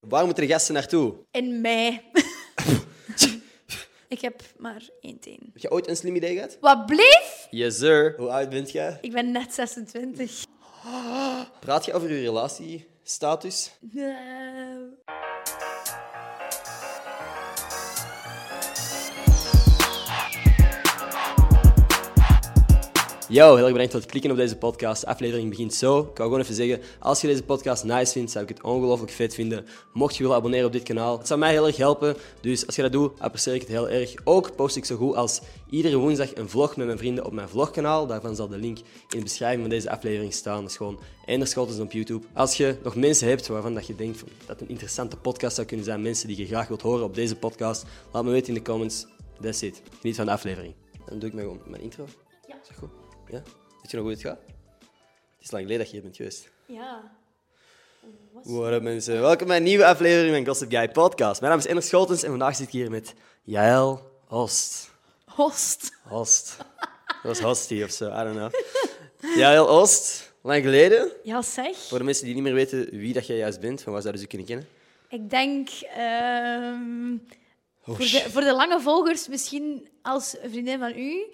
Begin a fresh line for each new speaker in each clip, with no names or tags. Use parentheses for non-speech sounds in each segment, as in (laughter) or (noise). Waar moeten de gasten naartoe?
En (laughs) mij. ik heb maar één teen.
Heb je ooit een slim idee gehad?
Wat bleef?
Yes, sir. Hoe oud bent jij?
Ik ben net 26.
Praat je over je relatie, status?
Eh,
Yo, heel erg bedankt voor het klikken op deze podcast. De aflevering begint zo. Ik wou gewoon even zeggen, als je deze podcast nice vindt, zou ik het ongelooflijk vet vinden. Mocht je willen abonneren op dit kanaal, het zou mij heel erg helpen. Dus als je dat doet, apprecieer ik het heel erg. Ook post ik zo goed als iedere woensdag een vlog met mijn vrienden op mijn vlogkanaal. Daarvan zal de link in de beschrijving van deze aflevering staan. Dat is gewoon Enderschotels op YouTube. Als je nog mensen hebt waarvan dat je denkt van, dat een interessante podcast zou kunnen zijn, mensen die je graag wilt horen op deze podcast, laat me weten in de comments. That's it. Geniet van de aflevering. Dan doe ik mijn, mijn intro.
Ja.
Is dat goed? Ja? Weet je nog hoe het gaat? Het is lang geleden dat je hier bent geweest.
ja.
Wow, mensen. Welkom bij een nieuwe aflevering van Gossip Guy Podcast. Mijn naam is Ender Scholtens en vandaag zit ik hier met Jaël Host.
Host.
Host. Dat was Hostie of zo, I don't know. Jaël Host, lang geleden.
Ja, zeg.
Voor de mensen die niet meer weten wie dat jij juist bent, van waar zouden ze je kunnen kennen?
Ik denk ehm, voor,
shit.
de, voor de lange volgers misschien als vriendin van u.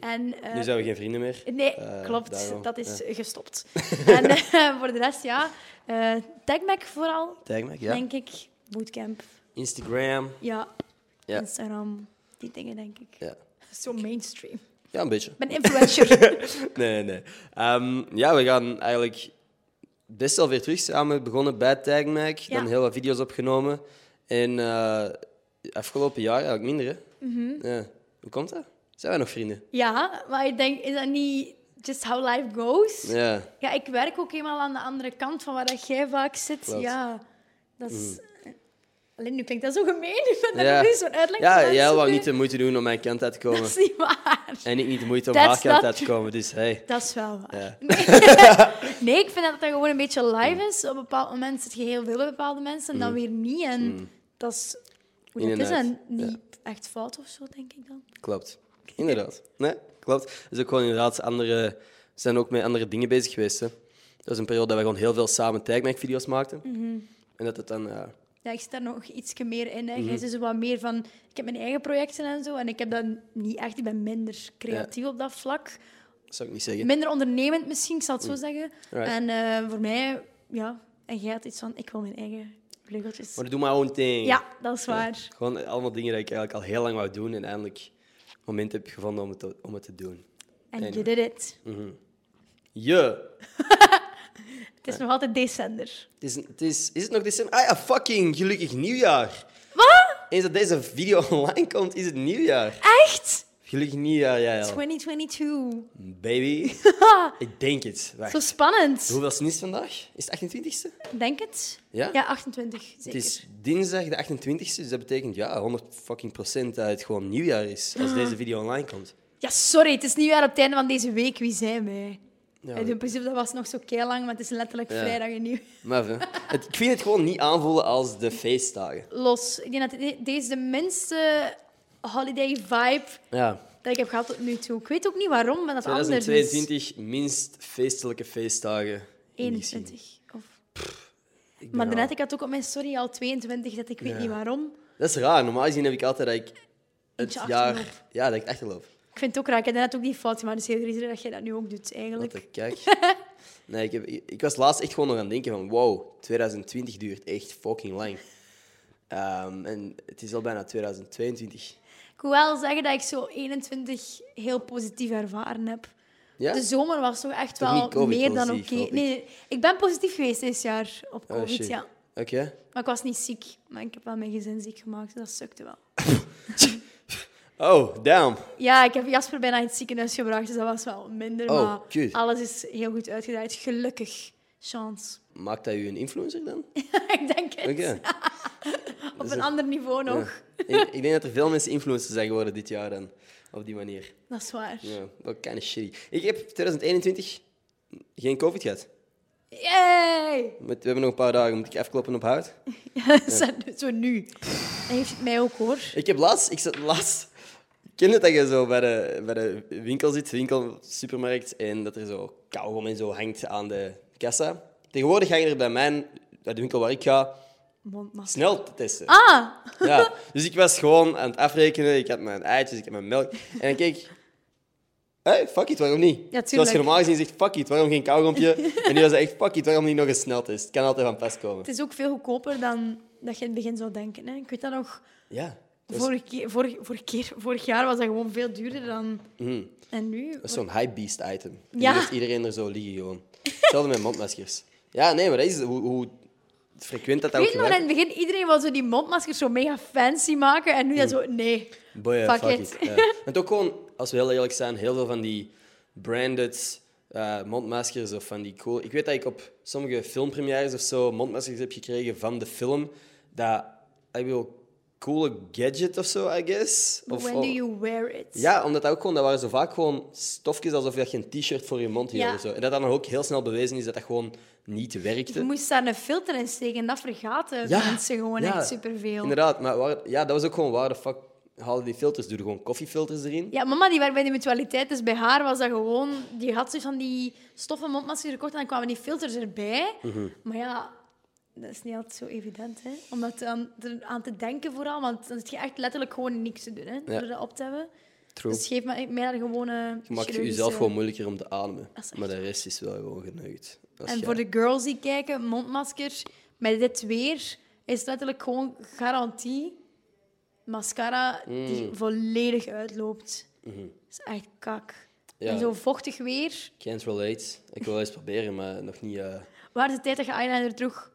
En, eh,
Nu zijn we geen vrienden meer.
Nee,
Mhm. Eh,
klopt.
daarom,
dat is
(laughs)
gestopt. en eh, voor de rest, ja. eh Tagmac vooral,
Tag me, ja.
denk ik. Bootcamp.
Instagram.
Ja.
Ja.
Instagram. Die dingen, denk ik.
Ja.
Zo mainstream.
ja, een beetje.
Ik ben influencer. (laughs)
Nee, nee, nee. Ehm, ja, we gaan eigenlijk best wel weer terug samen begonnen bij Tagmac.
Ja.
Dan heel wat video's opgenomen. En eh, afgelopen jaar eigenlijk minder, hè?
Mhm.
Ja. Hoe komt dat? Zijn wij nog vrienden?
ja, maar ik denk, is dat niet just how life goes?
Ja.
Ja, ik werk ook eenmaal aan de andere kant van waar dat jij vaak zit.
Klopt. Mm.
Ja, dat is... eh, Alleen nu klinkt dat zo gemeen. Ik ben daar
Ja.
nu zo'n uitleg aan
Ja,
het
jij wou
zoeken.
niet de moeite doen om mijn kant uit te
(laughs) Dat
komen.
is niet waar.
En ik niet de moeite om
That's
haar kant
not
uit te komen. Dus hey.
Dat is wel waar.
Ja.
Nee, (laughs) ik vind dat dat gewoon een beetje
Mm.
live is. Op een bepaald moment zit je heel veel bij bepaalde mensen en dan weer niet. En dat is... Hoe
Mm. In
dat
en
is
uit.
en niet echt fout of zo, denk ik dan.
Klopt. Inderdaad. Nee, klopt. Dus ook gewoon inderdaad andere... We zijn ook met andere dingen bezig geweest, hè. Dat was een periode dat we gewoon heel veel samen Tagmac-video's maakten.
Mhm.
En dat het dan... ja,
Ja, ik zit daar nog iets meer in. Hè.
Mhm.
Jij zit zo wat meer van... Ik heb mijn eigen projecten en zo. En ik heb dat niet echt. Ik ben minder creatief op dat vlak.
dat zou ik niet zeggen.
minder ondernemend misschien, ik zal het zo zeggen.
Right.
En eh, voor mij, ja, en jij had iets van, ik wil mijn eigen vleugeltjes.
Maar doe maar own thing.
Ja, dat is waar.
Gewoon allemaal dingen die ik eigenlijk al heel lang wou doen en eindelijk het moment heb gevonden om het te, om het te doen.
En
En-
je did it.
Mm. Je!
Het is nog altijd december.
Het is, het is, is het nog december? Ah ja, fucking gelukkig nieuwjaar!
Wat?
Eens dat deze video (laughs) online komt, is het nieuwjaar.
Echt?
Gelukkig nieuwjaar, ja, ja.
2022. (laughs)
Baby. ik denk het. Wacht.
Zo spannend.
Hoeveel is het vandaag? Is het 28e?
Denk het?
Ja?
Ja, 28, zeker.
Het is dinsdag de 28e, dus dat betekent ja, 100 fucking procent dat het gewoon nieuwjaar is
(gasps)
als deze video online komt.
Ja, sorry, het is nieuwjaar op het einde van deze week. Wie zijn wij?
Ja,
In principe, dat was nog zo kei lang, maar het is letterlijk
Ja.
vrijdag en nieuw.
Maar hè. Het- ik vind het gewoon niet aanvoelen als de feestdagen.
Los. Ik denk dat dit- deze de minste holiday vibe
Ja.
dat ik heb gehad tot nu toe. Ik weet ook niet waarom, maar dat is anders. is.
2022, minst feestelijke feestdagen. in die zin.
21. Of...
Ik ben
Maar
al-
daarnet, ik had ook op mijn story al 22 dat ik weet
Ja.
niet waarom.
Dat is raar. Normaal gezien heb ik altijd dat ik het
Eentje
jaar...
achterloop.
Ja, dat ik achterloop.
Ik vind het ook raar. Ik heb daarnet ook die fout, maar het is heel raar dat jij dat nu ook doet,
Dat
eigenlijk.
ik
(laughs)
kijk. Nee, ik, heb, ik, ik was laatst echt gewoon nog aan het denken van... Wow, 2020 duurt echt fucking lang. Ehm, en het is al bijna 2022.
Ik wil wel zeggen dat ik zo 21 heel positief ervaren heb.
Ja?
De zomer was toch echt
Toch niet
wel
covid
meer dan oké.
positief, hoop ik.
Nee, ik ben positief geweest dit jaar op
Oh,
COVID,
shit.
ja.
Oké.
Maar ik was niet ziek. Maar ik heb wel mijn gezin ziek gemaakt, dus dat sukte wel.
Oh, damn.
Ja, ik heb Jasper bijna in het ziekenhuis gebracht, dus dat was wel minder.
Oh,
maar
cute.
alles is heel goed uitgedraaid. Gelukkig. Chance. (laughs)
Maakt dat u een influencer dan?
ik denk het.
Oké.
Op een ander niveau nog.
Ja. Ik, ik denk dat er veel mensen influencers zijn geworden dit jaar dan. Op die manier.
Dat is waar.
Ja, wel kind of shitty. Ik heb 2021 geen COVID gehad.
Yay! (laughs)
Met- We hebben nog een paar dagen, moet ik afkloppen op hout.
Zo nu. Hij heeft het mij ook hoor.
Ik heb laatst, ik zat laatst. Ken je dat je zo bij de, bij de winkel zit, winkel, supermarkt, en dat er zo kauwgom en zo hangt aan de kassa? Tegenwoordig hangen er bij mijn, bij de winkel waar ik ga,
mondmasker.
Snel te testen.
Ah!
Ja. Dus ik was gewoon aan het afrekenen. Ik had mijn eitjes, ik had mijn melk. En dan keek ik... Hey, fuck it, waarom niet?
tuurlijk.
Zoals je normaal gezien zegt, fuck it, waarom geen kauwgompje? en nu was het echt, fuck it, waarom niet nog een sneltest? Het kan altijd van pas komen.
Het is ook veel goedkoper dan dat je in het begin zou denken. Hè. Ik weet dat nog,
Ja. Dat is,
vorige keer, vorig, vorige keer, vorig jaar was dat gewoon veel duurder dan... En nu...
Mhm. dat is zo'n high beast item. En
Ja.
Nu heeft iedereen er zo liggen gewoon. Hetzelfde met mondmaskers. Ja, nee, maar dat is hoe, hoe frequent dat
Ik
ook
weet nog, in
gebruikt
het begin, iedereen wil zo die mondmaskers zo mega fancy maken. En nu dat
Mhm.
zo... Nee.
Boy,
Fuck
fuck,
it.
it. Ja. En ook gewoon, als we heel eerlijk zijn, heel veel van die branded eh, mondmaskers of van die cool... Ik weet dat ik op sommige filmpremières of zo mondmaskers heb gekregen van de film. Dat, ik wil coole gadget of zo, I guess. Of,
When
of-
do you wear it?
Ja, omdat dat ook gewoon, dat waren zo vaak gewoon stofjes alsof je geen t-shirt voor je mond hield
Ja.
of zo. En dat dan ook heel snel bewezen is dat dat gewoon niet
Je
werkte.
moest daar een filter in steken. en Dat vergaten mensen gewoon
ja,
echt superveel.
Inderdaad, maar waar, ja, dat was ook gewoon waar de fuck halen die filters? Doe er gewoon koffiefilters erin?
Ja, mama die werkt bij de mutualiteit, dus bij haar was dat gewoon... Die had dus van die stoffen mondmaskers gekocht en dan kwamen die filters erbij.
Mhm.
Maar ja, dat is niet altijd zo evident, hè. Om dat aan, er aan te denken vooral, want dan zit je echt letterlijk gewoon niks te doen, hè. Door dat op te hebben.
True.
Dus geef mij, mij daar gewoon een
Je maakt
chirurgische-
jezelf gewoon moeilijker om te ademen.
Dat is echt
Maar de rest is wel gewoon geneukt. Als
En
jij-
voor de girls die kijken, mondmasker met dit weer is letterlijk gewoon garantie mascara die
Mm.
volledig uitloopt. Dat is echt kak.
Mhm. Ja.
En zo vochtig weer.
Can't relate. Ik wil eens proberen, maar nog niet... eh,
Waar is de tijd dat je eyeliner droeg?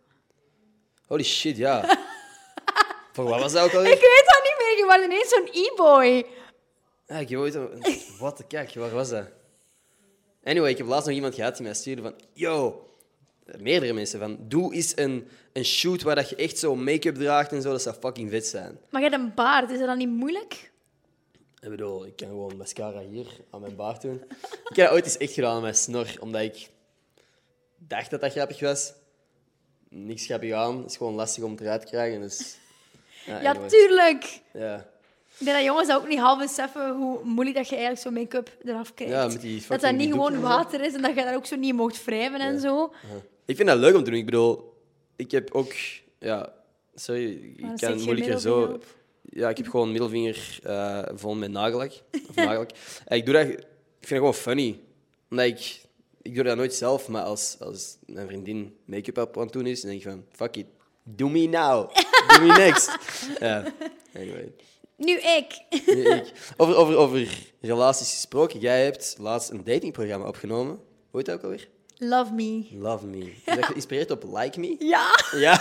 Holy shit, ja.
(laughs)
voor wat was dat ook alweer?
Ik weet dat niet meer. Je was ineens zo'n e-boy.
Ja, ik heb ooit... een- Wat de kijk, waar was dat? Anyway, ik heb laatst nog iemand gehad die mij stuurde van... Yo, meerdere mensen van... Doe eens een, een shoot waar dat je echt zo make-up draagt en zo. Dat zou fucking vet zijn.
Maar je hebt een baard. Is dat dan niet moeilijk?
Ik bedoel, ik kan gewoon mascara hier aan mijn baard doen. Ik heb dat ooit eens echt gedaan aan mijn snor, omdat ik dacht dat dat grappig was. Niks grappig aan, het is gewoon lastig om het eruit te krijgen. Dus... Ja,
Ja,
anyway.
tuurlijk.
ja.
Ik denk dat jongens dat ook niet half beseffen hoe moeilijk dat je eigenlijk zo'n make-up eraf krijgt.
Ja, met die
dat dat
fucking
niet gewoon
doeken.
water is en dat je daar ook zo niet mocht wrijven en zo.
Ik vind dat leuk om te doen. Ik bedoel, ik heb ook... Ja, sorry, ik
dan steek
kan
je
moeilijker
middelvinger
zo...
op.
Ja, ik heb gewoon middelvinger eh, vol met nagellak. Of (laughs) nagellak. En ik doe dat... Ik vind dat gewoon funny. Omdat ik... Ik doe dat nooit zelf, maar als, als mijn vriendin make-up op aan het doen is, dan denk ik van... Fuck it. Do me
(laughs)
now. Do me next. Ja, anyway.
Nu ik. (laughs)
Nu ik. Over, over, over relaties gesproken. Jij hebt laatst een datingprogramma opgenomen. Hoe heet dat ook alweer?
Love me.
Love Me. Is dat geïnspireerd op Like Me?
Ja, (laughs)
Ja.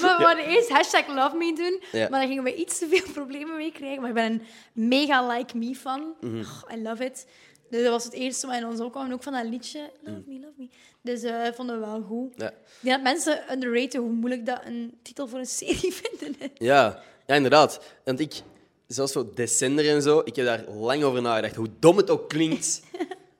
we wouden eerst hashtag love me doen,
Ja.
maar daar gingen we iets te veel (laughs) problemen mee krijgen. Maar ik ben een mega like me fan.
Mhm.
Oh, I love it. Dus dat was het eerste wat in ons opkwam. En ook van dat liedje, love me, love me. Dus eh vonden we wel
(laughs)
goed.
Mhm. Ja.
Ik denk dat mensen underraten hoe moeilijk dat een titel voor een (laughs) serie vinden. hè.
Ja, ja inderdaad. Want ik, zelfs zo Descender en zo, ik heb daar lang over nagedacht. Hoe dom het ook
(laughs)
klinkt,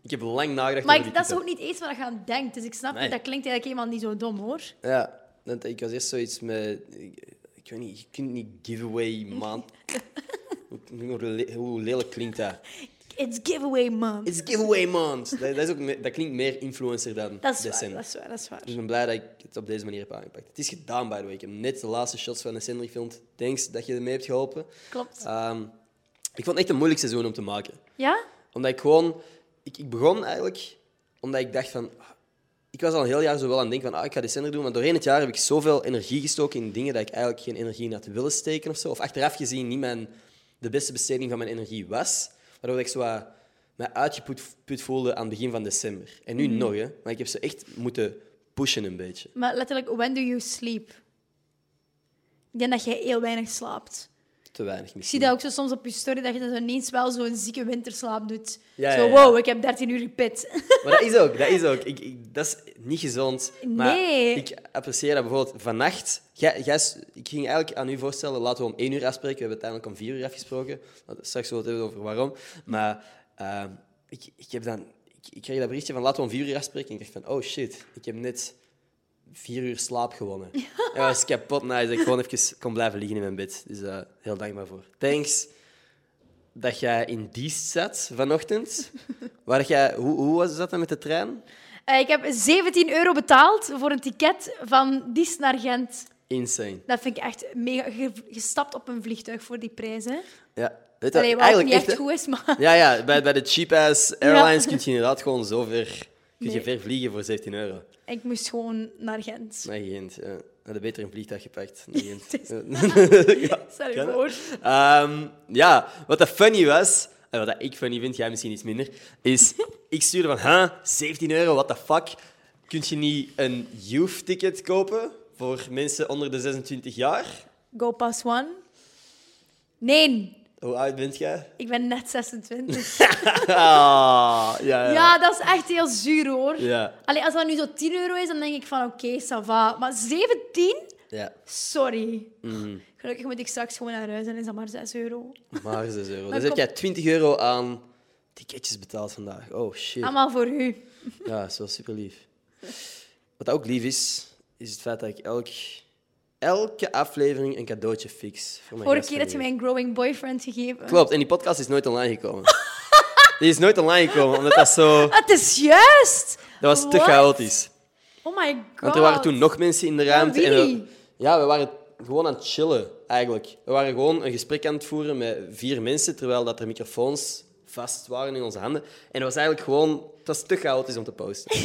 ik heb lang nagedacht
Maar
over die
ik- dat is
titel.
ook niet eens wat je aan denkt. Dus ik snap
Nee.
het, dat klinkt eigenlijk helemaal niet zo dom, hoor.
Ja, want ik was eerst zoiets met... Ik, ik weet niet, je kunt niet giveaway man.
(laughs)
hoe, hoe le- hoe lelijk klinkt dat?
It's giveaway, man.
It's giveaway month. Dat, dat, is ook, me- dat klinkt meer influencer dan
Dat is waar,
Descender.
dat is waar, dat is waar.
Dus ik ben blij dat ik het op deze manier heb aangepakt. Het is gedaan, by the way. Ik heb net de laatste shots van Descender gefilmd. Thanks dat je ermee hebt geholpen.
Klopt.
Ehm, ik vond het echt een moeilijk seizoen om te maken.
Ja?
Omdat ik gewoon... Ik, ik begon eigenlijk omdat ik dacht van... ah, Ik was al een heel jaar zo wel aan het denken van, ah, ik ga december doen. Maar doorheen het jaar heb ik zoveel energie gestoken in dingen dat ik eigenlijk geen energie in had willen steken of zo. Of achteraf gezien niet mijn, de beste besteding van mijn energie was. Waardoor ik zo wat mij uitgeput put voelde aan het begin van december. En nu
Mhm.
nog, hè. Maar ik heb ze echt moeten pushen een beetje.
Maar letterlijk, when do you sleep? Ik denk dat jij heel weinig slaapt.
Te weinig
Ik
misschien.
zie dat ook zo soms op je story, dat je dan zo ineens wel zo'n zieke winterslaap doet.
Ja,
zo,
ja, ja.
wow, ik heb 13 uur gepit. (laughs)
Maar dat is ook, dat is ook. Ik, ik, dat is niet gezond. Maar
Nee.
ik apprecieer dat bijvoorbeeld vannacht. Jij, jij, s- ik ging eigenlijk aan u voorstellen, laten we om één uur afspreken. We hebben uiteindelijk om vier uur afgesproken. Laten we Straks zullen we het hebben over waarom. Maar ehm, ik, ik, heb dan, ik, ik kreeg dat berichtje van laten we om vier uur afspreken. En ik dacht van, oh shit, ik heb net vier uur slaap gewonnen. En dat was kapot nice dat ik gewoon even kon blijven liggen in mijn bed. Dus eh, heel dankbaar voor. Thanks dat jij in dienst zat vanochtend. Waar jij, hoe, hoe was dat dan met de trein?
Eh, ik heb 17 euro betaald voor een ticket van Dies naar Gent.
insane.
Dat vind ik echt mega... ge- Gestapt op een vliegtuig voor die prijs, hè.
Ja, weet je,
Allee, wat ook
eigenlijk
niet echt,
echt, hè?
goed is, maar...
Ja, ja bij, bij de cheap-ass airlines
Ja.
kun je inderdaad gewoon zo ver... Kun je
Nee.
ver vliegen voor 17 euro.
(laughs) Ik moest gewoon naar Gent.
Nee, Gent. Ja. Hadden beter een vliegtuig gepakt.
(laughs)
Nee, Gent.
is-
ja.
Stel je
Ken je?
voor.
(laughs) Ehm, ja, wat dat funny was, en wat dat ik funny vind, jij misschien iets minder, is ik stuurde van, huh, 17 euro, what the fuck? Kun je niet een youth-ticket kopen voor mensen onder de 26 jaar?
Go pass one. Nee,
Hoe oud bent jij? (laughs)
ik ben net 26.
Ah, ja, ja.
ja, dat is echt heel zuur, hoor.
Ja,
Allee, als dat nu zo 10 euro is, dan denk ik van oké, ça va. Maar 17?
ja.
Sorry.
Mhm.
Gelukkig moet ik straks gewoon naar huis en is dat maar 6 euro.
maar 6 euro.
Dan
Dus heb
kom-
jij 20 euro aan ticketjes betaald vandaag. Oh, shit.
Allemaal voor u.
Ja, dat is wel super lief. Wat ook lief is, is het feit dat ik elk, elke aflevering een cadeautje fix. Voor mijn
Vorige keer had je
gastfamilie.
mij een growing boyfriend gegeven.
Klopt, en die podcast is nooit online gekomen. (laughs) die is nooit online gekomen, omdat dat zo...
Het is juist!
Dat was te
What?
chaotisch.
Oh my god.
Want er waren toen nog mensen in de ruimte.
wie?
En we- ja, we waren gewoon aan het chillen, eigenlijk. We waren gewoon een gesprek aan het voeren met vier mensen, terwijl dat er microfoons vast waren in onze handen. En dat was eigenlijk gewoon... Het was te chaotisch om te
(laughs)
posten.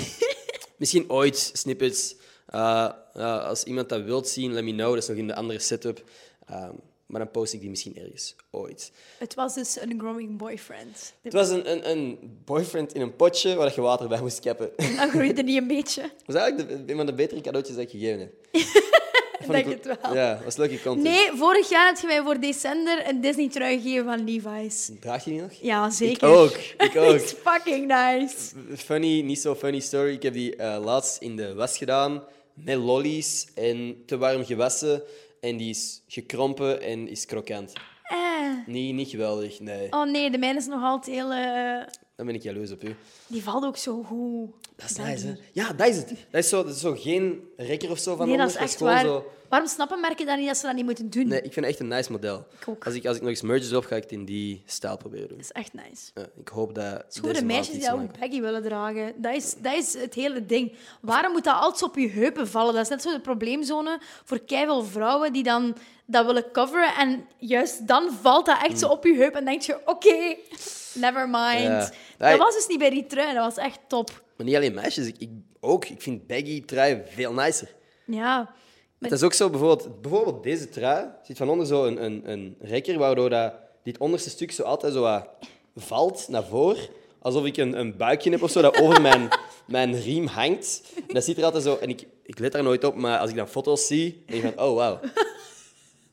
Misschien ooit snippets. Eh, eh, als iemand dat wilt zien, let me know. Dat is nog in de andere setup. Ehm, maar dan post ik die misschien ergens. Ooit.
Het was dus een growing boyfriend.
Het was een, een, een boyfriend in een potje waar je water bij moest kappen. (laughs) Dat
Dat groeide niet een beetje. (laughs)
was eigenlijk de, een van de betere cadeautjes dat ik gegeven heb.
Ik denk het wel.
Ja, dat was leuke content.
Nee, vorig jaar had je mij voor december een Disney-trui gegeven van Levi's.
Draag je die nog?
Ja,
Ik
zeker.
ook.
(laughs)
Ik ook.
It's fucking nice.
(laughs) Funny, niet zo funny story. Ik heb die eh, laatst in de was gedaan met lollies en te warm gewassen. En die is gekrompen en is krokant.
Eh.
Niet, niet geweldig, nee.
Oh nee, de mijne is nog altijd heel... eh,
Dan ben ik jaloers op u.
Die valt ook zo goed.
Dat is
Dank
nice,
u.
hè? Ja, dat is het. Dat is zo, dat is zo geen rekker of zo van
Nee, dat
onder.
is echt
gewoon
waar.
Zo...
Waarom snappen merken dan niet dat ze dat niet moeten doen?
Nee, ik vind het echt een nice model.
Ik ook.
Als ik, als ik nog eens merges op, ga ik het in die stijl proberen doen.
Dat is echt nice.
Ja, ik hoop dat.
Het is goed voor de meisjes die dat ook baggy willen dragen. Dat is, dat is het hele ding. Waarom moet dat altijd op je heupen vallen? Dat is net zo de probleemzone voor keiveel vrouwen die dan dat willen coveren. En juist dan valt dat echt zo op je heup en denk je, oké, never
Mm. Ja.
mind.
Nee.
Dat was dus niet bij die trui, dat was echt top.
Maar niet alleen meisjes, ik, ik ook. Ik vind baggy trui veel nicer. (laughs)
Ja.
Het is ook zo, bijvoorbeeld, bijvoorbeeld deze trui zit van onder zo een, een, een rekker, waardoor dat, dit onderste stuk zo altijd zo wat valt naar voren. Alsof ik een, een buikje heb of zo dat over mijn, mijn riem hangt. En dat ziet er altijd zo. En ik, ik let daar nooit op, maar als ik dan foto's zie, denk ik van, oh wauw.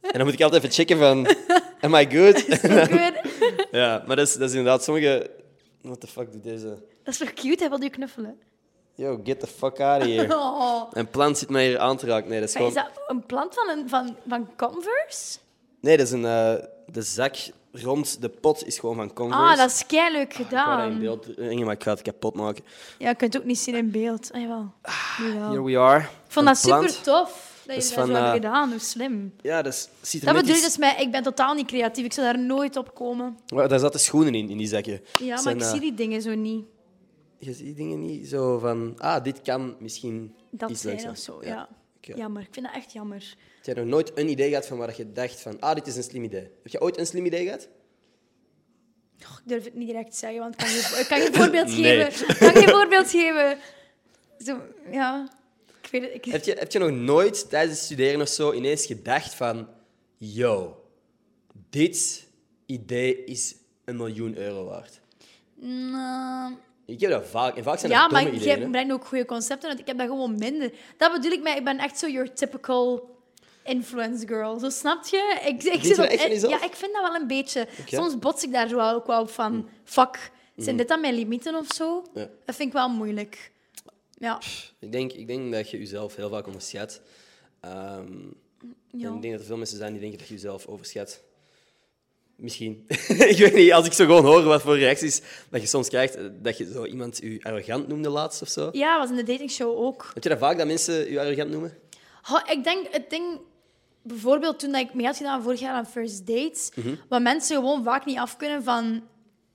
En dan moet ik altijd even checken van, am I
(laughs)
good?
Ook weer-
Ja, maar dat is, dat is inderdaad sommige. What the fuck doet deze?
Dat is toch cute, hij wilde je
(laughs)
knuffelen.
Yo, get the fuck out of
(laughs)
here.
Oh.
Een plant zit mij hier aan te raken. Nee, dat is
Maar is
gewoon.
dat een plant van, een, van, van Converse?
Nee, dat is een. eh, de zak rond de pot is gewoon van Converse.
Ah, dat is
Ik
leuk
wou dat in
gedaan.
beeld brengen, maar ik ga het kapot maken.
ja, je kunt het ook niet zien in beeld. Ah, jawel. Jawel.
Here we are.
Ik vond
Een
dat super
plant.
tof. Dat
is
je dat
van,
zo hebt
eh,
gedaan, hoe slim.
Ja, dat is, ziet er
Dat
net
bedoel ik
iets-
dus met, ik ben totaal niet creatief, ik zou daar nooit op komen.
Wa- Daar zaten schoenen in, in die zakje.
Ja, maar
Zijn,
ik
eh,
zie die dingen zo niet.
Je ziet dingen niet zo van. Ah, dit kan misschien.
Dat
iets
zijn
leuks
of zo, ja.
Oké.
Jammer, ik vind dat echt jammer.
Heb jij nog nooit een idee gehad van waar je dacht van. Ah, dit is een slim idee. Heb je ooit een slim idee
(laughs)
gehad?
Och, ik durf het niet direct te zeggen, want ik kan je, ik kan
(laughs)
je een voorbeeld
Nee.
geven. Ik kan je een voorbeeld geven. Zo, ja. Ik weet het, ik-
Heb je, heb je nog nooit tijdens het studeren of zo ineens gedacht van... Yo, dit idee is een miljoen euro waard.
Nou,
Ik heb dat vaak. En vaak zijn dat
ja, maar
domme
jij
ideeën. hè.
brengt ook goede concepten, want ik heb dat gewoon minder. Dat bedoel ik, maar ik ben echt zo your typical influence girl. Zo snap je? Ik, ik
je
zit
dat
op,
echt van jezelf?
ja, ik vind dat wel een beetje. Soms bots ik daar zo wel ook wel op van, fuck, zijn dit dan mijn limieten of zo?
Hmm. Ja.
Dat vind ik wel moeilijk. Ja,
Ik, denk, ik denk dat je jezelf heel vaak onderschat. Ehm, En
ja.
ik denk dat er veel mensen zijn die denken dat je jezelf overschat. Misschien. (laughs) ik weet niet, als ik zo gewoon hoor wat voor reacties dat je soms krijgt, eh, dat je zo iemand je arrogant noemde laatst of zo.
ja, was in de datingshow ook.
Heb je dat vaak, dat mensen je arrogant noemen?
Ho, ik denk het ding, bijvoorbeeld toen dat ik mee had gedaan vorig jaar aan First Dates, wat mensen gewoon vaak niet af kunnen van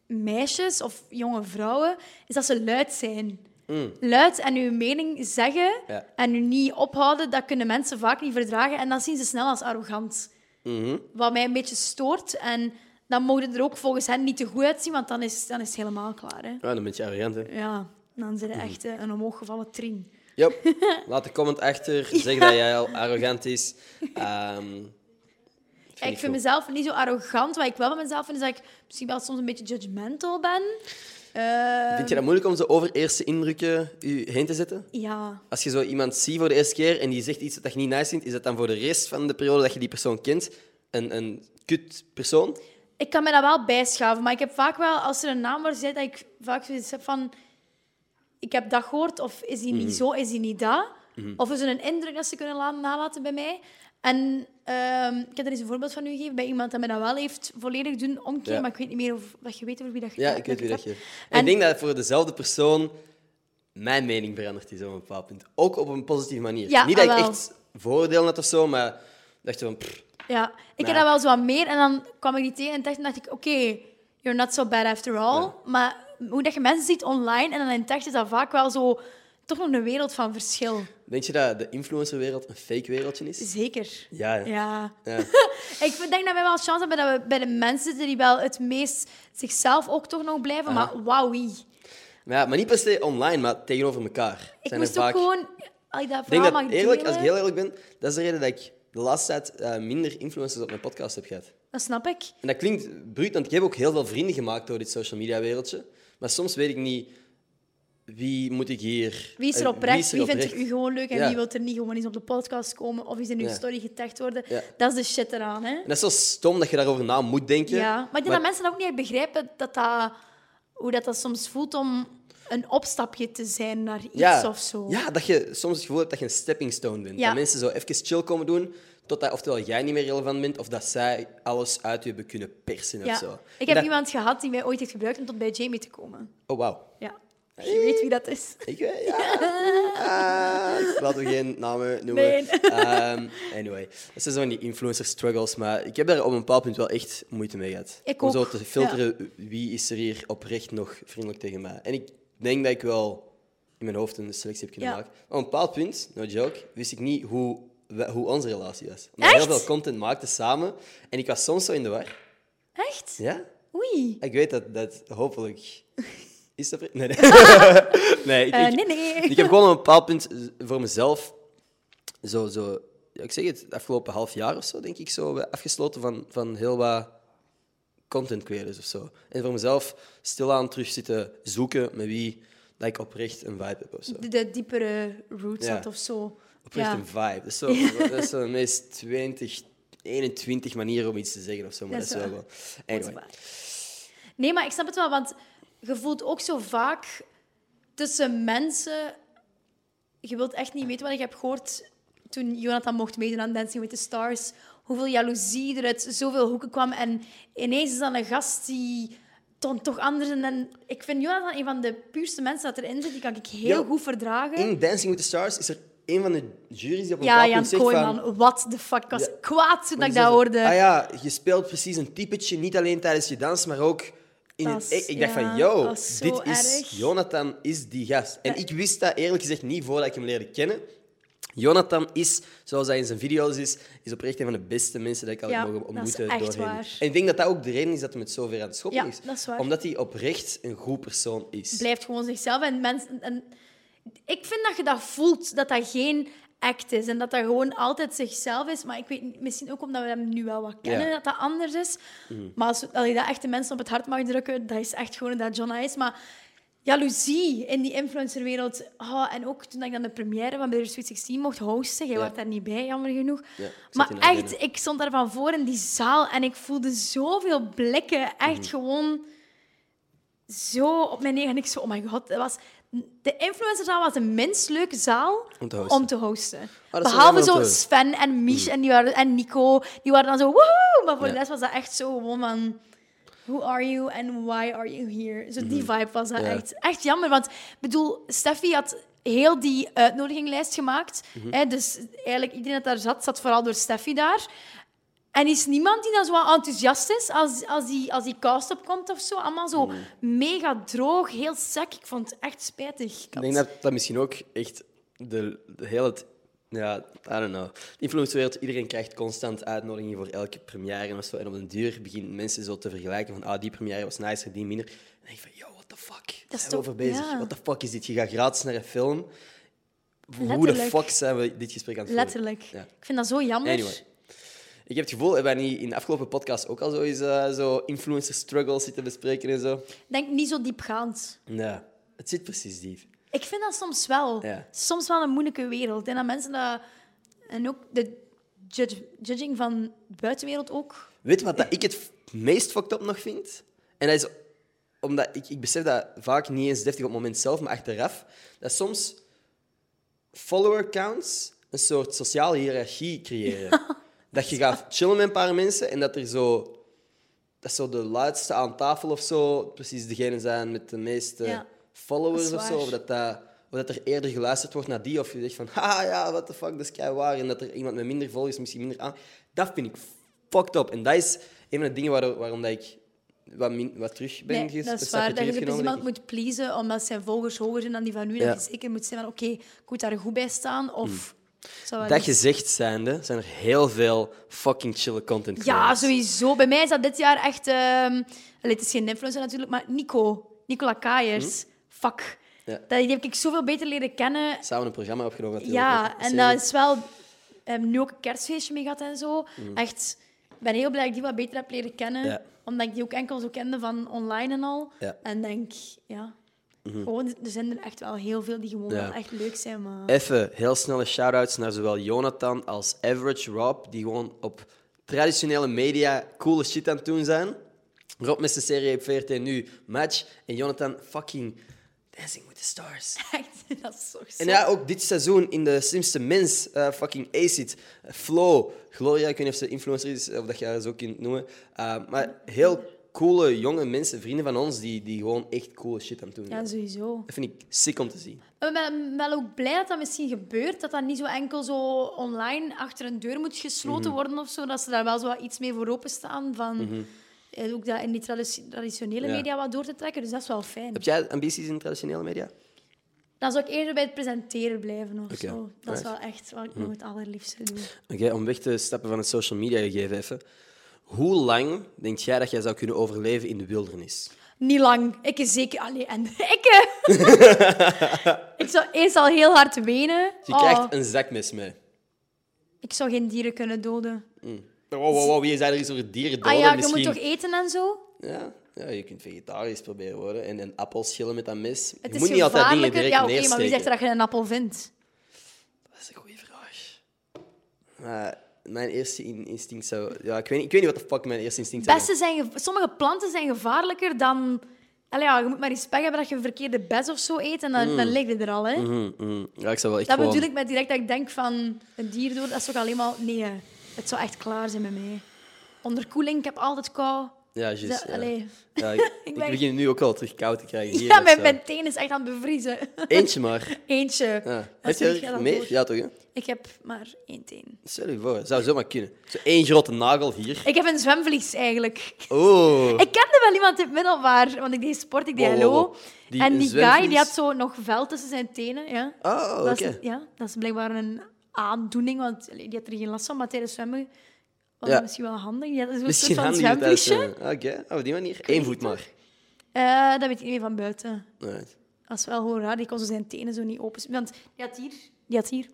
meisjes of jonge vrouwen, is dat ze luid zijn. Luid en uw mening zeggen
Ja.
en u niet ophouden, dat kunnen mensen vaak niet verdragen. En dat zien ze snel als arrogant.
Mhm.
Wat mij een beetje stoort. En dan mogen er ook volgens hen niet te goed uitzien, want dan is, dan is het helemaal klaar. Hè.
Ja, dan ben je arrogant, hè.
Ja, dan zit er echt eh, een omhooggevallen trin.
Yep.
(laughs)
Laat een comment achter. Zeg dat jij al arrogant is. Ehm, dat
ik
ik
vind
goed.
mezelf niet zo arrogant. Wat ik wel van mezelf vind, is dat ik misschien wel soms een beetje judgmental ben. Eh,
Vind je dat moeilijk om zo over eerste indrukken u heen te zetten?
Ja.
Als je zo iemand ziet voor de eerste keer en die zegt iets dat je niet nice vindt, is dat dan voor de rest van de periode dat je die persoon kent een, een kut persoon?
Ik kan me dat wel bijschaven, maar ik heb vaak wel, als er een naam wordt gezegd, dat ik vaak zoiets heb van... Ik heb dat gehoord, of is die
Mhm.
niet zo, is die niet dat? Of is er een indruk dat ze kunnen la- nalaten bij mij? En ehm, ik heb er eens een voorbeeld van u gegeven bij iemand dat me dat wel heeft volledig doen omkeren,
Ja.
maar ik weet niet meer of dat je weet over wie dat je
Ja, ik weet wie dat je.
hebt.
En... Ik denk dat voor dezelfde persoon mijn mening veranderd is op een bepaald punt. Ook op een positieve manier.
Ja,
niet dat ik
ah, wel.
echt voordelen had of zo, maar ik dacht van. pff,
Ja, ik
Maar-
heb dat wel zo wat meer. En dan kwam ik die tegen en dacht, dacht ik, oké, you're not so bad after all. Maar hoe dat je mensen ziet online en dan in tekst is dat vaak wel zo... Toch nog een wereld van verschil.
Denk je dat de influencerwereld een fake wereldje is?
Zeker.
Ja, hè?
Ja.
ja.
(laughs) Ik vind- denk dat wij wel chance hebben dat we bij de mensen zitten die wel het meest zichzelf ook toch nog blijven. Maar wauwie.
Maar, ja, maar niet per se online, maar tegenover elkaar.
Ik
Zijn er
moest ook
vaak-
gewoon... Als ik dat
Ik denk
verhaal
dat,
mag
eerlijk,
delen,
als ik heel eerlijk ben, dat is de reden dat ik de laatste tijd eh, minder influencers op mijn podcast heb gehad.
Dat snap ik.
En dat klinkt bruut, want ik heb ook heel veel vrienden gemaakt door dit social media wereldje. Maar soms weet ik niet wie moet ik hier.
Wie is
eh,
er oprecht? Wie,
oprecht?
vindt u gewoon leuk en
Ja.
wie wil er niet gewoon eens op de podcast komen of eens in uw
Ja.
story getagd worden?
Ja.
Dat is de shit eraan, hè?
En dat is zo stom dat je daarover na moet denken.
Ja, maar ik denk dat mensen dat ook niet echt begrijpen dat dat, hoe dat, dat soms voelt om een opstapje te zijn naar iets
ja,
of zo.
Ja, dat je soms het gevoel hebt dat je een stepping stone bent.
Ja.
Dat mensen zo even chill komen doen, totdat oftewel jij niet meer relevant bent, of dat zij alles uit je hebben kunnen persen
Ja.
of zo.
Ik
En
heb
dat-
iemand gehad die mij ooit heeft gebruikt om tot bij Jamie te komen.
Oh, wauw.
Ja.
Eh.
Je weet wie dat is.
Ik weet, ja.
(laughs)
Ah, laten we geen namen noemen.
Nee.
Ehm, anyway, dat zijn zo van die influencer struggles, maar ik heb daar op een bepaald punt wel echt moeite mee gehad.
Ik
Om
ook,
zo te filteren wie is er hier oprecht nog vriendelijk tegen mij. En ik denk dat ik wel in mijn hoofd een selectie heb kunnen
Ja.
maken. Maar op een bepaald punt, no joke, wist ik niet hoe, we- hoe onze relatie was. Omdat we
Echt?
heel veel content maakten samen en ik was soms zo in de war.
Echt?
Ja?
Oei.
Ik weet dat, dat hopelijk. Is dat. Nee, (laughs) nee. nee, ik,
Eh,
ik-
nee, nee.
ik heb gewoon op een bepaald punt eh, voor mezelf. Zo, zo. ja, ik zeg het, het afgelopen half jaar of zo, denk ik, zo eh, afgesloten van, van heel wat content creators of zo. En voor mezelf stilaan terug zitten zoeken met wie dat ik oprecht een vibe heb of zo.
De, de diepere roots
Ja.
had of zo.
Oprecht
Ja.
een vibe. Dat is
(laughs)
zo, dat is zo de meest 20, 21 manier om iets te zeggen of zo. Maar dat
Dat
is,
is
wel
waar.
wel. Anyway.
Dat is waar. Nee, maar ik snap het wel, want je voelt ook zo vaak tussen mensen... Je wilt echt niet weten wat ik heb gehoord toen Jonathan mocht meedoen aan Dancing with the Stars. Hoeveel jaloezie er uit zoveel hoeken kwam. En ineens is dan een gast die dan toch anders... En dan- ik vind Jonathan een van de puurste mensen dat erin zit. Die kan ik heel
Ja.
goed verdragen.
In Dancing with the Stars is er een van de juries die op een
ja,
bepaald
Jan
punt zegt van...
Kooijman, wat de fuck. Ik was
Ja.
kwaad toen
Maar
ik
die
dat
zegt
hoorde.
van, Ah ja, je speelt precies een typetje, niet alleen tijdens je dans, maar ook in
Dat
het...
is-
Ik, ik dacht
ja,
van, yo,
dat is zo
dit is...
erg.
Jonathan is die gast. En ik wist dat eerlijk gezegd niet voordat ik hem leerde kennen. Jonathan is, zoals hij in zijn video's is, is oprecht een van de beste mensen dat ik al
Ja,
heb mogen
dat is
ontmoeten
echt
doorheen.
waar.
En ik denk dat dat ook de reden is dat hij met zover aan het schoppen
Ja,
is.
dat is waar.
Omdat hij oprecht een goed persoon is.
blijft gewoon zichzelf. En mensen, en ik vind dat je dat voelt, dat dat geen act is. En dat dat gewoon altijd zichzelf is. Maar ik weet niet, misschien ook omdat we hem nu wel wat kennen,
Ja. Mhm.
dat dat anders is. Maar als, als je dat echt de mensen op het hart mag drukken, dat is echt gewoon dat Jonna is. Maar jaloezie in die influencerwereld. Oh, en ook toen ik dan de première van Better Sweet 16 mocht hosten. Jij
Ja.
was daar niet bij, jammer genoeg.
Ja, ik
maar
zat in Ardennen.
echt, ik stond daar van voor in die zaal en ik voelde zoveel blikken. Echt
Mhm.
gewoon zo op mijn negen. En ik zo, oh my god, dat was... De influencerzaal was de minst leuke zaal
Om te hosten. Oh,
om te hosten.
dat is wel Mm.
Behalve
jammer om
zo
te-
Sven en Mich en, die waren, en Nico, die waren dan zo woehoe. Maar voor de rest was dat echt zo gewoon van... Who are you and why are you here? Zo die vibe was dat
Mm-hmm. Ja.
echt. Echt jammer, want ik bedoel, Steffi had heel die
Mm-hmm.
uitnodiginglijst gemaakt. Hè, dus eigenlijk iedereen dat daar zat, zat vooral door Steffi daar. En is niemand die dan zo wat enthousiast is als, als, die, als die kous opkomt of zo? Allemaal zo mega droog, heel sec. Ik vond het echt spijtig.
Mm. Ik denk dat dat misschien ook echt de, de hele... t- Ja, I don't know. De influencerwereld, iedereen krijgt constant uitnodigingen voor elke première of zo. En op den duur beginnen mensen zo te vergelijken van ah, die première was nicer, die minder. En dan denk je van, yo, what the fuck?
is
Daar zijn we
toch-
over bezig?
ja.
What the fuck is dit? Je gaat gratis naar een film. Hoe de
Letterlijk.
fuck zijn we dit gesprek aan het voeren?
Letterlijk.
Ja.
Ik vind dat zo jammer.
Anyway. Ik heb het gevoel, hebben wij niet in de afgelopen podcast ook al zo, eens, eh, zo influencer struggles zitten bespreken en zo?
Ik Denk niet zo diepgaand.
Nee, het zit precies diep.
Ik vind dat soms wel.
Ja.
Soms wel een moeilijke wereld. Ik denk dat mensen dat... En ook de judge- judging van de buitenwereld ook.
Weet je wat dat ik het f- meest fucked up nog vind? En dat is omdat ik, ik besef dat vaak niet eens deftig op het moment zelf, maar achteraf. Dat soms follower counts een soort sociale hiërarchie creëren. Dat je gaat chillen met een paar mensen en dat er zo. Dat zo de luidste aan tafel of zo precies degene zijn met de meeste
Ja.
followers
Dat
of
is
zo.
waar.
Of dat, dat, of dat er eerder geluisterd wordt naar die. Of je zegt van, (laughs) haha, ja, what the fuck, dat is kei waar. En dat er iemand met minder volgers misschien minder aan... Dat vind ik fucked up. En dat is een van de dingen waardoor- waarom dat ik wat, min, wat terug ben
Nee,
ges-
dat is
een stapje
waar. Dat je
terug
dus
genomen,
iemand
denk ik.
moet pleasen omdat zijn volgers hoger zijn dan die van nu.
Ja.
Dat je zeker moet zijn van, oké, ik moet daar goed bij staan. Of... zou wel
Hmm. Dat
niet-
gezegd zijnde, zijn er heel veel fucking chille content
Ja,
creators.
sowieso. Bij mij is dat dit jaar echt... ehm, allee, het is geen influencer natuurlijk, maar Nico. Nicola Kajers. Fuck.
Hmm. Ja.
Dat, die heb ik zoveel beter leren kennen.
Samen een programma opgenomen natuurlijk.
Ja,
ook,
en
serie.
dat is wel... We hebben nu ook een kerstfeestje mee gehad en zo. Echt, ik ben heel blij dat ik die wat beter heb leren kennen.
Mm. Ja.
Omdat ik die ook enkel zo kende van online en al.
Ja. Mhm.
En denk, ja... Gewoon, er zijn er echt wel heel veel die gewoon
Ja.
wel echt leuk
(laughs)
zijn, maar...
Even heel snelle shout-outs naar zowel Jonathan als Average Rob, die gewoon op traditionele media coole shit aan het doen zijn. Rob met zijn serie op VRT nu Match en Jonathan fucking Dancing with the Stars.
Echt, dat is zo
En ja, ook dit seizoen in de slimste mens, eh, fucking Acid, Flow, Gloria, ik weet niet of ze influencer is, of dat je haar zo kunt noemen. Eh, maar heel coole jonge mensen, vrienden van ons, die, die gewoon echt coole shit aan het doen zijn.
Ja, sowieso.
Dat vind ik sick om te zien.
Ik ben wel ook blij dat dat misschien gebeurt. Dat dat niet zo enkel zo online achter een deur moet gesloten
Mhm.
worden of zo. Dat ze daar wel zo wat iets mee voor openstaan. Van, eh, Ook dat in die tradi- traditionele
Ja.
media wat door te trekken. Dus dat is wel fijn.
Heb jij ambities in traditionele media?
Dan zou ik eerder bij het presenteren blijven of
Oké, Mm.
zo. Dat is wel echt wat ik nog het allerliefste doe.
Oké, om weg te stappen van het social media gegeven even. Hoe lang denk jij dat jij zou kunnen overleven in de wildernis?
Niet lang. Ik is zeker... Allee, en (laughs) ik... eh.
(laughs)
ik zou eerst al heel hard wenen.
Je
Oh,
krijgt een zakmes mee.
Ik zou geen dieren kunnen doden.
Wow, wow, wow, wie zei er iets over dieren doden?
ah ja,
Misschien...
je moet toch eten en zo?
Ja, ja, je kunt vegetarisch proberen worden en een appel schillen met dat mes.
Het
je
is
moet niet altijd dingen
gevaarlijker.
direct
Ja, oké,
neersteken.
maar wie zegt er dat je een appel vindt?
Dat is een goede vraag. Maar mijn eerste in- instinct zou... Ja, ik weet niet, ik weet niet wat de fuck mijn eerste instinct zou
Bessen zijn ge- Sommige planten zijn gevaarlijker dan... Allee, ja, je moet maar eens pech hebben dat je een verkeerde bes of zo eet en dan,
Mm.
dan ligt het er al. Hè.
zijn. Mhm, mhm. Ja, ik zou wel echt
Dat
gewoon...
bedoel ik met direct dat ik denk van een dier door, dat is toch alleen maar... Nee, hè. het zou echt klaar zijn bij mij. Onderkoeling, ik heb altijd kou.
Ja, juist.
Zo,
ja.
allee. (laughs)
Ja, ik,
Ik
ik
ben-
begin nu ook al terug koud te krijgen hier.
ja,
of
mijn,
zo.
mijn teen is echt aan het bevriezen. (laughs)
Eentje maar.
Eentje.
Ja.
Dat
Heb
zeg
je
jij
er
dan
meer?
voor.
Ja, toch? Hè?
Ik heb maar één teen.
Stel je voor, zou zomaar kunnen. Zo één grote nagel hier.
Ik heb een zwemvlies eigenlijk.
Oh.
Ik kende wel iemand in het middelbaar, want ik deed sport, ik deed
Wow, wow,
hallo.
wow. Oh, Die
en
een
die guy
zwemvlies-
die had zo nog vel tussen zijn tenen. Ja.
Oh, oké.
dat, is, ja, dat is blijkbaar een aandoening, want allee, die had er geen last van, maar tijdens zwemmen was
Ja.
dat misschien wel handig. Die had zo'n soort
Misschien
van
handig dat thuis
zwemvliesje.
zijn. Oké, oh, op die manier. Eén voet maar.
Eh, dat weet ik niet meer van buiten.
Alright.
Dat is wel gewoon raar, die kon zo zijn tenen zo niet open. Want die had hier, die had hier.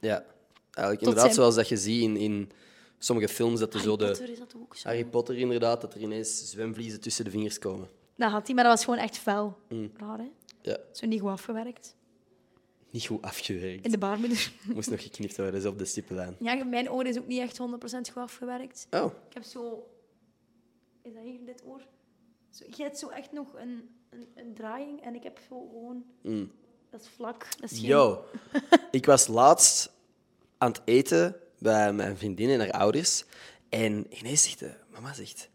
Ja. Eigenlijk inderdaad,
zijn-
zoals dat je ziet in, in sommige films, dat er zo
Harry
de...
Potter is dat ook zo.
Harry Potter inderdaad, dat er ineens zwemvliezen tussen de vingers komen.
Dat had hij, maar dat was gewoon echt fel. Raar, hè?
Mm. Ja,
Zo niet goed afgewerkt.
niet goed afgewerkt.
In de baarmoeder. (laughs)
Moest nog geknipt worden, zo op de stippenlijn.
Ja, mijn oor is ook niet echt 100% goed afgewerkt.
Oh,
Ik heb zo. Is dat hier dit oor? Zo, je hebt zo echt nog een, een, een draaiing en ik heb zo gewoon. Dat is vlak. Dat is geen...
Mm. yo. Ik was laatst aan het eten bij mijn vriendin en haar ouders. En ineens zegt de mama, zegt...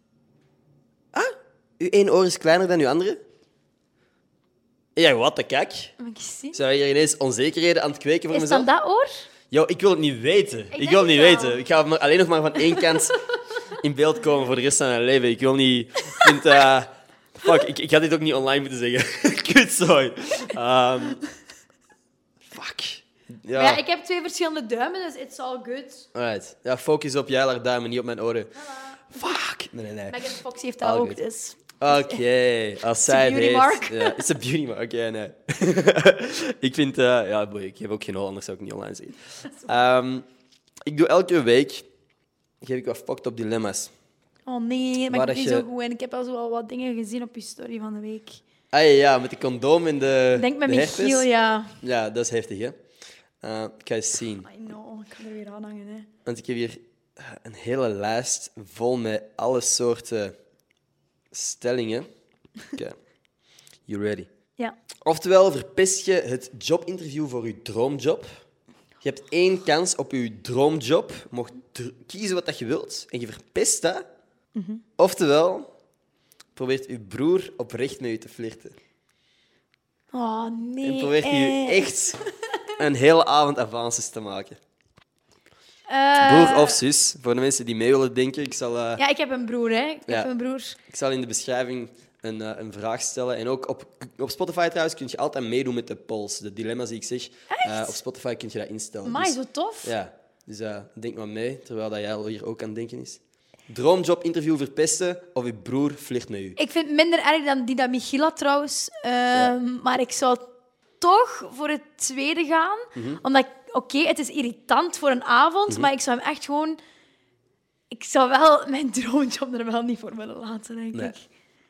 Ah, uw één oor is kleiner dan uw andere? Ja, wat de kak.
Mag ik eens zien?
Zijn we hier ineens onzekerheden aan het kweken voor
Is
mezelf?
dan dat oor?
Yo, ik wil het niet weten. Ik,
denk
wil het niet
het wel.
weten. Ik ga maar- alleen nog maar van één kant in beeld komen voor de rest van mijn leven. Ik wil niet... ik Vind, eh, fuck, ik, ik had dit ook niet online moeten zeggen. (laughs) Kutzooi. Ehm fuck. Ja,
Maar ja, ik heb twee verschillende duimen, dus it's all good.
alright. Ja, focus op jij duim en niet op mijn oren. Fuck. Nee, nee, nee.
Megan Fox heeft dat
All
ook,
good.
dus...
Oké, (laughs) als zij
beauty
weet...
mark. (laughs)
Ja, it's a beauty mark. Oké, nee. (laughs) ik vind... eh, ja, boei, ik heb ook geen hol, anders zou ik niet online zien. Ehm, ik doe elke week... Geef ik wat fucked up dilemma's.
Oh nee, maar
Waar
ik ben
dat
niet
je-
zo goed en ik heb al zo al wat dingen gezien op je story van de week.
Ah ja, met de condoom en de
Denk met
de
Michiel,
herpes.
ja.
Ja, dat is heftig, hè. Eh, ik ga eens zien.
I know, ik kan er weer aan hangen, hè.
Want ik heb hier eh, een hele lijst vol met alle soorten stellingen. Oké.
(laughs)
You ready?
Ja.
Oftewel, verpest je het jobinterview voor je droomjob. Je hebt één kans op je droomjob. Je mag dr- kiezen wat dat je wilt en je verpest dat.
Mhm.
Oftewel, probeert je broer oprecht met je te flirten.
Oh
En
nee.
probeert je je
eh.
echt een hele avond avances te maken.
Eh,
Broer of zus, voor de mensen die mee willen denken, ik zal, eh,
Ja, ik heb een broer, hè. Ik
Ja.
heb een broer.
ik zal in de beschrijving een, eh, een vraag stellen. En ook op, op Spotify trouwens kun je altijd meedoen met de polls. De dilemma's die ik zeg, eh, op Spotify kun je dat instellen.
Maar
Dus-
zo tof.
Ja, dus eh, denk maar mee, terwijl dat jij al hier ook aan het denken is. Droomjob interview verpesten of je broer flirt met u.
Ik vind het minder erg dan die dat Michiel had, trouwens. Ehm, Maar ik zou toch voor het tweede gaan.
Mhm.
Omdat, ik- oké, het is irritant voor een avond, maar ik zou hem echt gewoon... Ik zou wel mijn droomjob er wel niet voor willen laten, denk Ah,
Nee.
ik.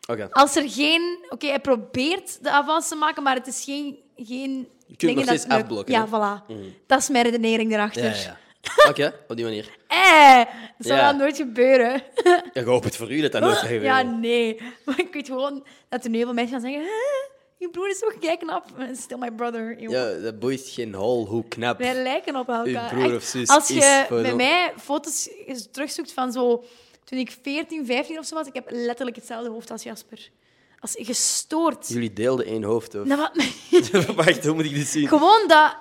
Oké,
Als er geen... Oké, hij probeert de avans te maken, maar het is geen... geen
kunt
dingen
nog
dat
steeds
lukt.
afblokken, hè?
Ja, voilà. Dat is mijn redenering erachter.
ja, ja, ja. Oké, op die
(laughs)
manier.
Eh, dat zou
Ja.
wel nooit gebeuren.
Ja, ik hoop het voor u dat dat nooit zou
(laughs) Ja,
gebeuren.
nee. Maar ik weet gewoon dat er nu heel veel mensen gaan zeggen... "Hè, Je broer is zo gek knap. Still my brother. jongen.
Ja, dat boeit geen hol, hoe knap.
Wij lijken op elkaar.
Uw broer
Echt,
of zus
Als
is
je
voor
bij
ons-
mij foto's eens terugzoekt van zo... Toen ik 14, 15 of zo was, ik heb letterlijk hetzelfde hoofd als Jasper. Als gestoord.
Jullie deelden één hoofd, hoor.
Nou, wat...
(laughs) Wacht, hoe moet ik dit zien?
Gewoon dat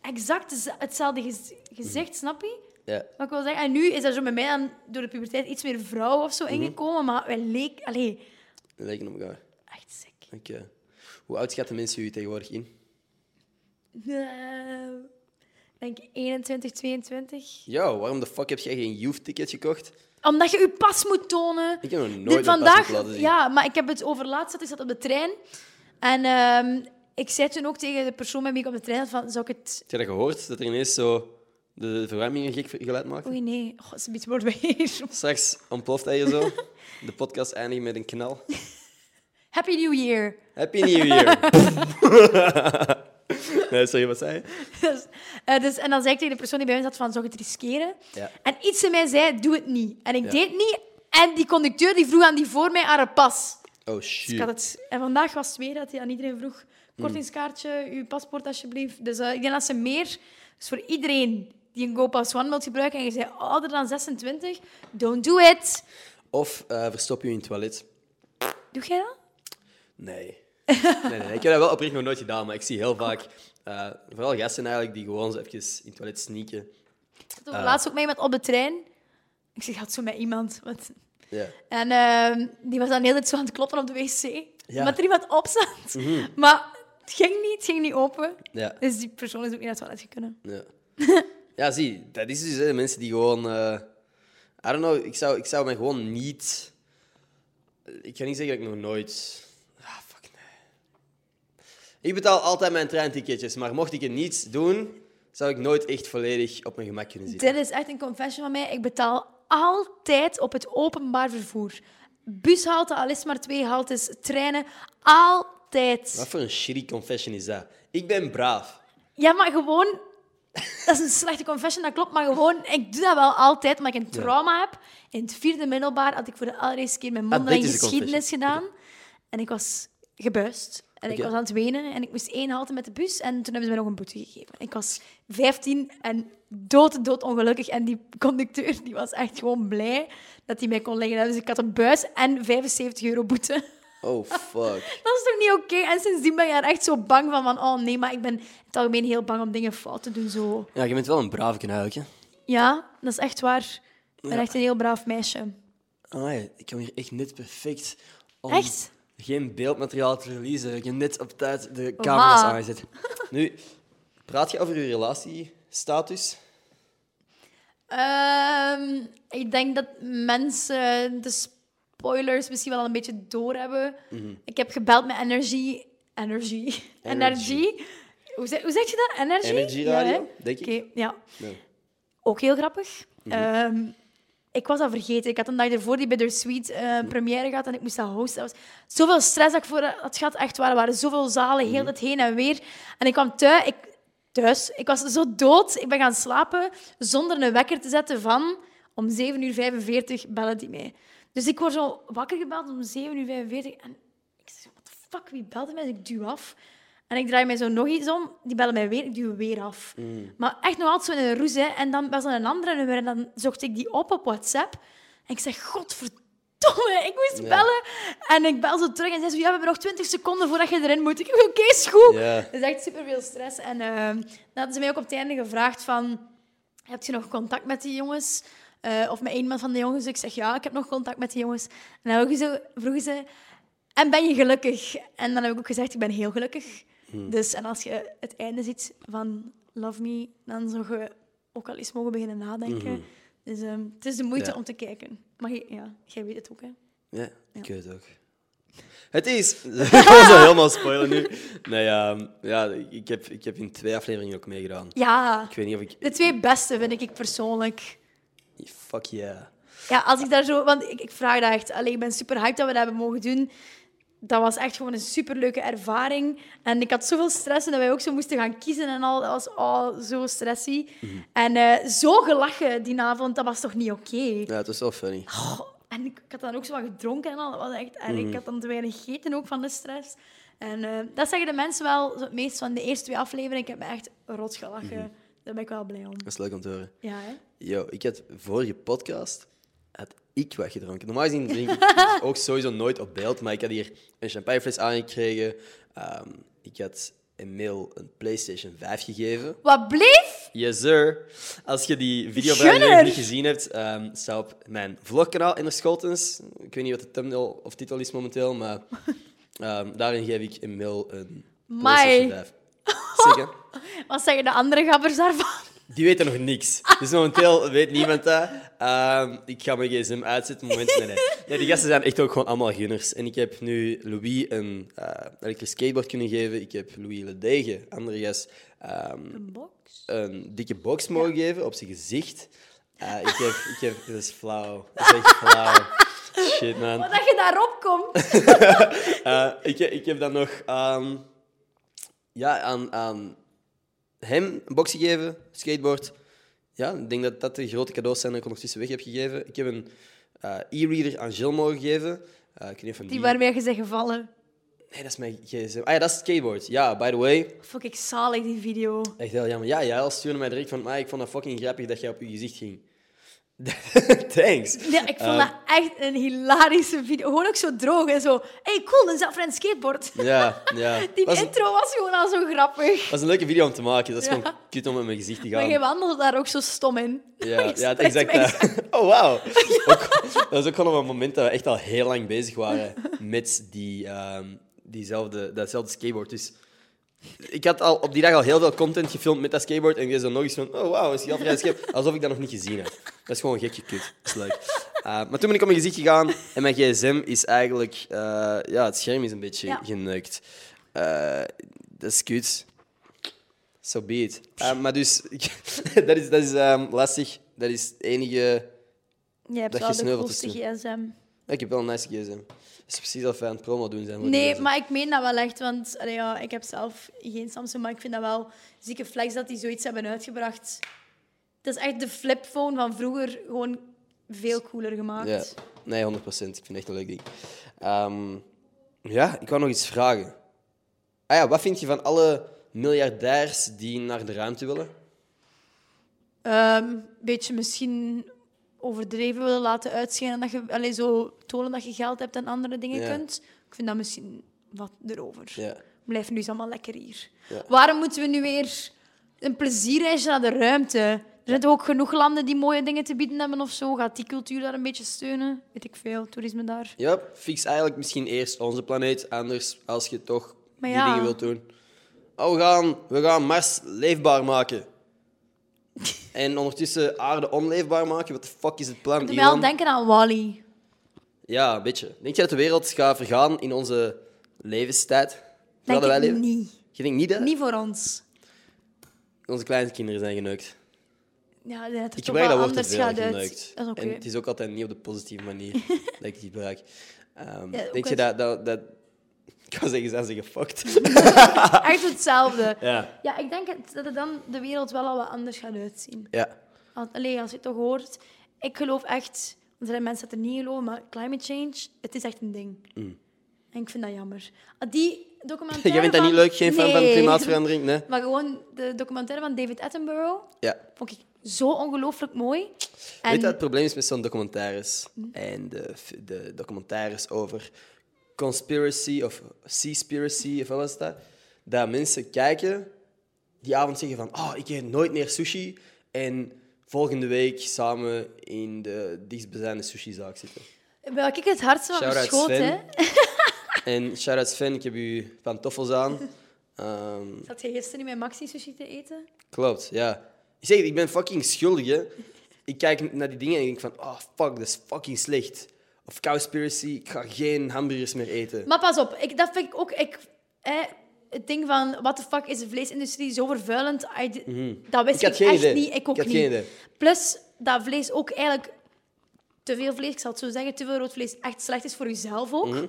exact hetz- hetzelfde gez- gezicht, snap je?
Ja.
Wat ik wil zeggen. En nu is er zo bij mij dan door de puberteit iets meer vrouw of zo
Mhm.
ingekomen, maar wij leek, allee,
We lijken op elkaar.
echt sick.
Oké. Hoe oud schatten mensen u tegenwoordig in?
Eh, denk ik 21, 22.
Yo, waarom de fuck heb jij geen youth-ticket gekocht?
Omdat je je pas moet tonen.
Ik heb nog nooit
Dit
mijn pas
vandaag,
moeten laten zien.
ja, maar ik heb het over laatst zat. Ik zat op de trein en ehm, ik zei toen ook tegen de persoon met wie ik op de trein zat van, zou ik het
Heb je dat gehoord? Dat er ineens zo de verwarming een gek geluid maakt?
Oei, nee. Oh, ze biedt woord bij hier.
Straks ontploft hij je zo. De podcast eindigt met een knal.
Happy New Year.
Happy New Year. nee, sorry, wat zei je?
Dus, eh, dus, en dan zei ik tegen de persoon die bij mij zat van, zou je het riskeren?
Ja.
En iets in mij zei, doe het niet. En ik
Ja.
deed het niet. En die conducteur die vroeg aan die voor mij haar pas.
Oh,
Dus ik had
shit.
het... En vandaag was het weer dat hij aan iedereen vroeg,
Hmm.
kortingskaartje, uw paspoort alsjeblieft. Dus eh, ik denk dat ze meer... Dus voor iedereen die een GoPass One wilt gebruiken en je zei ouder dan 26, don't do it.
Of eh, verstop je in het toilet.
Doe jij dat?
Nee. nee, nee, nee. Ik heb dat wel oprecht nog nooit gedaan, maar ik zie heel vaak, eh, vooral gasten eigenlijk, die gewoon zo even in het toilet sneaken.
Ik
Eh.
zat er laatst ook mee met op de trein. Ik zeg, had zo met iemand. Wat?
Ja.
En ehm, die was dan de hele tijd zo aan het kloppen op de wc.
Ja. Mhm.
Omdat er iemand op zat. Maar het ging niet, het ging niet open.
Ja.
Dus die persoon is ook niet naar het toilet gekomen.
Ja. (laughs) ja, zie, dat is dus hè, de mensen die gewoon. eh, I don't know, ik zou, ik zou me gewoon niet. Ik kan niet zeggen dat ik nog nooit. Ah, fuck nee. Ik betaal altijd mijn treinticketjes, maar mocht ik het niet doen, zou ik nooit echt volledig op mijn gemak kunnen zitten.
Dit is echt een confession van mij. Ik betaal altijd op het openbaar vervoer. Bushalte, al is het maar twee haltes, treinen, altijd.
Wat voor een shitty confession is dat? Ik ben braaf.
Ja, maar gewoon... Dat is een slechte confession, dat klopt. Maar gewoon, ik doe dat wel altijd, omdat ik een trauma heb. In het vierde middelbaar had ik voor de allereerste keer mijn mondeling
Ah, dit is de
geschiedenis gedaan. En ik was gebuist. En ik
Oké.
was aan het wenen. En ik moest één halte met de bus. En toen hebben ze mij nog een boete gegeven. Ik was 15 en dood, dood ongelukkig. En die conducteur die was echt gewoon blij dat hij mij kon leggen. Dus ik had een buis en 75 euro boete.
Oh, fuck.
Dat is toch niet oké? En sindsdien ben je er echt zo bang van, van, oh nee, maar ik ben in het algemeen heel bang om dingen fout te doen. Zo.
(laughs) Ja, je bent wel een braaf eigenlijk, hè?
Ja, dat is echt waar. Ik ben echt een heel braaf meisje.
Amai, ik kan hier echt net perfect om
Echt?
geen beeldmateriaal te verliezen. Ik heb net op tijd de camera's
Oha.
aangezet. Nu, praat je over je relatiestatus?
Ehm, ik denk dat mensen de spoilers misschien wel een beetje doorhebben. Ik heb gebeld met Energy. Energy. Energy. Hoe zeg, hoe zeg je dat? Energy?
Energy
Ja, hè?
radio, denk ik.
Oké, ja.
Nee.
Ook heel grappig. Ehm, ik was dat vergeten. Ik had een dag ervoor die Bittersweet eh première gehad en ik moest dat hosten. Dat was zoveel stress dat ik voor had gehad. Echt waar, er waren zoveel zalen, heel het heen en weer. En ik kwam thuis. Ik, thuis. ik was zo dood. Ik ben gaan slapen zonder een wekker te zetten van... Om 7 uur 45 bellen die mij. Dus ik word zo wakker gebeld om 7 uur 45. En ik zeg, wat de fuck, wie belde mij? Dus ik duw af. En ik draai mij zo nog iets om, die bellen mij weer, ik duw weer af.
Mm,
Maar echt nog altijd zo in een roes, hè. En dan was er een andere nummer en dan zocht ik die op op WhatsApp. En ik zeg, godverdomme, ik moest
Ja.
bellen. En ik bel zo terug en zei zo, ja, we hebben nog 20 seconden voordat je erin moet. Ik zeg, oké, is goed.
Ja.
Dat is echt superveel stress. En eh, dan hadden ze mij ook op het einde gevraagd van... Heb je nog contact met die jongens? Eh, of met een van de jongens? Ik zeg, ja, ik heb nog contact met die jongens. En dan ook zo- vroegen ze... En ben je gelukkig? En dan heb ik ook gezegd, ik ben heel gelukkig. Dus, en als je het einde ziet van Love Me, dan zou je ook al eens mogen beginnen nadenken.
Mm-hmm.
Dus ehm, het is de moeite
Mhm. Ja.
om te kijken. Maar je- ja, jij weet het ook, hè?
Ja, ik weet het ook. Het is... (laughs) ik was al helemaal spoilen nu. Nee, ehm, ja, ik heb, ik heb in twee afleveringen ook meegedaan.
Ja,
Ik weet niet of ik...
de twee beste vind ik, ik persoonlijk.
Fuck yeah.
Ja, als ik daar zo... Want ik, ik vraag dat echt. Allee, ik ben super hyped dat we dat hebben mogen doen. Dat was echt gewoon een superleuke ervaring. En ik had zoveel stress en dat wij ook zo moesten gaan kiezen en al. Dat was oh, zo stressy. En eh, zo gelachen die avond, dat was toch niet oké?
Ja, het was wel funny.
Goh, en ik, ik had dan ook zo wat gedronken en al. Dat was echt erg. Ik had dan te weinig gegeten ook van de stress. En eh, dat zeggen de mensen wel zo het meest van de eerste twee afleveringen. Ik heb me echt rot gelachen. Daar ben ik wel blij om.
Dat is leuk om te horen.
Ja, hè?
Yo, ik had vorige podcast had ik wat gedronken. Normaal gezien drink (laughs) ik dus ook sowieso nooit op beeld, maar ik had hier een champagnefles aangekregen. Ehm, ik had Emil een PlayStation 5 gegeven.
Wat bleef?
Yes, sir. Als je die video
Gunner!
nog niet gezien hebt, ehm staat op mijn vlogkanaal in de Schotens. Ik weet niet wat de thumbnail of titel is momenteel, maar ehm, daarin geef ik Emil een PlayStation
Mai.
5. (laughs) Zeker.
Wat zeggen de andere gabbers daarvan?
Die weten nog niks. Dus momenteel weet niemand dat. Ehm, ik ga mijn gsm uitzetten. Moment, nee, nee. Nee, die gasten zijn echt ook gewoon allemaal gunners. En ik heb nu Louis een eh, elektrisch skateboard kunnen geven. Ik heb Louis Ledege, andere gast, ehm,
Een box?
een dikke box mogen geven op zijn gezicht. Eh, ik heb... Ik heb dat is flauw. Dat is echt flauw. Shit, man.
Maar Oh, dat je daarop komt.
Eh, ik, ik heb dan nog ehm, ja, aan, aan hem een box gegeven, skateboard. Ja, ik denk dat dat de grote cadeaus zijn die ik ondertussen weg heb gegeven. Ik heb een eh, e-reader aan Jill mogen geven. Eh, ik weet niet of hem
Die waarmee je zegt gevallen.
Nee, dat is mijn gsm. Ah ja, dat is het skateboard. Ja, by the way.
Vond ik zalig, die video.
Echt heel jammer. Ja, jij al stuurde mij direct van... Maar ik vond dat fucking grappig dat jij op je gezicht ging. (laughs) Thanks.
Ja, ik
Eh.
vond dat echt een hilarische video. Gewoon ook zo droog en zo... hey, cool, een zelfrijd skateboard.
Ja, ja.
Die
was,
intro was gewoon al zo grappig.
was een leuke video om te maken. Dat is
Ja.
gewoon kut om met mijn gezicht te gaan.
Maar je wandelde daar ook zo stom in.
Ja,
(laughs) Oh, Je
ja
spreekt
exact.
mij-
dat.
(laughs)
Oh, wauw. Ook- Dat is ook gewoon op een moment dat we echt al heel lang bezig
(laughs)
waren met die, ehm, diezelfde, datzelfde skateboard. Dus ik had al op die dag al heel veel content gefilmd met dat skateboard. En ik deed zo nog eens van, oh, wauw, is die al vrij
(laughs)
skate? Alsof ik dat nog niet gezien had. Dat is gewoon gek gekut. Dat is leuk. Eh, maar toen ben ik op mijn gezicht gegaan en mijn gsm is eigenlijk... eh, ja, het scherm is een beetje
Ja.
geneukt. Eh, dat is kut. So be it. Eh, maar dus, (laughs) dat is, dat is ehm, lastig. Dat is het enige...
Je hebt
Dat
wel
je
de
sneuvelt
coolste
is toen.
gsm.
Ik heb wel een nice gsm. Dat is precies wat we aan het promo doen zijn. voor die
Nee,
gsm.
maar ik meen dat wel echt, want allee, ja, ik heb zelf geen Samsung, maar ik vind dat wel zieke flex dat die zoiets hebben uitgebracht. Het is echt de flipphone van vroeger, gewoon veel cooler gemaakt.
Ja. Nee, 100 procent. Ik vind het echt een leuk ding. Ehm, ja, ik wou nog iets vragen. Ah ja, wat vind je van alle miljardairs die naar de ruimte willen?
Ehm, beetje misschien overdreven willen laten uitschijnen dat je allee, zo tonen dat je geld hebt en andere dingen
Ja.
kunt. Ik vind dat misschien wat erover.
Ja.
Blijf nu eens allemaal lekker hier.
Ja.
Waarom moeten we nu weer een plezierreisje naar de ruimte? Er zijn toch ook genoeg landen die mooie dingen te bieden hebben of zo? Gaat die cultuur daar een beetje steunen? Weet ik veel, toerisme daar.
Ja, fix eigenlijk misschien eerst onze planeet, anders als je toch
Maar
die
ja.
dingen wilt doen. Oh, we gaan, we gaan Mars leefbaar
(laughs)
maken. en ondertussen aarde onleefbaar maken? Wat de fuck is het plan,
Doe mij al
Elon?
denken aan Wally.
Ja, een beetje. Denk je dat de wereld gaat vergaan in onze levenstijd?
Denk
Terwijl wij
ik
leven?
niet.
Je denkt niet, hè?
Niet voor ons.
Onze kleinkinderen zijn geneukt.
Ja, ik denk dat het
Ik
toch
gebruik dat
wel
woord te
anders
veel,
gaat uit.
geneukt.
Dat is oké.
En het is ook altijd niet op de positieve
(laughs)
manier dat ik het gebruik. Ehm,
Ja,
denk
ook
je dat,
uit-
dat, dat... (laughs) Ik wou zeggen, zijn ze gefokt?
Echt
(laughs)
hetzelfde.
ja.
Ja, ik denk het- dat het dan de wereld wel al wat anders gaat uitzien.
Ja.
Al- Allee, als je het toch hoort. Ik geloof echt... Er zijn mensen dat er niet geloven, maar climate change, het is echt een ding. En ik vind dat jammer.
(laughs)
Ah, Die documentaire
Jij Mm. vindt dat
van-
niet leuk? Geen fan van
Nee.
klimaatverandering? Nee?
(laughs) Maar gewoon de documentaire van David Attenborough
Ja.
vond ik zo ongelooflijk mooi. En
Weet je wat het probleem is met zo'n documentaires? En de, f- de documentaires over conspiracy of seaspiracy of wat was dat? Dat mensen kijken, die avond zeggen van... Oh, ik eet nooit meer sushi. En volgende week samen in de dichtstbijzijnde sushizaak zitten.
welk ik het hardste van
Shout-out
verschoot,
Sven.
hè?
En shout-out Sven, ik heb uw pantoffels aan. (laughs) Ehm,
Zat je gisteren niet met Maxi sushi te eten?
Klopt, ja. Ik zeg, het, ik ben fucking schuldig, hè. Ik kijk naar die dingen en ik denk van, oh, fuck, dat is fucking slecht. Of Cowspiracy, ik ga geen hamburgers meer eten.
Maar pas op, ik, dat vind ik ook. Ik, hè, het ding van wat de fuck is de vleesindustrie zo vervuilend? I d- Dat
Mhm. Ik
wist ik,
had geen
echt
idee.
niet. Ik ook
Ik had
niet.
geen idee.
Plus dat vlees ook eigenlijk te veel vlees, ik zal het zo zeggen, te veel rood vlees echt slecht is voor jezelf ook.
Mhm.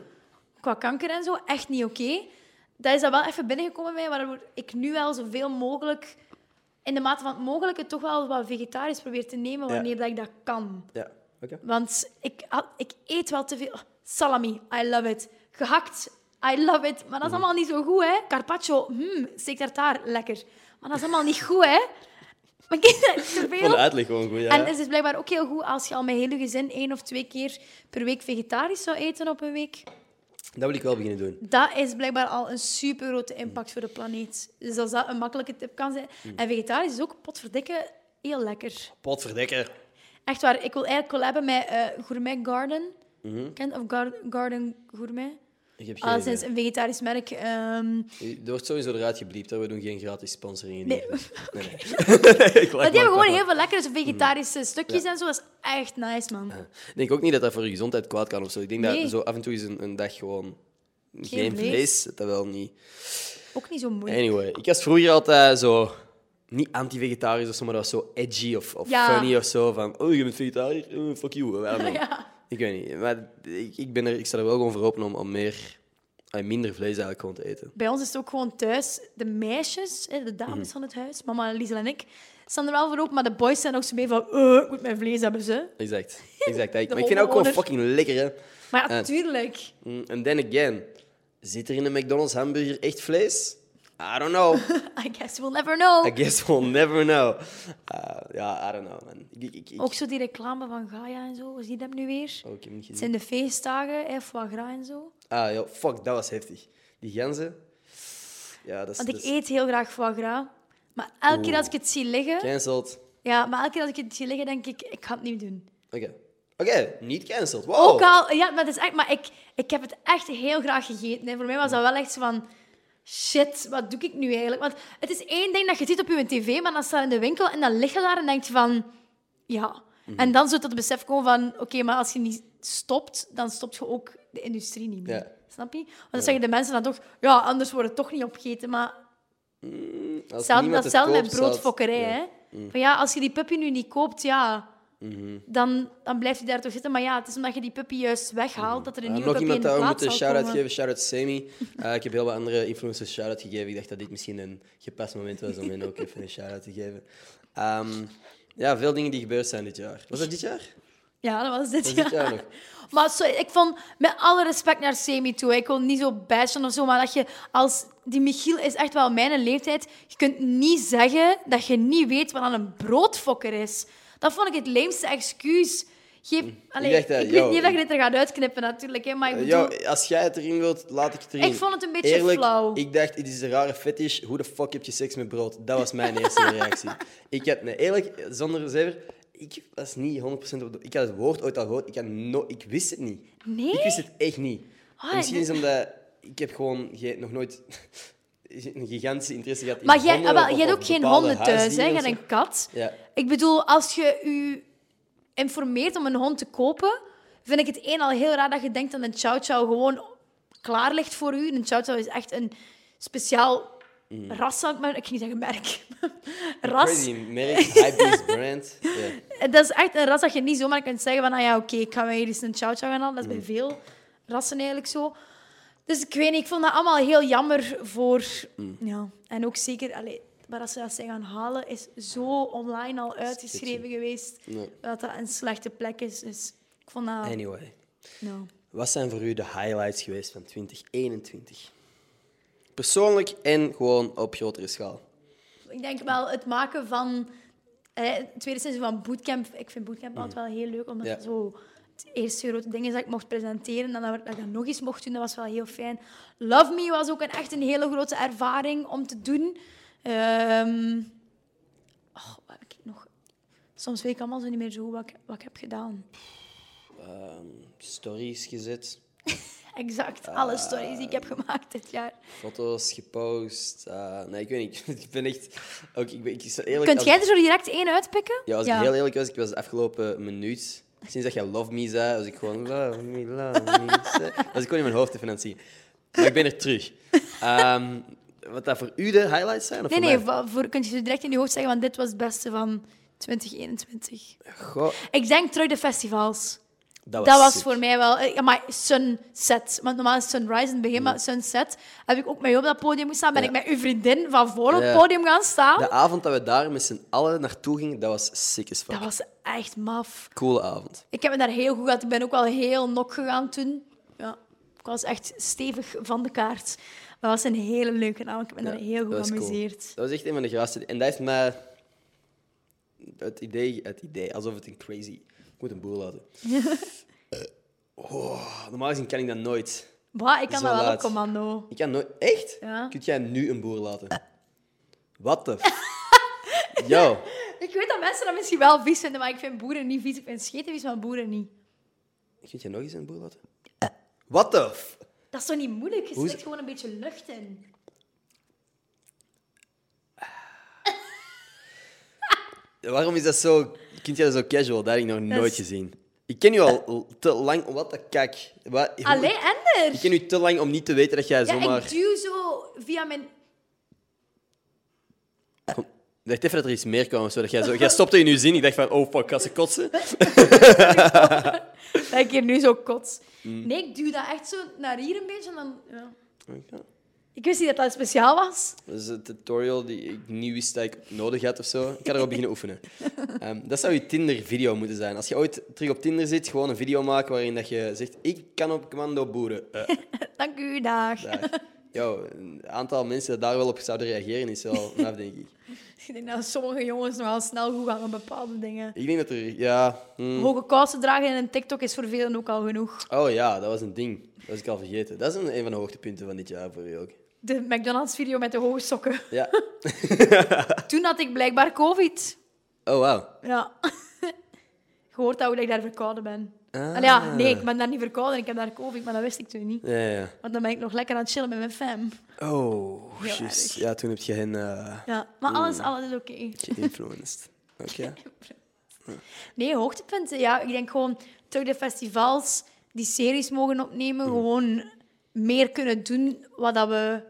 Qua kanker en zo, echt niet oké. Dat is dat wel even binnengekomen bij mij, waardoor ik nu wel zoveel mogelijk, in de mate van het mogelijke, toch wel wat vegetarisch probeer te nemen
Ja.
wanneer dat ik dat kan.
Ja, oké.
Want ik, had- ik eet wel te veel. Oh, Salami, I love it. Gehakt, I love it. Maar dat is allemaal niet zo goed, hè? Carpaccio, hmm, steak tartaar, lekker. Maar dat is allemaal niet goed, hè? Maar ik eet dat te
Ik vond
veel.
de uitleg gewoon goed, ja.
En het is blijkbaar ook heel goed als je al met heel je gezin één of twee keer per week vegetarisch zou eten op een week.
Dat wil ik wel beginnen doen.
Dat is blijkbaar al een super grote impact voor de planeet. Dus als dat een makkelijke tip kan zijn. En vegetarisch is ook potverdikke heel lekker.
Potverdekker.
Echt waar, ik wil eigenlijk collaben met eh, Gourmet Garden. Kent of Gar- Garden Gourmet?
Ik heb Mhm. geen
Ah, dat is
idee.
een vegetarisch merk. ehm
Er wordt sowieso eruit gebliept, hè. we doen geen gratis sponsoringen
Nee. (laughs)
hier. dus. Nee, nee. (laughs) Ik lach
maar die
maar,
hebben gewoon
ik
heel
lach
veel lekkere vegetarische stukjes en zo. Dat is echt nice, man.
maar. Ik denk ook niet dat dat voor je gezondheid kwaad kan of zo. Ik denk
Nee.
dat zo af en toe is een, een dag gewoon geen,
vlees.
vlees, dat dat wel niet...
Ook niet zo moeilijk.
Anyway, ik was vroeger altijd zo. Niet anti-vegetarisch of zo, maar dat was zo edgy of, of
Ja.
funny of zo. Van, oh, je bent vegetariër? Oh, fuck you. I don't know.
(laughs) Ja.
Ik weet niet. Maar ik, ik, ben er, ik sta er wel gewoon voor open om, om meer, eh, minder vlees eigenlijk gewoon te eten.
Bij ons is het ook gewoon thuis. De meisjes, hè, de dames
Mhm.
van het huis, mama, Liesel en ik, staan er wel voor open. Maar de boys zijn ook zo mee van, eh, ik moet mijn vlees hebben, ze.
Exact.
(laughs)
exact. Ik, maar ik vind dat ook gewoon fucking lekker, hè.
Maar ja,
Ja.
tuurlijk.
Mm, And then again, zit er in een McDonald's hamburger echt vlees? I don't know. (laughs)
I guess we'll never know.
I guess we'll never know. Eh, ja, I don't know, man. Ik, ik, ik, ik,
Ook zo die reclame van Gaia en zo, zie je dat nu weer?
Oh, ik heb hem niet gezien.
Het zijn de feestdagen, hè, foie gras en zo.
Ah, joh, fuck, dat was heftig. Die ganzen. Ja, dat is...
Want
dat
ik
is
eet heel graag foie gras. Maar elke keer als ik het zie liggen...
Cancelled.
Ja, maar elke keer als ik het zie liggen, denk ik, ik ga het niet doen.
Oké. Oké, niet cancelled. Wow.
Ook al... Ja, maar, het is echt, maar ik, ik heb het echt heel graag gegeten. En voor mij was dat wel echt zo van... Shit, wat doe ik nu eigenlijk? Want het is één ding dat je ziet op je tv, maar dan staat in de winkel en dan lig je daar en denk je van... Ja.
Mhm.
En dan zult het besef komen van... Oké, maar als je niet stopt, dan stopt je ook de industrie niet meer.
Ja.
Snap je? Want dan zeggen de mensen dan toch... Ja, anders wordt het toch niet opgegeten, maar...
Als
Hetzelfde,
niemand
dat
het
hetzelfde met
koopt, zou het-
broodfokkerij.
Ja. Mm.
Hè? Van ja, als je die puppy nu niet koopt, ja,
Mhm.
dan, dan blijft hij daar toch zitten. Maar ja, het is omdat je die puppy juist weghaalt dat er een
Mm. Ja,
nieuwe
nog
puppy in
iemand
de
dat we
plaats
moeten
zal
shout-out
komen.
geven. Shout-out Sammy. (laughs) Eh, ik heb heel wat andere influencers shout-out gegeven. Ik dacht dat dit misschien een gepast moment was om hen ook even een shout-out te geven. Ehm, ja, veel dingen die gebeurd zijn dit jaar. Was dat dit jaar?
Ja, dat was dit
Was dit
jaar.
jaar nog?
Maar zo, ik vond, met alle respect naar Semi toe, ik wil niet zo bashen of zo, maar dat je als... Die Michiel is echt wel mijn leeftijd. Je kunt niet zeggen dat je niet weet wat aan een broodfokker is. Dat vond ik het leemste excuus. Geef, allee,
Mm. dacht dat-
ik
yo.
weet niet dat je dit er gaat uitknippen, natuurlijk. Hè, maar ik bedoel,
Yo, als jij het erin wilt, laat ik het erin.
Ik vond het een beetje
Eerlijk,
flauw.
Ik dacht, dit is een rare fetish. Hoe de fuck heb je seks met brood? Dat was
(laughs)
mijn eerste reactie. Ik had, nee, eerlijk, zonder zever, ik was niet 100% op de... Ik had het woord ooit al gehoord. Ik, had no, ik wist het niet.
Nee?
Ik wist het echt niet.
Ah,
En misschien
dit-
is omdat... Ik heb gewoon ge- nog nooit (laughs) een gigantische interesse gehad in
maar jij,
honden
ah, wel,
of-
jij hebt
of
ook geen
bepaalde
honden thuis, hè?
huisdieren dus
Jij
of
hebt
zo.
een kat.
Ja.
Ik bedoel, als je u informeert om een hond te kopen, vind ik het één al heel raar dat je denkt dat een chow chow gewoon klaar ligt voor u. Een chow chow is echt een speciaal ras, zal ik maar... Ik ging zeggen merk. ras.
Crazy merk, hypebeast brand. Ja.
Dat is echt een ras dat je niet zomaar kunt zeggen van, ah ja, oké, ik ga mij hier eens een chow chow gaan halen. Dat is bij veel rassen eigenlijk zo. Dus ik weet niet, ik vond dat allemaal heel jammer voor... Ja, en ook zeker... Allee, maar als ze dat zijn gaan halen, is zo online al uitgeschreven geweest
Nee.
dat dat een slechte plek is. Dus ik vond dat...
Anyway.
nou.
Wat zijn voor u de highlights geweest van 2021? Persoonlijk en gewoon op grotere schaal.
Ik denk wel het maken van... eh, het tweede seizoen van Bootcamp... Ik vind Bootcamp altijd wel heel leuk, omdat
Mhm. Ja.
dat zo... Het eerste grote ding is dat ik mocht presenteren en dat dat ik dat nog eens mocht doen. Dat was wel heel fijn. Love Me was ook een, echt een hele grote ervaring om te doen. Ehm, oh, wat heb ik nog... Soms weet ik allemaal zo niet meer zo goed wat ik, wat ik heb gedaan.
Ehm, stories gezet,
Exact.
Ah.
Alle stories die ik heb gemaakt dit jaar.
foto's gepost. eh, nee, ik weet niet. (laughs) Ik ben echt. Ook, ik ben, ik, zou eerlijk,
Kunt
als-
jij er zo direct één uitpikken?
Ja, als ik heel eerlijk was, ik was de afgelopen minuut. Sinds dat jij Love Me zei, was ik gewoon Love Me, Love
(laughs)
Me. zei, Was ik gewoon in mijn hoofd te financieren. Maar ik ben er terug. Ehm, wat dat voor u de highlights zijn? Of
Nee,
voor
nee,
mij?
va- voor, kunt je zo direct in je hoofd zeggen, want dit was het beste van 2021.
Goh,
Ik denk terug de festivals.
dat was,
Dat was
sick.
voor mij wel... eh, Ja, maar Sunset. Want normaal is Sunrise in het begin, maar Sunset heb ik ook met jou op dat podium gestaan. Ben
Mm. Ja.
ik met uw vriendin van voor op
Ja.
het podium gaan staan.
De avond dat we daar met z'n allen naartoe gingen, dat was sick as fuck.
Dat was echt maf.
Coole avond.
Ik heb me daar heel goed gehad. Ik ben ook wel heel nok gegaan toen. Ja, ik was echt stevig van de kaart. Maar dat was een hele leuke avond. Ik ben
Ja,
daar heel goed
was cool.
geamuseerd. (laughs)
Dat was echt een van de gasten. En dat heeft mij het idee, het idee alsof het een crazy. Ik moet een boel laten. oh, normaal gezien kan ik dat nooit.
Bah, ik kan
Zo
dat wel
laat.
op commando.
Ik kan nooit. Echt?
Ja. Eh.
Kun jij nu een boer laten? Wat de? f-
(laughs)
Yo,
Ik weet dat mensen dat misschien wel vies vinden, maar ik vind boeren niet vies. Ik vind scheten vies, maar boeren niet.
kun jij nog eens een boer laten? Wat de? f-
Dat is toch niet moeilijk? Je
Hoe is-
steekt gewoon een beetje lucht in.
Waarom is dat zo? Kun jij dat zo casual? Dat heb ik nog
Dat
nooit
is-
gezien. Ik ken je al l- te lang. Wat de kak. Wat, hoe-
Allee, Ender!
Ik ken u te lang om niet te weten dat jij
ja,
zomaar.
ik duw zo via mijn...
Ik dacht even dat er iets meer kwam. of zo, dat jij, zo, jij stopte in je zin. Ik dacht van, oh fuck, gaat ze
(laughs)
kotsen?
Dat ik hier nu zo kots.
Mm.
Nee, ik duw dat echt zo naar hier een beetje en dan... Ja. Ik wist niet dat dat speciaal was. (laughs)
Dat is een tutorial die ik niet wist dat ik nodig had of zo. Ik kan erop beginnen
(laughs)
oefenen. Ehm, dat zou je Tinder-video moeten zijn. Als je ooit terug op Tinder zit, gewoon een video maken waarin dat je zegt, ik kan op commando boeren. Eh,
Dank u, dag.
daar. Yo, een aantal mensen dat daar wel op zouden reageren is wel naf, denk ik.
(laughs) Ik denk dat sommige jongens nogal snel goed gaan met bepaalde dingen.
Ik denk dat er... Ja... hmm.
Hoge kousen dragen in een TikTok is voor velen ook al genoeg.
Oh ja, dat was een ding. Dat was ik al vergeten. Dat is een, een van de hoogtepunten van dit jaar voor u ook.
De McDonald's-video met de hoge sokken. (laughs)
Ja.
Toen had ik blijkbaar covid.
Oh, wauw.
Ja. (laughs) Gehoord dat hoe dat ik daar verkouden ben.
Ah.
Allee, ja, nee, ik ben daar niet verkouden. Ik heb daar covid, maar dat wist ik toen niet.
Ja, ja, ja.
Want dan ben ik nog lekker aan het chillen met mijn fam.
Oh,
Heel
juist.
erg.
Ja, toen heb je hen eh,
Ja, maar alles, alles is oké.
geïnfluenced. Oké.
(laughs) Nee, hoogtepunten. Ja, ik denk gewoon terug de festivals, die series mogen opnemen.
Mm.
Gewoon meer kunnen doen wat dat we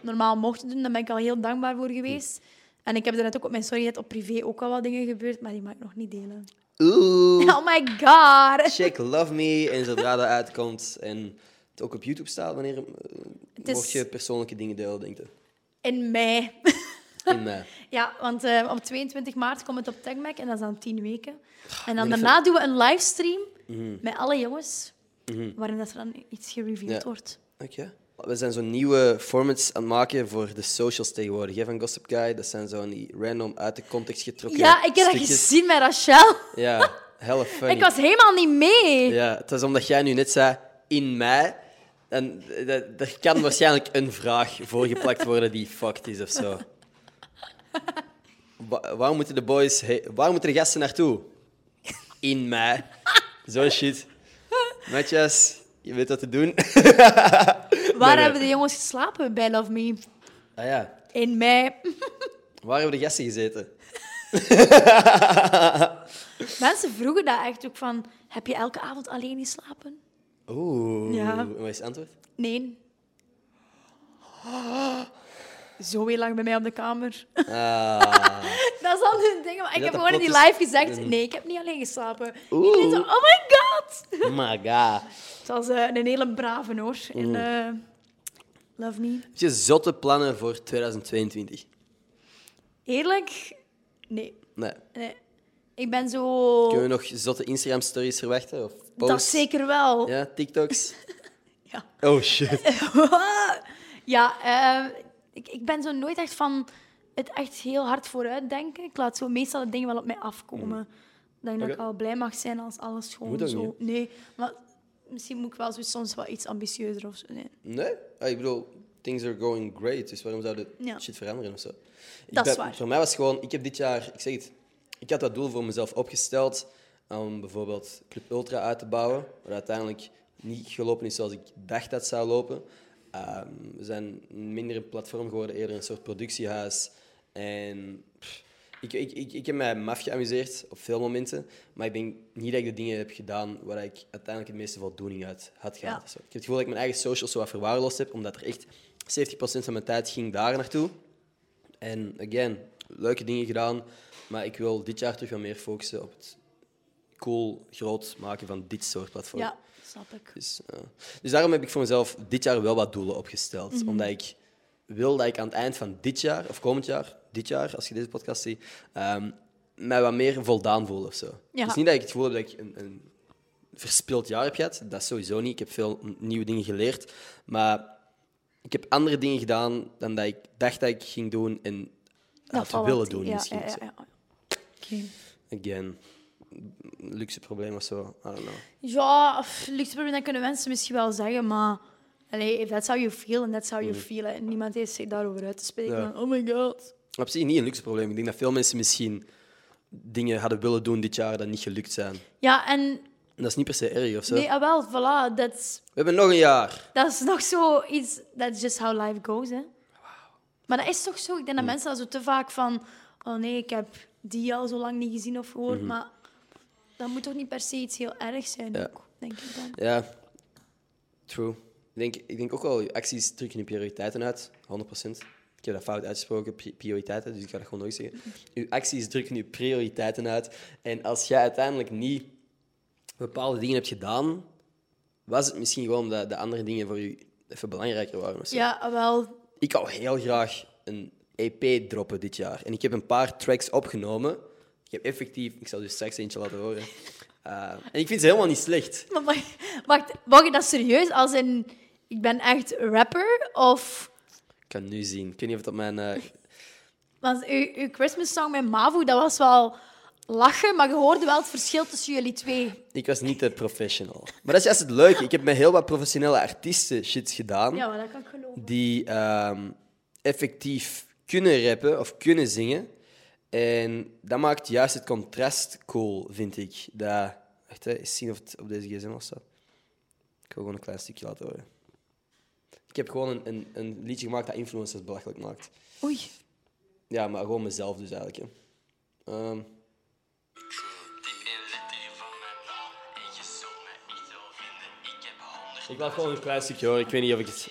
normaal mochten doen. Daar ben ik al heel dankbaar voor geweest.
Mm.
En ik heb er net ook op mijn story net op privé ook al wat dingen gebeurd, maar die mag ik nog niet delen.
Oeh.
Oh my god!
Check Love Me. En zodra dat uitkomt en het ook op YouTube staat, wanneer eh,
is-
mocht je persoonlijke dingen delen, denk je?
In mei. (laughs)
In mei.
Ja, want eh, op 22 maart komt het op TechMac en dat is dan tien weken. En dan
ben
daarna doen we een livestream
Mhm.
met alle jongens, waarin dat er dan iets gereviewd
Ja.
wordt.
Oké. We zijn zo'n nieuwe formats aan het maken voor de socials tegenwoordig. hè, van Gossip Guy, dat zijn zo'n die random uit de context getrokken
Ja, ik heb dat
stukjes.
(laughs) gezien met Rachel.
Ja, hella funny.
Ik was helemaal niet mee.
Ja, het is omdat jij nu net zei in mij. En d- d- er
(laughs)
kan waarschijnlijk een vraag voorgeplakt worden die fucked is of zo. Wa- waar moeten de boys, he- waar moeten de gasten naartoe? In mij. Zo'n shit. Matjas, je weet wat te doen. (laughs)
Waar
nee.
hebben de jongens geslapen bij Love Me?
Ah ja,
In mei. (laughs)
waar hebben de gasten gezeten?
Mensen vroegen dat echt ook van... Heb je elke avond alleen geslapen?
Oeh.
Ja.
En Wat is het antwoord?
Nee. Zo heel lang bij mij op de kamer.
Ah.
(laughs) Dat is al hun ding. Maar ik
dat
heb
dat
gewoon in die
plot is-
live gezegd... Nee, ik heb niet alleen geslapen.
Oeh.
Iedereen zo... Oh my god!
Oh my god.
Het was eh, een hele brave, hoor. En,
Mm.
eh, love me.
Heb je zotte plannen voor 2022?
Eerlijk? Nee.
Nee.
nee. Ik ben zo...
Kunnen we nog zotte Instagram-stories verwachten? Of posts?
Oh. Dat zeker wel.
Ja, TikToks.
(laughs) Ja.
Oh
(laughs)
shit.
ja, eh, ik, ik ben zo nooit echt van het echt heel hard vooruit denken. Ik laat zo meestal de dingen wel op mij afkomen. Ik denk dat
Mm. Oké.
ik al blij mag zijn als alles gewoon
Moet ook
zo...
niet,
Nee, maar misschien moet ik wel zo soms wel iets ambitieuzer of zo. Nee.
Nee, ah, ik bedoel, things are going great, dus waarom zou dit
Ja.
shit veranderen of zo? Ik
Dat is
ben-
waar.
Voor mij was het gewoon, ik heb dit jaar, ik zeg het, ik had dat doel voor mezelf opgesteld om bijvoorbeeld Club Ultra uit te bouwen, wat uiteindelijk niet gelopen is zoals ik dacht dat het zou lopen. Ehm, we zijn minder een platform geworden, eerder een soort productiehuis. En pff, ik, ik, ik, ik heb mij maf geamuseerd op veel momenten, maar ik denk niet dat ik de dingen heb gedaan waar ik uiteindelijk het meeste voldoening uit had gehaald.
Ja.
Zo. Ik heb het gevoel dat ik mijn eigen socials zo wat verwaarloosd heb, omdat er echt 70% van mijn tijd ging daar naartoe. En again, leuke dingen gedaan, maar ik wil dit jaar terug wel meer focussen op het cool, groot maken van dit soort platformen.
Ja, snap ik.
Dus, eh, dus daarom heb ik voor mezelf dit jaar wel wat doelen opgesteld.
Mhm.
Omdat ik wil dat ik aan het eind van dit jaar, of komend jaar, dit jaar, als je deze podcast ziet, ehm, mij wat meer voldaan voel of zo.
Ja.
Dus niet dat ik het gevoel heb dat ik een, een verspild jaar heb gehad. Dat sowieso niet. Ik heb veel n- nieuwe dingen geleerd. Maar ik heb andere dingen gedaan dan dat ik dacht dat ik ging doen en had
valt
willen
wel
doen
tegen. Ja,
misschien.
ja, ja,
zo.
ja. Oké.
Again, luxe probleem of zo. I don't know.
Ja, pff, luxe probleem, dat kunnen mensen misschien wel zeggen, maar allee, if that's how you feel and that's how you feel. En niemand heeft zich daarover uit te spreken.
Mm. Ja.
Oh my god.
Op zich niet een luxe probleem. Ik denk dat veel mensen misschien dingen hadden willen doen dit jaar dat niet gelukt zijn.
Ja, en
En dat is niet per se erg of zo.
nee, ah, wel, voilà, that's,
We hebben nog een jaar.
dat is nog zo iets, that's just how life goes, hè. Maar dat is toch zo, ik denk
Mm.
dat mensen dat zo te vaak van, oh nee, ik heb die al zo lang niet gezien of gehoord,
Mhm.
maar dat moet toch niet per se iets heel ergs zijn,
Ja.
ook, denk ik dan.
Ja, true. Ik denk, ik denk ook wel, je acties drukken je prioriteiten uit, 100%. Ik heb dat fout uitgesproken, pri- prioriteiten, dus ik ga dat gewoon nog eens zeggen. Je acties drukken je prioriteiten uit. En als jij uiteindelijk niet bepaalde dingen hebt gedaan, was het misschien gewoon omdat de andere dingen voor je even belangrijker waren. of zo.
Ja, ah, wel, (laughs)
Ik wou heel graag een EP droppen dit jaar. En ik heb een paar tracks opgenomen. Ik heb effectief, ik zal dus straks eentje laten horen. Eh, en ik vind ze helemaal niet slecht.
maar mag, wacht, mag je dat serieus als in, ik ben echt rapper, of...
Ik kan nu zien. Ik weet niet of het op mijn. eh,
Want uw, uw Christmas song met Mavo, dat was wel lachen, maar je hoorde wel het verschil tussen jullie twee.
ik was niet de professional. Maar dat is juist het leuke. Ik heb met heel wat professionele artiesten shit gedaan.
Ja, maar dat kan ik geloven.
die ehm, effectief kunnen rappen of kunnen zingen. En dat maakt juist het contrast cool, vind ik. Dat, wacht, hè, eens zien of het op deze gsm al staat. Ik wil gewoon een klein stukje laten horen. Ik heb gewoon een, een, een liedje gemaakt dat influencers belachelijk maakt.
Oei.
Ja, maar gewoon mezelf dus eigenlijk. Hè. Ehm, ik laat gewoon een klein stukje horen. Ik weet niet of ik het...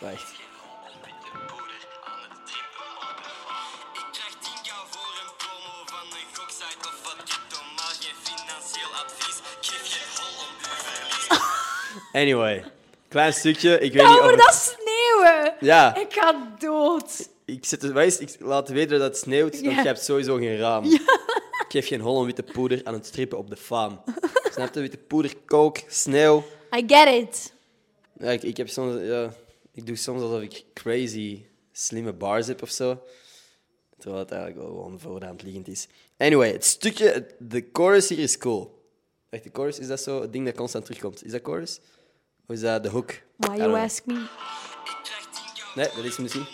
Wacht. Anyway, klein stukje. Ik weet
Ja,
niet of
over
het-
dat sneeuwen!
(laughs) Ja.
Ik ga dood.
Ik, zet het, wijs, ik laat weten dat het sneeuwt, want
Ja.
je hebt sowieso geen raam. Ik geef geen hol om witte poeder aan het strippen op de faam. Snap je? Witte poeder, kook, sneeuw.
I get it.
Ja, ik, ik, heb soms, ja, ik doe soms alsof ik crazy slimme bars heb of zo. Terwijl het eigenlijk wel gewoon voorhand liggend is. Anyway, het stukje, het- de chorus hier is cool. Echt, de chorus, is dat zo het ding dat constant terugkomt? Is dat chorus? Of is dat de hook?
Why
I
you
don't know.
ask me?
Nee, dat is misschien.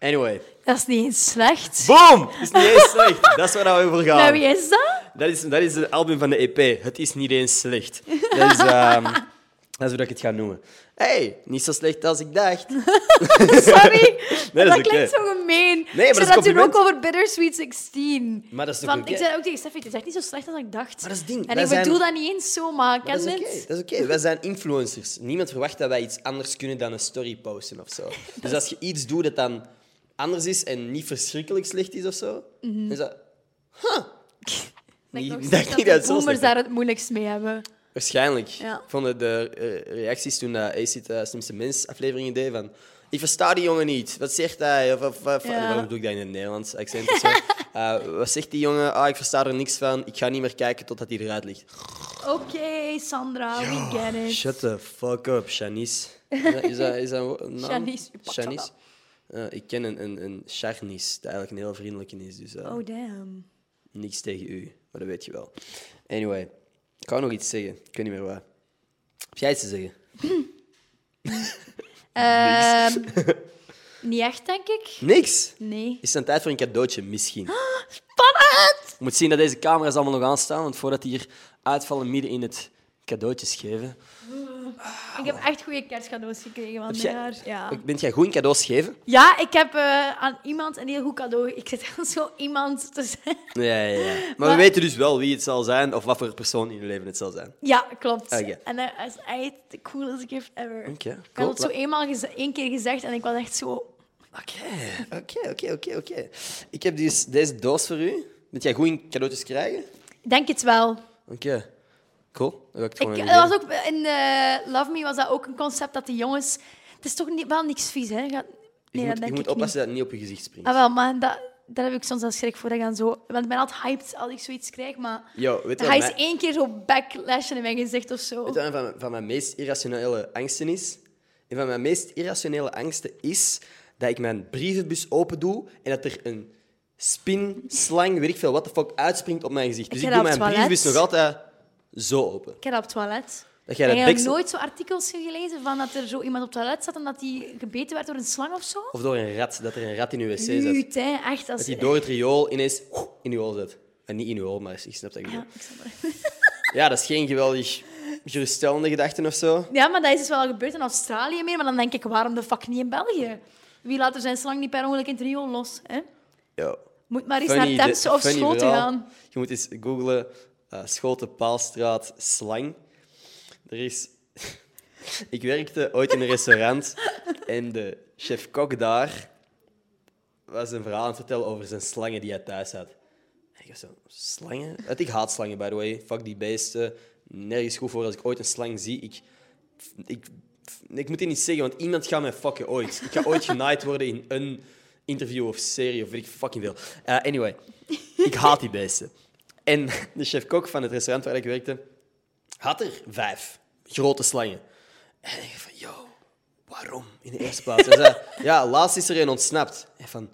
Anyway.
Dat is niet eens slecht.
Boom! Is niet eens slecht. Dat is waar we voor gaan.
Nou, wie is dat?
Dat is, dat is het album van de EP. Het is niet eens slecht. Dat is, ehm, dat is hoe ik het ga noemen. hey, niet zo slecht als ik dacht.
Sorry.
(laughs) Nee,
dat
dat is
klinkt
oké.
zo gemeen.
maar
ik
dat is
zei
een
dat toen
compliment.
ook over Bittersweet 16.
Maar dat is toch
Want
oké?
ik zei ook tegen Steffi, het is echt niet zo slecht als ik dacht.
Maar dat is het ding.
En
Wij
ik
zijn-
bedoel dat niet eens zomaar. Ik
Maar
ken
dat is oké.
het.
Dat is oké. Wij zijn influencers. Niemand verwacht dat wij iets anders kunnen dan een story posten of zo. Dus als je iets doet dat dan anders is en niet verschrikkelijk slecht is of zo, dan is dat...
Ik
Huh!
denk
Ik
nog steeds
dacht niet (laughs)
dat
dat
de
het zo
boomers
slecht
daar het moeilijkst mee hebben.
Waarschijnlijk.
Ja.
Vonden de eh, reacties toen uh, Acid eh, Slimste Mens afleveringen deed van... Ik versta die jongen niet. Wat zegt hij? Of, of, of-
Ja.
Waarom doe ik dat in het Nederlands accent of zo?
(laughs)
Eh, wat zegt die jongen? Ah, ik versta er niks van. Ik ga niet meer kijken totdat hij eruit ligt. Oh,
Oké, Sandra, we get it.
Shut the fuck up, Shanice. Is dat, is dat, is dat een wo- een naam?
Shanice, je pakt dat
Shanice? Eh, ik ken een, een, een Charnice, dat eigenlijk een heel vriendelijke is. Dus eh,
Oh, damn.
niks tegen u, maar dat weet je wel. Anyway, ik wou nog iets zeggen. Ik weet niet meer waar. Heb jij iets te zeggen?
(laughs) Ehm, niet echt, denk ik.
Niks?
Nee.
Is het dan tijd voor een cadeautje misschien?
Spannend!
Je moet zien dat deze camera's allemaal nog aanstaan, want voordat die hier uitvallen midden in het cadeautjes geven.
Ik heb echt goede kerstcadeaus gekregen van
Heb
dit
jij-
jaar. Ja.
Bent jij goed in cadeaus geven?
ja, ik heb eh, aan iemand een heel goed cadeau. ge- Ik zit aan zo iemand te zeggen.
Ja, ja, ja. Maar, we
Maar-
weten dus wel wie het zal zijn of wat voor persoon in je leven het zal zijn.
(laughs) Ja, klopt.
Ah, Oké.
En dat is echt de coolest gift ever.
Oké,
Ik
cool.
had het zo eenmaal geze- één keer gezegd en ik was echt zo...
Oké, oké, oké, oké, oké. Ik heb dus deze doos voor u. Bent jij goed in cadeautjes krijgen?
Ik denk het wel.
Oké. Cool. Dan ga ik het gewoon
Ik,
aan
dat
jullie
was ook, in eh, Love Me was dat ook een concept dat de jongens... Het is toch niet, wel niks vies, hè? Ga-
geven. Je moet,
Nee, dat
je
denk
moet
ik niet.
oppassen dat het niet op je gezicht springt.
Ah, wel, maar dat, daar heb ik soms wel schrik voor. Dat ik dan zo, want ik ben altijd hyped als ik zoiets krijg, maar
Yo, weet je
hij
wat,
is
mijn,
één keer zo backlashen in mijn gezicht of zo.
weet je wat een van, mijn- van mijn meest irrationele angsten is? Een van mijn meest irrationele angsten is dat ik mijn brievenbus open doe en dat er een spin, slang, weet ik veel, wat de fuck, uitspringt op mijn gezicht. Dus
ga
ik
naar
doe
het
mijn
toilet.
brievenbus nog altijd zo open.
Ik heb dat op het toilet.
Dat jij dat
Heb jij nog
deksel-
nooit zo artikels gelezen van dat er zo iemand op het toilet zat en dat hij gebeten werd door een slang of zo?
Of door een rat, dat er een rat in je wc zit.
Luut, hè. Echt, als...
Dat hij door het riool ineens in uw hol zet. En niet in uw hol, maar ik snap dat je
ja,
bedoelt.
ik snap het.
Ja, dat is geen geweldig geruststellende gedachte of zo.
Ja, maar dat is dus wel gebeurd in Australië meer. Maar dan denk ik, waarom de fuck niet in België? Wie laat er zijn slang niet per ongeluk in het riool los? Hè?
Yo.
Moet maar eens
Funny
naar
ide-
Temse of
funny
Schoten
verhaal.
gaan.
Je moet eens googlen eh, Schoten, Paalstraat, slang. Er is... (laughs) ik werkte ooit in een restaurant en de chef-kok daar was een verhaal aan het vertellen over zijn slangen die hij thuis had. Ik was zo, slangen? Want Ik haat slangen, by the way. Fuck die beesten. Nergens goed voor als ik ooit een slang zie. Ik, ik, ik moet dit niet zeggen, want iemand gaat mij fucken ooit. Ik ga ooit genaaid worden in een interview of serie of weet ik fucking veel. Eh, anyway, ik haat die beesten. En de chef-kok van het restaurant waar ik werkte, had er vijf grote slangen. En ik dacht van, yo, waarom in de eerste plaats? Hij zei, ja, laatst is er een ontsnapt. En van,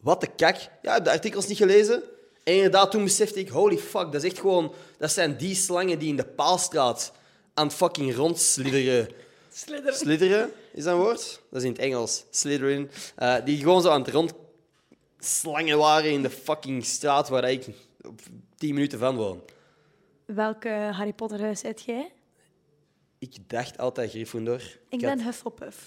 wat de kak. Ja, ik heb de artikels niet gelezen. En inderdaad, toen besefte ik, holy fuck, dat is echt gewoon... Dat zijn die slangen die in de paalstraat aan het fucking rondslideren...
Slidderen.
Slideren is dat een woord? Dat is in het Engels. Slithering. Eh, die gewoon zo aan het rond slangen waren in de fucking straat waar ik op 10 minuten van woon.
Welke Harry Potter huis zit jij?
Ik dacht altijd Gryffindor. had-
Ik ben Hufflepuff.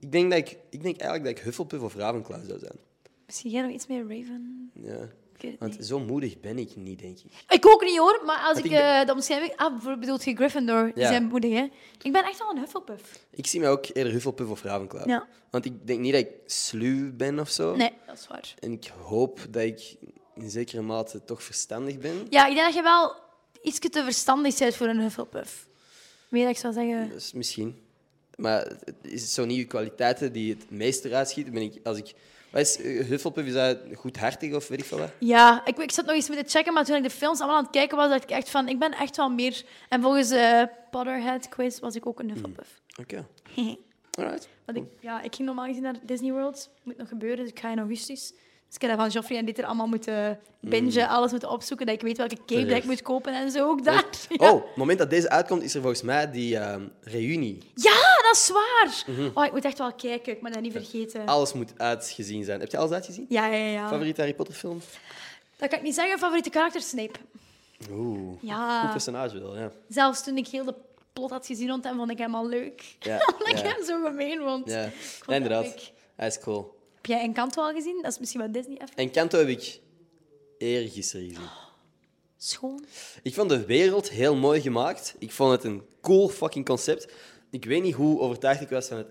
ik, denk dat ik, ik denk eigenlijk dat ik Hufflepuff of Ravenclaw zou zijn.
Misschien jij nog iets meer Raven?
Ja.
Ik weet het
Want
niet.
zo moedig ben ik niet, denk ik.
Ik ook niet hoor, maar als
Want
ik,
ik ben-
eh, de omschrijving... Ah, bijvoorbeeld bedoelt je Gryffindor, die
Ja.
zijn moedig hè? Ik ben echt wel een Hufflepuff.
Ik zie mij ook eerder Hufflepuff of Ravenclaw.
Ja.
Want ik denk niet dat ik sluw ben of zo.
Nee, dat is waar.
En ik hoop dat ik in zekere mate toch verstandig ben.
Ja, ik denk dat je wel iets te verstandig bent voor een Hufflepuff. Meer dat ik zou zeggen...
Dus misschien. Maar het- het is zo niet uw kwaliteiten die het meest eruit schieten. Ben ik, als ik Wat is eh, Hufflepuff? Is dat goedhartig of weet ik veel wat?
Ja, ik, ik zat nog eens moeten checken, maar toen ik de films allemaal aan het kijken was, dacht ik echt van, ik ben echt wel meer... En volgens eh Potterhead Quiz was ik ook een (laughs) Hufflepuff.
Oké. Alright.
Want ik, ja, ik ging normaal gezien naar Disney World. Moet nog gebeuren, dus ik ga in augustus. Dus ik heb dat van Joffrey en dit er allemaal moeten
Mm.
bingen, alles moeten opzoeken, dat ik weet welke cape dat ik
Terecht.
moet kopen en zo ook daar. Ah, (laughs) Ja.
Oh, het moment dat deze uitkomt, is er volgens mij die ehm, reunie.
Ja, dat is waar!
Mhm.
Oh, ik moet echt wel kijken, ik moet dat niet vergeten.
Alles moet uitgezien zijn. Heb je alles uitgezien?
Ja, ja, ja.
Favoriete Harry Potter film?
Dat kan ik niet zeggen, favoriete karakter Snape.
Oeh. Goed dus-
Ja,
personage wel, ja.
zelfs toen ik heel de plot had gezien rond hem, vond ik hem al leuk.
Ja,
(laughs) Omdat ik
ja.
hem zo gemeen vond.
ja.
vond
Ja,
dat
inderdaad.
leuk.
Hij is cool.
Heb jij Encanto al gezien? Dat is misschien wat Disney even.
En Kanto heb ik eergisteren gezien.
Schoon.
Ik vond de wereld heel mooi gemaakt. Ik vond het een cool fucking concept. Ik weet niet hoe overtuigd ik was van het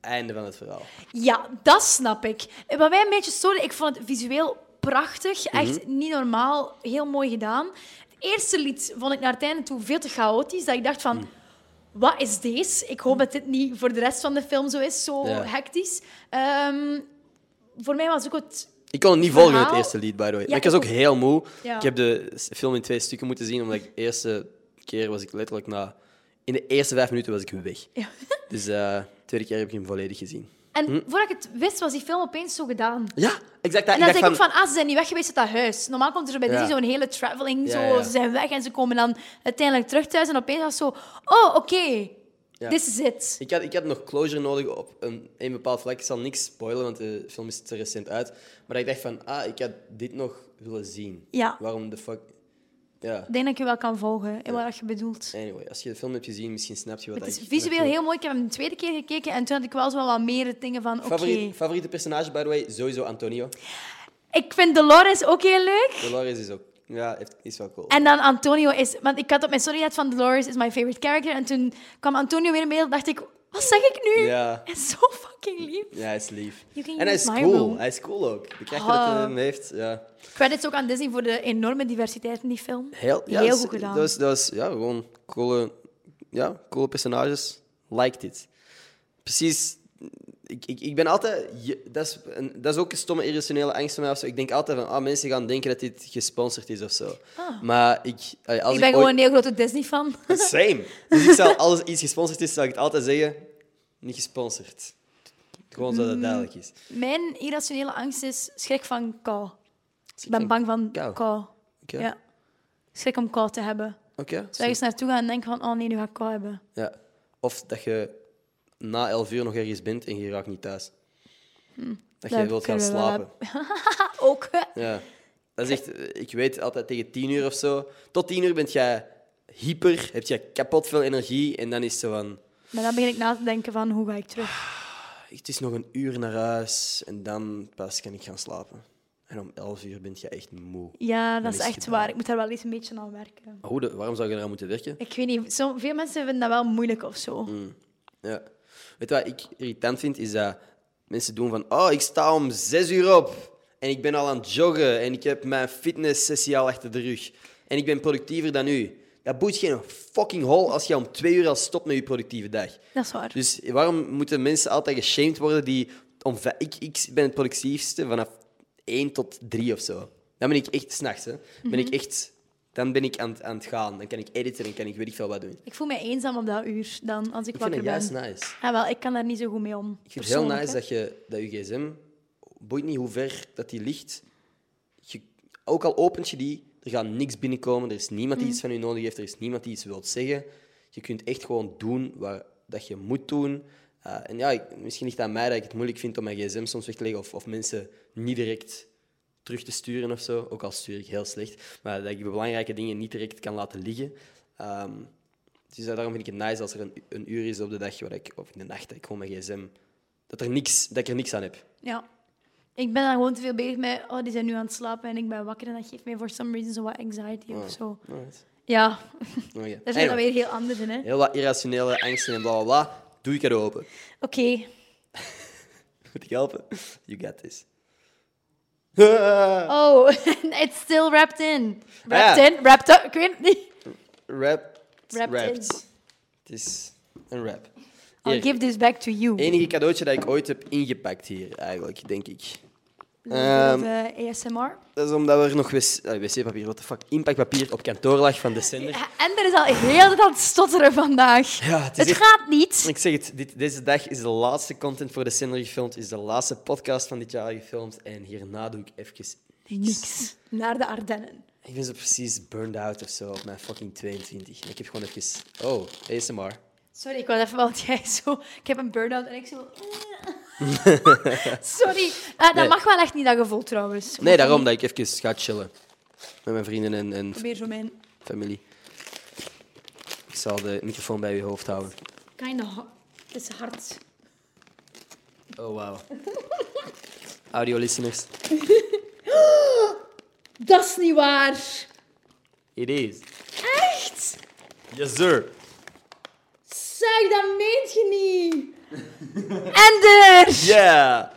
einde van het verhaal.
Ja, dat snap ik. En Wat wij een beetje storen, ik vond het visueel prachtig. Echt niet normaal. Heel mooi gedaan. Het eerste lied vond ik naar het einde toe veel te chaotisch. Dat ik dacht van, wat is deze? Ik hoop dat dit niet voor de rest van de film zo is. Zo
Ja.
hectisch. Ehm, voor mij was ook het... (laughs)
Ik kon het niet volgen, het
Verhaal?
eerste lied, by the way. Maar ik
ik
was ook heel moe.
Ja.
Ik heb de s- film in twee stukken moeten zien, omdat ik de eerste keer was ik letterlijk na... In de eerste vijf minuten was ik weg.
Ja.
Dus eh, de tweede keer heb ik hem volledig gezien.
En voordat ik het wist, was die film opeens zo gedaan.
Ja, exact. dat.
En
Ik
dan
dacht
denk ik ook van, ah, ze zijn niet weg geweest uit dat huis. Normaal komt er zo bij
Ja.
Disney zo'n hele traveling,
Ja,
zo,
ja, ja.
ze zijn weg en ze komen dan uiteindelijk terug thuis. En opeens was zo, oh, oké,
Ja.
dit is het.
Ik had, ik had nog closure nodig op een, een bepaald vlak. Ik zal niks spoilen, want de film is te recent uit. Maar ik dacht van, ah, ik had dit nog willen zien.
Ja.
Waarom de fuck... Ja,
Ik denk dat ik je wel kan volgen in wat je bedoelt.
anyway. Als je de film hebt gezien, misschien snap je wat
Het is
ik
visueel
naartoe-
heel mooi. Ik heb hem de tweede keer gekeken en toen had ik wel zo wel wat meer dingen van, oké.
Favoriet, Favoriete personage, by the way, sowieso Antonio.
Ik vind Dolores ook heel leuk.
Dolores is ook... Ja, heeft- is wel cool.
En dan Antonio is... Want ik had op mijn story gehad van Dolores is my favorite character. En toen kwam Antonio weer in beeld dacht ik, wat zeg ik nu?
Ja.
Hij is zo fucking lief.
Ja, hij is lief.
You can
En hij
use
is
my
cool.
room.
Hij is cool ook. De kracht dat
Ah.
hij hem heeft, ja.
Credits ook aan Disney voor de enorme diversiteit in die film.
Heel, ja,
Heel
dat is-
goed gedaan.
Dat is, dat is ja, gewoon coole, ja, coole personages. Liked it. Precies. Ik, ik, ik ben altijd... je- dat, is een, dat is ook een stomme, irrationele angst van mij. Of zo. Ik denk altijd van, ah, mensen gaan denken dat dit gesponsord is of zo. Maar ik... allee, Als
Ah. ik ben
ik
gewoon
ooit-
een heel grote Disney-fan.
Same. Dus ik zal als iets gesponsord is, zal ik het altijd zeggen, niet gesponsord. Gewoon zodat het
Mm.
duidelijk is.
(laughs) Mijn irrationele angst is schrik van kou. Ik
van
ben bang van
kou?
kou.
Oké.
Ja. Schrik om kou te hebben.
Oké.
Dus ergens naartoe gaan en denken van, oh nee, nu ga ik kou hebben.
Ja. Of dat je na 11 uur nog ergens bent en je raakt niet thuis. Dat je
dat
wilt gaan
Hmm. kunnen we wel
slapen.
Ah, ook.
Ja. Dat is echt, eh, ik weet altijd tegen 10 uur of zo. Tot 10 uur bent jij hyper, heb je kapot veel energie en dan is het zo van. "Ah,
Maar dan begin ik na te denken van, hoe ga ik terug?
Het is nog een uur naar huis en dan pas kan ik gaan slapen. En om 11 uur bent je echt moe.
Ja,
Dan
dat is
is het
echt
gedaan.
waar. Ik moet daar wel eens een beetje aan werken.
Maar hoe de- waarom zou je eraan moeten werken?
Ik weet niet, zo, veel mensen vinden dat wel moeilijk of zo.
Mm. Ja. Weet je wat ik irritant vind? Is dat mensen doen van... Oh, ik sta om zes uur op. En ik ben al aan het joggen. En ik heb mijn fitnesssessie al achter de rug. En ik ben productiever dan u. Dat boeit geen fucking hol als je om twee uur al stopt met je productieve dag.
Dat is waar.
Dus waarom moeten mensen altijd geshamed worden die... Om vij- ik, ik ben het productiefste vanaf één tot drie of zo. Dan ben ik echt s'nachts. Dan ben
Mhm.
ik echt... Dan ben ik aan, het- aan het gaan. Dan kan ik editen en kan ik weet ik veel wat doen.
Ik voel me eenzaam op dat uur, dan, als ik,
Ik vind
wakker
het juist
ben.
nice.
Ja, wel, ik kan daar niet zo goed mee om.
Ik vind het heel
Persoonlijk,
nice
hè.
dat je, dat je gsm, boeit niet hoe ver dat die ligt, je, ook al opent je die, er gaat niks binnenkomen, er is niemand
Mhm.
die iets van je nodig heeft, er is niemand die iets wilt zeggen. Je kunt echt gewoon doen wat dat je moet doen. Eh, en ja, ik- misschien ligt het aan mij dat ik het moeilijk vind om mijn gsm soms weg te leggen of, of mensen niet direct terug te sturen of zo. Ook al stuur ik heel slecht. Maar dat ik belangrijke dingen niet direct kan laten liggen. Ehm, dus daarom vind ik het nice als er een, een uur is op de dag, waar ik, of in de nacht, dat ik gewoon mijn gsm... Dat, er niks, dat ik er niks aan heb.
Ja. Ik ben dan gewoon te veel bezig met, oh, die zijn nu aan het slapen en ik ben wakker en dat geeft mij voor some reason zo wat anxiety
Oh.
of zo.
Alright.
Ja, (laughs)
Oké.
daar zijn dan
Anyway,
weer heel andere, hè. Oké.
heel wat irrationele angsten en bla bla bla. Doe ik er open. (laughs) Moet ik helpen? (laughs) You got this.
Oh, (laughs) it's still wrapped in. Wrapped
Ja.
in, wrapped up, ik weet het niet.
Rap.
Wrapped in.
Het is een rap.
I'll
Hier.
give this back to you.
Enige cadeautje dat ik ooit heb ingepakt hier, eigenlijk, denk ik. Um, Ehm,
Bijvoorbeeld, eh, ASMR.
Dat is omdat er nog wc- eh, wc-papier, wat de fuck, inpakpapier op kantoor lag van de sender.
Ja, En er is al heel de tijd aan het stotteren vandaag.
Ja, het is
het
echt-
gaat niet.
Ik zeg het, dit, deze dag is de laatste content voor de sender gefilmd, is de laatste podcast van dit jaar gefilmd. En hierna doe ik even...
Niks. Naar de Ardennen.
Ik ben zo precies burned out of zo op mijn fucking 22. En ik heb gewoon even... Oh, ASMR.
Sorry, ik was even, want jij zo... Ik heb een burn-out en
(laughs)
ik zo... Sorry. Eh, dat
Nee.
mag wel echt niet, dat gevoel, trouwens.
Nee, daarom dat ik even ga chillen. Met mijn vrienden en, en
Probeer zo mijn...
familie. Ik zal de microfoon bij je hoofd houden.
Kinda hard. Het is hard.
Oh, wauw. Audio-listeners.
Dat is niet waar.
It is.
Echt?
Yes, sir.
Zeg, dat meent je niet. (laughs) Ender!
Yeah.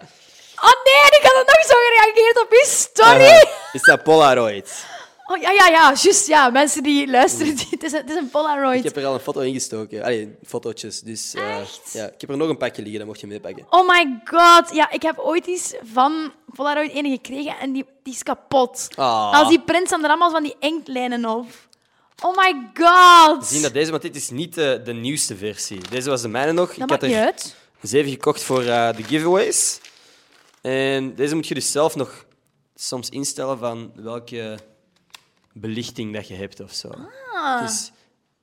Oh nee, ik had er nog zo gereageerd op je story.
Aha. Is dat Polaroid?
Oh ja, ja, ja, juist. Ja, mensen die luisteren, die, het, is, een- het is een Polaroid.
Ik heb er al een foto in gestoken. Allee, fotootjes. Dus, eh,
Echt?
Ja, ik heb er nog een pakje liggen, dat mocht je meepakken.
Oh my god. Ja, ik heb ooit iets van Polaroid ene gekregen en die, die is kapot.
Ah.
Als die print staan er allemaal van die inktlijnen op. Oh my god.
Zien dat deze, want dit is niet eh, de, de nieuwste versie. Deze was de mijne nog.
dat
ik
maakt
had
niet
er
uit.
zeven gekocht voor eh, de giveaways. En deze moet je dus zelf nog soms instellen van welke belichting dat je hebt of zo. Dus,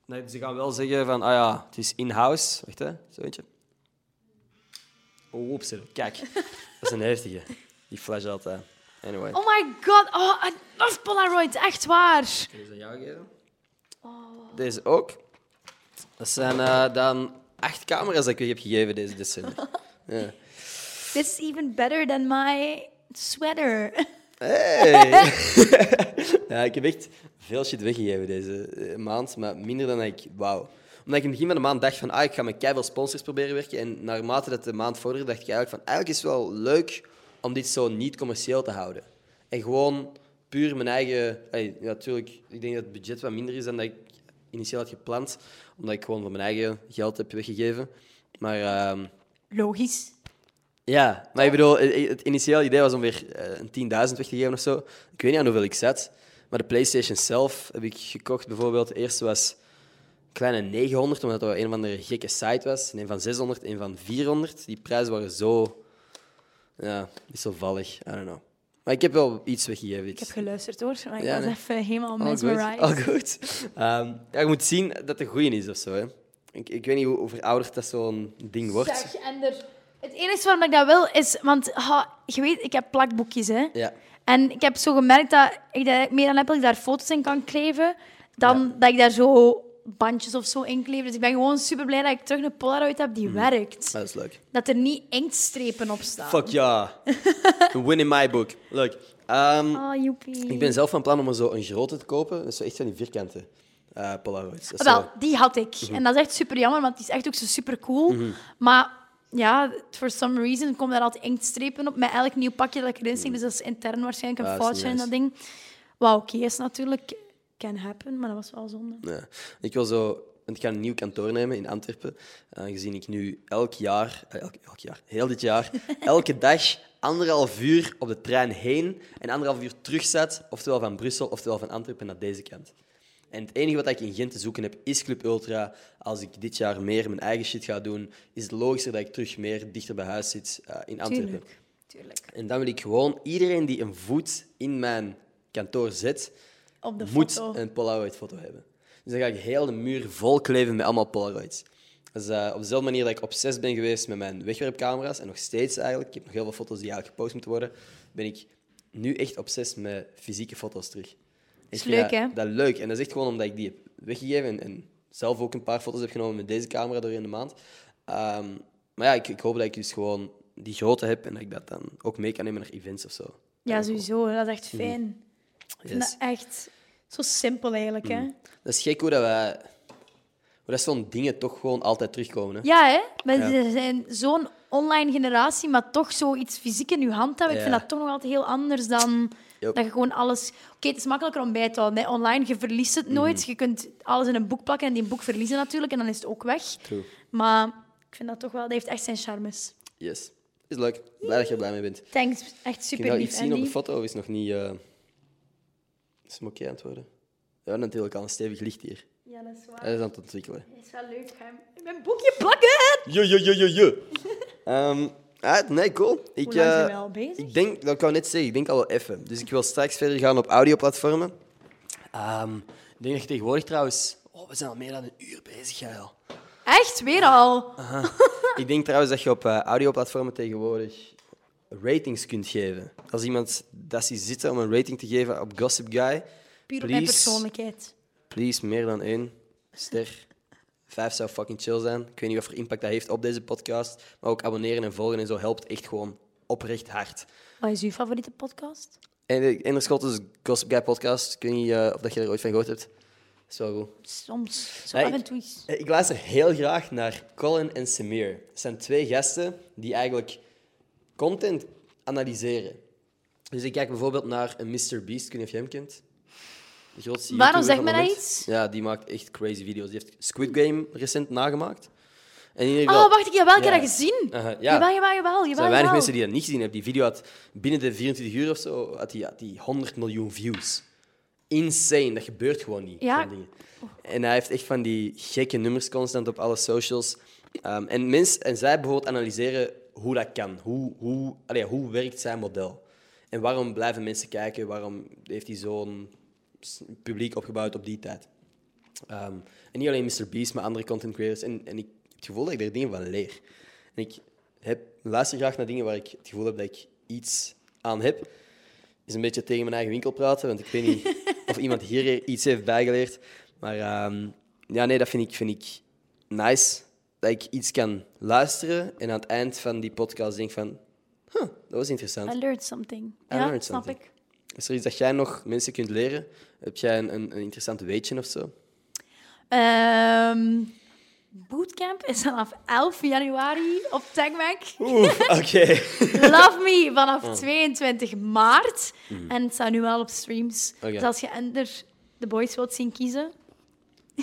nee, ze gaan wel zeggen van, ah ja, het is in-house. Wacht hè, zo eentje. Oh, oeps, hè. kijk. Dat is een heftige. Die flash altijd. Anyway.
Oh my god. Oh, en dat is Polaroid. Echt waar.
Deze aan jou geven. Deze ook. Dat zijn eh, dan acht camera's dat ik je heb gegeven deze december. Ja.
This is even better than my sweater. (laughs)
Hey. ja, ik heb echt veel shit weggegeven deze eh, maand, maar minder dan ik wou. Omdat ik in het begin van de maand dacht van, ah, ik ga met keiveel sponsors proberen werken. En naarmate dat de maand vorderde, dacht ik eigenlijk van, eigenlijk is het wel leuk om dit zo niet commercieel te houden. En gewoon puur mijn eigen... Hey, ja, natuurlijk, ik denk dat het budget wat minder is dan dat ik initieel had gepland. Omdat ik gewoon van mijn eigen geld heb weggegeven. Maar... ehm,
Logisch.
ja, maar ik bedoel, eh, eh, het initiële idee was om weer eh, een 10.000 weg te geven of zo. Ik weet niet aan hoeveel ik zat. Maar de PlayStation zelf heb ik gekocht bijvoorbeeld. De eerste was een kleine 900, omdat dat een van de gekke site was. En een van 600, een van 400. Die prijzen waren zo... Ja, niet zo vallig. I don't know. Maar ik heb wel iets weggegeven.
Ik
Iets.
heb geluisterd hoor, maar ik
Ja,
was
nee.
even helemaal
Al goed.
mesmerized.
Al goed. Ehm, ja, je moet zien dat de goeie is of zo. Hè. Ik, ik weet niet hoe hoe verouderd dat zo'n ding wordt.
Zeg, en er- Het enige waarom ik dat wil is, want ha, je weet, ik heb plakboekjes hè.
Ja.
En ik heb zo gemerkt dat ik daar meer dan heb dat ik daar foto's in kan kleven, dan dat ik daar zo bandjes of zo in kleef. Dus ik ben gewoon super blij dat ik terug een Polaroid heb die werkt.
Mhm. Maar dat is leuk.
Dat er niet inktstrepen op staan.
Fuck
(laughs)
ja. Een Win in my book. Leuk. Ehm,
Oh, joepie.
ik ben zelf van plan om er zo een grote te kopen. Dat is zo echt van die vierkante eh Polaroids. Dat is
Ah,
zo- Mhm.
Wel, die had ik. En dat is echt super jammer, want die is echt ook zo super cool. Maar ja, for some reason komen daar altijd inktstrepen op met elk nieuw pakje dat ik erin steek. Dus dat is intern waarschijnlijk een
Mhm. Ah, dat is
foutje in
niet
dat ding. Wat oké is natuurlijk, can happen, maar dat was wel zonde.
Ja. Ik wil zo... want Ik ga een nieuw kantoor nemen in Antwerpen. Aangezien ik nu elk jaar, eh, elk, elk jaar, heel dit jaar, elke dag anderhalf uur op de trein heen en anderhalf uur terug zat. Oftewel van Brussel, oftewel van Antwerpen naar deze kant. En het enige wat ik in Gent te zoeken heb, is Club Ultra. Als ik dit jaar meer mijn eigen shit ga doen, is het logischer dat ik terug meer dichter bij huis zit eh, in Antwerpen.
Tuurlijk. Tuurlijk.
En dan wil ik gewoon iedereen die een voet in mijn kantoor zet,
Op de
moet
foto.
een Polaroid-foto hebben. Dus dan ga ik heel de muur vol kleven met allemaal Polaroids. Dus eh, op dezelfde manier dat ik obsessief ben geweest met mijn wegwerpcamera's, en nog steeds eigenlijk, ik heb nog heel veel foto's die eigenlijk gepost moeten worden, ben ik nu echt obsessief met fysieke foto's terug. Ik vind
Is leuk,
dat-
hè?
Dat is leuk. En dat is echt gewoon omdat ik die heb weggegeven en, en zelf ook een paar foto's heb genomen met deze camera door in de maand. Ehm, maar ja, ik, ik hoop dat ik dus gewoon die grote heb en dat ik dat dan ook mee kan nemen naar events of zo.
Ja, sowieso. hè. Dat is echt fijn. Ik vind
Mm-hmm. Yes. Mm-hmm.
dat echt zo simpel eigenlijk, hè.
Dat is gek hoe dat wij... Hoe dat zo'n dingen toch gewoon altijd terugkomen. Hè?
Ja, hè? We
Ja.
we zijn zo'n online generatie, maar toch zoiets fysiek in je hand hebben. Ik
Ja.
vind dat toch nog altijd heel anders dan
Yep.
dat je gewoon alles... Oké, het is makkelijker om bij te houden. Hè? Online, je verliest
Mm-hmm.
het nooit. Je kunt alles in een boek plakken en die boek verliezen natuurlijk. En dan is het ook weg.
True.
Maar Ik vind dat toch wel... Dat heeft echt zijn charmes.
Yes. Is leuk. Blij dat je er blij mee bent.
Thanks. Echt
Kun je
super
nou
lief,
iets zien op
Andy.
de foto of is nog niet... eh Is hem oké aan het worden? Ja, natuurlijk al een stevig licht hier.
Ja, dat is waar.
Hij is aan het ontwikkelen.
Dat is wel leuk. Ga hem in mijn boekje plakken!
Jo, jo, jo, jo, jo. Ehm, right, nee, cool. Ik,
Hoe lang zijn
eh,
we al bezig?
Ik denk, dat kan net zeggen, ik denk al wel even. Dus ik wil straks verder gaan op audioplatformen. Ehm, ik denk dat je tegenwoordig trouwens... Oh, we zijn al meer dan een uur bezig, Jael.
Echt? Weer al?
Ik denk trouwens dat je op eh, audioplatformen tegenwoordig ratings kunt geven. Als iemand dat ziet zitten om een rating te geven op Gossip Guy,
Puur op mijn
Please.
persoonlijkheid.
please, meer dan één ster. Vijf zou fucking chill zijn. Ik weet niet wat voor impact dat heeft op deze podcast. Maar ook abonneren en volgen en zo helpt echt gewoon oprecht hard.
Wat is uw favoriete podcast?
En eh, Enderschot is dus Gossip Guy podcast. Ik weet niet eh, of dat je er ooit van gehoord hebt. Dat is wel goed.
Soms. Zo
Nee,
af
ik-
en toe eens.
Eh, Ik luister heel graag naar Colin en Samir. Het zijn twee gasten die eigenlijk content analyseren. Dus ik kijk bijvoorbeeld naar een Mr. Beast, ik weet niet of je hem kent. De grootste
Waarom
YouTuber
zegt
van
mij dat
moment.
iets?
Ja, die maakt echt crazy video's. Die heeft Squid Game recent nagemaakt. En in ieder geval-
Oh, wacht, ik heb wel een keer
Ja.
dat gezien.
Aha, ja.
Jawel, jawel, jawel.
Er
jawel,
zijn weinig
jawel.
mensen die dat niet gezien hebben. Die video had binnen de 24 uur of zo had die, had die 100 miljoen views. Insane, dat gebeurt gewoon niet.
Ja.
zo'n dingen. En hij heeft echt van die gekke nummers constant op alle socials. Ehm, en, mens, en zij bijvoorbeeld analyseren hoe dat kan. Hoe, hoe, allee, hoe werkt zijn model? En waarom blijven mensen kijken? Waarom heeft hij zo'n s- publiek opgebouwd op die tijd? Ehm, en niet alleen Mr. Beast, maar andere content creators. En, en ik heb het gevoel dat ik er dingen van leer. En ik heb, luister graag naar dingen waar ik het gevoel heb dat ik iets aan heb. Is een beetje tegen mijn eigen winkel praten, want ik weet (laughs) niet of iemand hier iets heeft bijgeleerd. Maar ehm, ja, nee, dat vind ik, vind ik nice. Dat ik iets kan luisteren en aan het eind van die podcast denk van... Huh, dat was interessant.
I learned something.
I
ja,
learned
snap
something.
ik.
Is er iets dat jij nog mensen kunt leren? Heb jij een, een, een interessant weetje of zo?
Ehm, bootcamp is vanaf 11 januari op TechMac.
(laughs) Oeh, oké.
Love Me vanaf
Mm.
22 maart. En het staat nu wel op streams.
Oké.
Dus als je Ender de boys wilt zien kiezen... (laughs)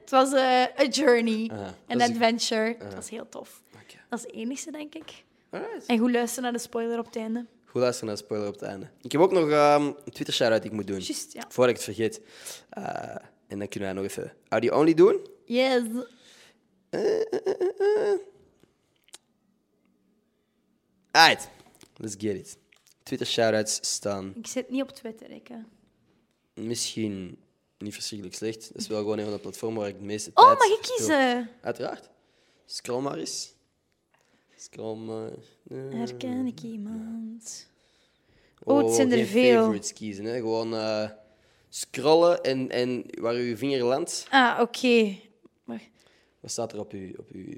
het was eh, a journey,
Ah,
an
dat is- Uh-huh.
adventure. Het was heel tof.
Oké.
Dat is het enigste, denk ik.
Alright.
En goed luisteren naar de spoiler op het einde.
Goed luisteren naar de spoiler op het einde. Ik heb ook nog ehm, een Twitter shout-out die ik moet doen.
Juist, ja.
Voordat ik het vergeet. Eh, en dan kunnen wij nog even audio only doen. Eh,
Yes.
Alright, let's get it. Twitter shoutouts staan
Ik zit niet op Twitter, ik. hè.
misschien niet verschrikkelijk slecht. Dat is wel gewoon een van de platformen waar ik de meeste
Oh,
tijd...
mag ik
speel.
kiezen?
Uiteraard. Scroll maar eens. Scroll maar. Eh,
Herken ik iemand?
Oh,
het zijn er
geen
veel.
favorites kiezen, hè. Gewoon eh, scrollen en, en waar uw vinger landt.
Ah, oké. Wacht.
Wat staat er op uw, op uw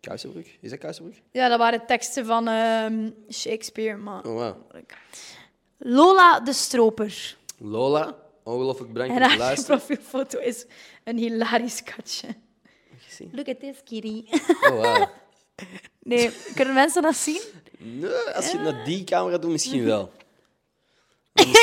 kousenbroek? Is dat kousenbroek?
Ja, dat waren teksten van ehm, Shakespeare, maar...
Oh, wauw.
Lola de Stroper.
Lola, ongelooflijk bedankt
En
voor het
haar
luisteren.
profielfoto is een hilarisch katje.
Heb je gezien?
Look at this kitty.
Oh, wauw.
Nee, kunnen mensen dat zien?
Nee, als je het naar die camera doet, misschien
(laughs)
wel.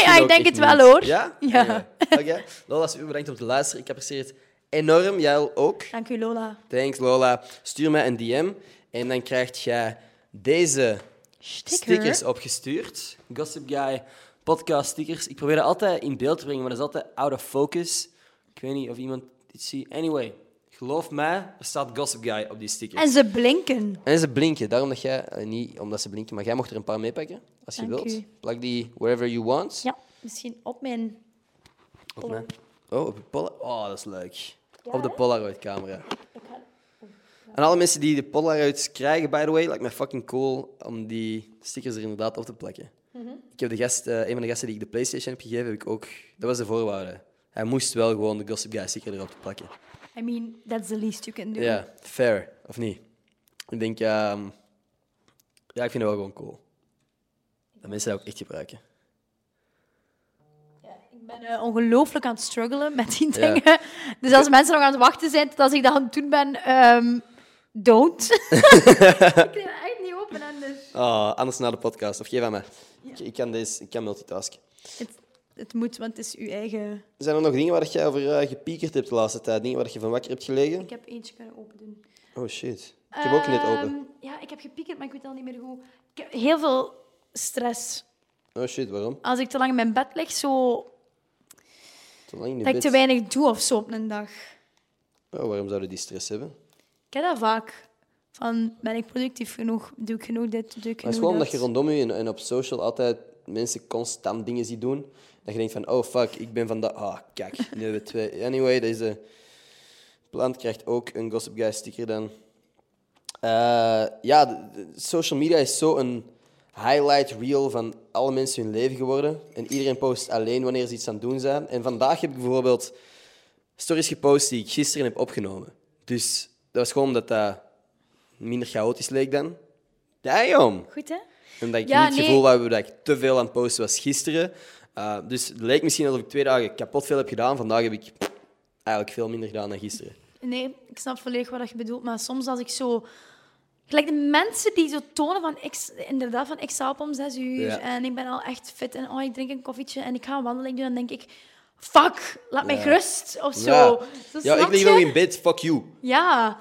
ja, ik denk het wel hoor.
Ja?
Ja.
Oké. Oké. Lola, super bedankt om te luisteren. Ik apprecieer het enorm. Jij ook.
Dank u, Lola.
Thanks, Lola. Stuur mij een DM en dan krijg jij deze stickers opgestuurd. Gossip Guy podcast stickers. Ik probeer dat altijd in beeld te brengen, maar dat is altijd out of focus. Ik weet niet of iemand dit ziet. Anyway, geloof mij, er staat Gossip Guy op die stickers.
En ze blinken.
En ze blinken, daarom dat jij, eh, niet omdat ze blinken, maar jij mocht er een paar meepakken als je
Dank
wilt.
u.
Plak die wherever you want.
Ja, misschien op mijn...
Op mij. Oh, op de Polaroid. Oh, dat is leuk. op de
hè?
Polaroid-camera. En alle mensen die de Polaroids krijgen, by the way, lijkt me fucking cool om die stickers er inderdaad op te plakken.
Mhm.
Ik heb de gast, eh, een van de gasten die ik de PlayStation heb gegeven, heb ik ook. Dat was de voorwaarde. Hij moest wel gewoon de Gossip Guy sticker erop plakken.
I mean, that's the least you can do.
Ja, fair, of niet? Ik denk, ehm, ja, ik vind het wel gewoon cool. Dat mensen dat ook echt gebruiken.
Ik ben eh, ongelooflijk aan het struggelen met die
Ja.
dingen. Dus als mensen nog aan het wachten zijn tot als ik dat aan het doen ben, ehm, don't. (laughs) ik kan het echt niet dus open, Anders.
Ah, anders naar de podcast, of geef aan mij. Ik, ik kan deze, ik kan multitasken.
Het, het moet, want het is uw eigen...
Zijn er nog dingen waar dat jij over eh, gepiekerd hebt de laatste tijd? Dingen waar dat je van wakker hebt gelegen?
Ik heb eentje kunnen open doen.
Oh shit. Ik heb ook net open.
Ehm, Ja, ik heb gepiekerd, maar ik weet al niet meer hoe. Ik heb heel veel stress.
Oh shit, waarom?
Als ik te lang in mijn bed lig, zo,
Te lang in je
dat ik
bed.
te weinig doe of zo op een dag.
Oh, waarom zouden die stress hebben? Maar
Ik heb dat vaak. Van, ben ik productief genoeg? Doe ik genoeg dit? Doe ik
het is
genoeg
gewoon
dat?
omdat je rondom je en, en op social altijd mensen constant dingen ziet doen. Dat je denkt van, oh fuck, ik ben vandaag... Ah, kijk, nu hebben we twee. Anyway, deze plant krijgt ook een Gossip Guy sticker dan. Eh, ja, de- de- social media is zo een highlight reel van alle mensen hun leven geworden. En iedereen post alleen wanneer ze iets aan het doen zijn. En vandaag heb ik bijvoorbeeld stories gepost die ik gisteren heb opgenomen. Dus dat was gewoon omdat dat minder chaotisch leek dan. Damn!
Goed, hè?
Omdat ik
Ja,
niet het
nee.
gevoel had dat ik te veel aan het posten was gisteren. Eh, dus het leek misschien alsof ik twee dagen kapot veel heb gedaan. Vandaag heb ik eigenlijk veel minder gedaan dan gisteren.
Nee, ik snap volledig wat je bedoelt. Maar soms als ik zo... Gelijk de mensen die zo tonen van... Ik, inderdaad, van ik sta op om zes uur
Ja.
en ik ben al echt fit. En oh, ik drink een koffietje en ik ga een wandeling doen. Dan denk ik... Fuck, laat mij
Ja.
gerust. Of zo.
Ja,
Zo
ja ik
snap
lig
je?
nog in bed. Fuck you.
Ja.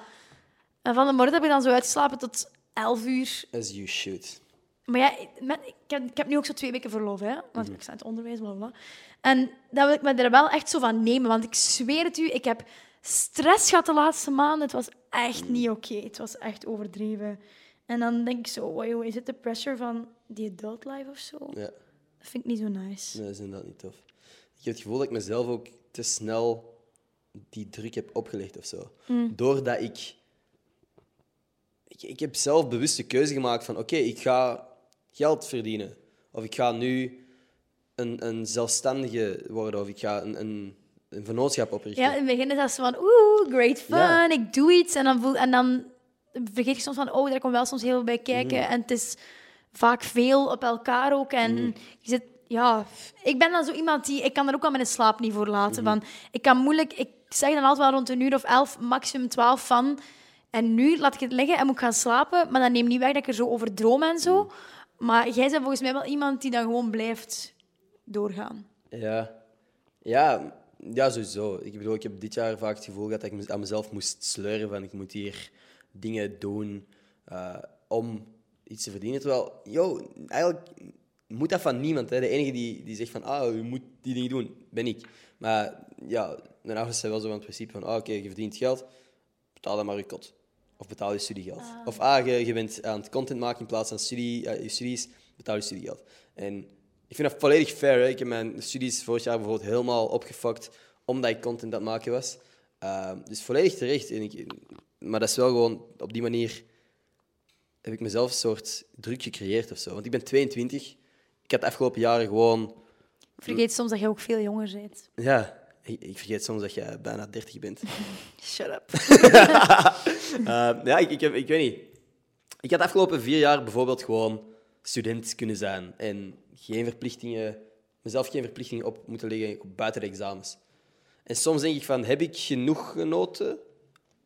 En van de morgen heb ik dan zo uitgeslapen tot elf uur.
As you should.
Maar ja, ik- met, ik, heb, ik heb nu ook zo twee weken verlof, hè. Want ik sta in het onderwijs, bla, bla. bla. En dat wil ik me er wel echt zo van nemen. Want ik zweer het u, ik heb stress gehad de laatste maanden. Het was echt niet oké. Het was echt overdreven. En dan denk ik zo, wow, is het de pressure van die adult life of zo?
Ja,
Dat vind ik niet zo nice.
nee, dat is inderdaad niet tof. Ik heb het gevoel dat ik mezelf ook te snel die druk heb opgelegd of zo. Doordat ik, ik... Ik heb zelf bewust de keuze gemaakt van... Oké, ik ga geld verdienen. Of ik ga nu een, een zelfstandige worden. Of ik ga een, een, een vennootschap oprichten.
Ja, in het begin is dat zo van, oeh, great fun,
Ja.
ik doe iets. En dan, voel, en dan vergeet je soms van, oh, daar komt wel soms heel veel bij kijken. En het is vaak veel op elkaar ook. En je zit, ja, ik ben dan zo iemand die, ik kan er ook wel mijn slaap niet voor laten. van, ik kan moeilijk, ik zeg dan altijd wel rond een uur of elf, maximum twaalf van, en nu laat ik het liggen en moet ik gaan slapen. Maar dat neemt niet weg dat ik er zo over droom en zo. Maar jij bent volgens mij wel iemand die dan gewoon blijft doorgaan.
Ja. Ja, ja, sowieso. Ik bedoel, ik heb dit jaar vaak het gevoel gehad dat ik mez- aan mezelf moest sleuren van ik moet hier dingen doen eh, om iets te verdienen. Terwijl, yo, eigenlijk moet dat van niemand. Hè. De enige die, die zegt van, ah, je moet die dingen doen, ben ik. Maar ja, mijn ouders zijn wel zo van het principe van, ah, oké, je verdient geld, betaal dan maar je kot. Of betaal je studiegeld. Of ah, je, je bent aan het content maken in plaats van studie, eh, je studies, betaal je studiegeld. En ik vind dat volledig fair. Hè. Ik heb mijn studies vorig jaar bijvoorbeeld helemaal opgefokt omdat ik content aan het maken was. Ehm, dus volledig terecht. En ik, maar dat is wel gewoon op die manier heb ik mezelf een soort druk gecreëerd of zo. Want ik ben 22. Ik had de afgelopen jaren gewoon.
Vergeet soms dat jij ook veel jonger bent.
Ja, ik, ik vergeet soms dat je bijna 30 bent.
Shut up.
Eh, ja, ik, ik, heb, ik weet niet. Ik had de afgelopen vier jaar bijvoorbeeld gewoon student kunnen zijn en geen verplichtingen, mezelf geen verplichtingen op moeten leggen buiten de examens. En soms denk ik van, heb ik genoeg genoten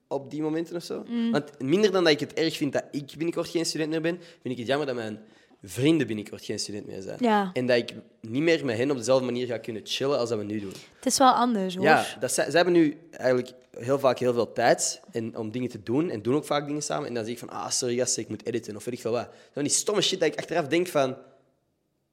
op die momenten of zo? Want minder dan dat ik het erg vind dat ik binnenkort geen student meer ben, vind ik het jammer dat mijn vrienden binnenkort geen student meer zijn.
Ja.
En dat ik niet meer met hen op dezelfde manier ga kunnen chillen als dat we nu doen.
Het is wel anders, hoor.
Ja, dat, zij, zij hebben nu eigenlijk heel vaak heel veel tijd en, om dingen te doen. En doen ook vaak dingen samen. En dan zeg ik van, ah, sorry gasten, ik moet editen. Of weet ik veel wat. Dat is van die stomme shit dat ik achteraf denk van...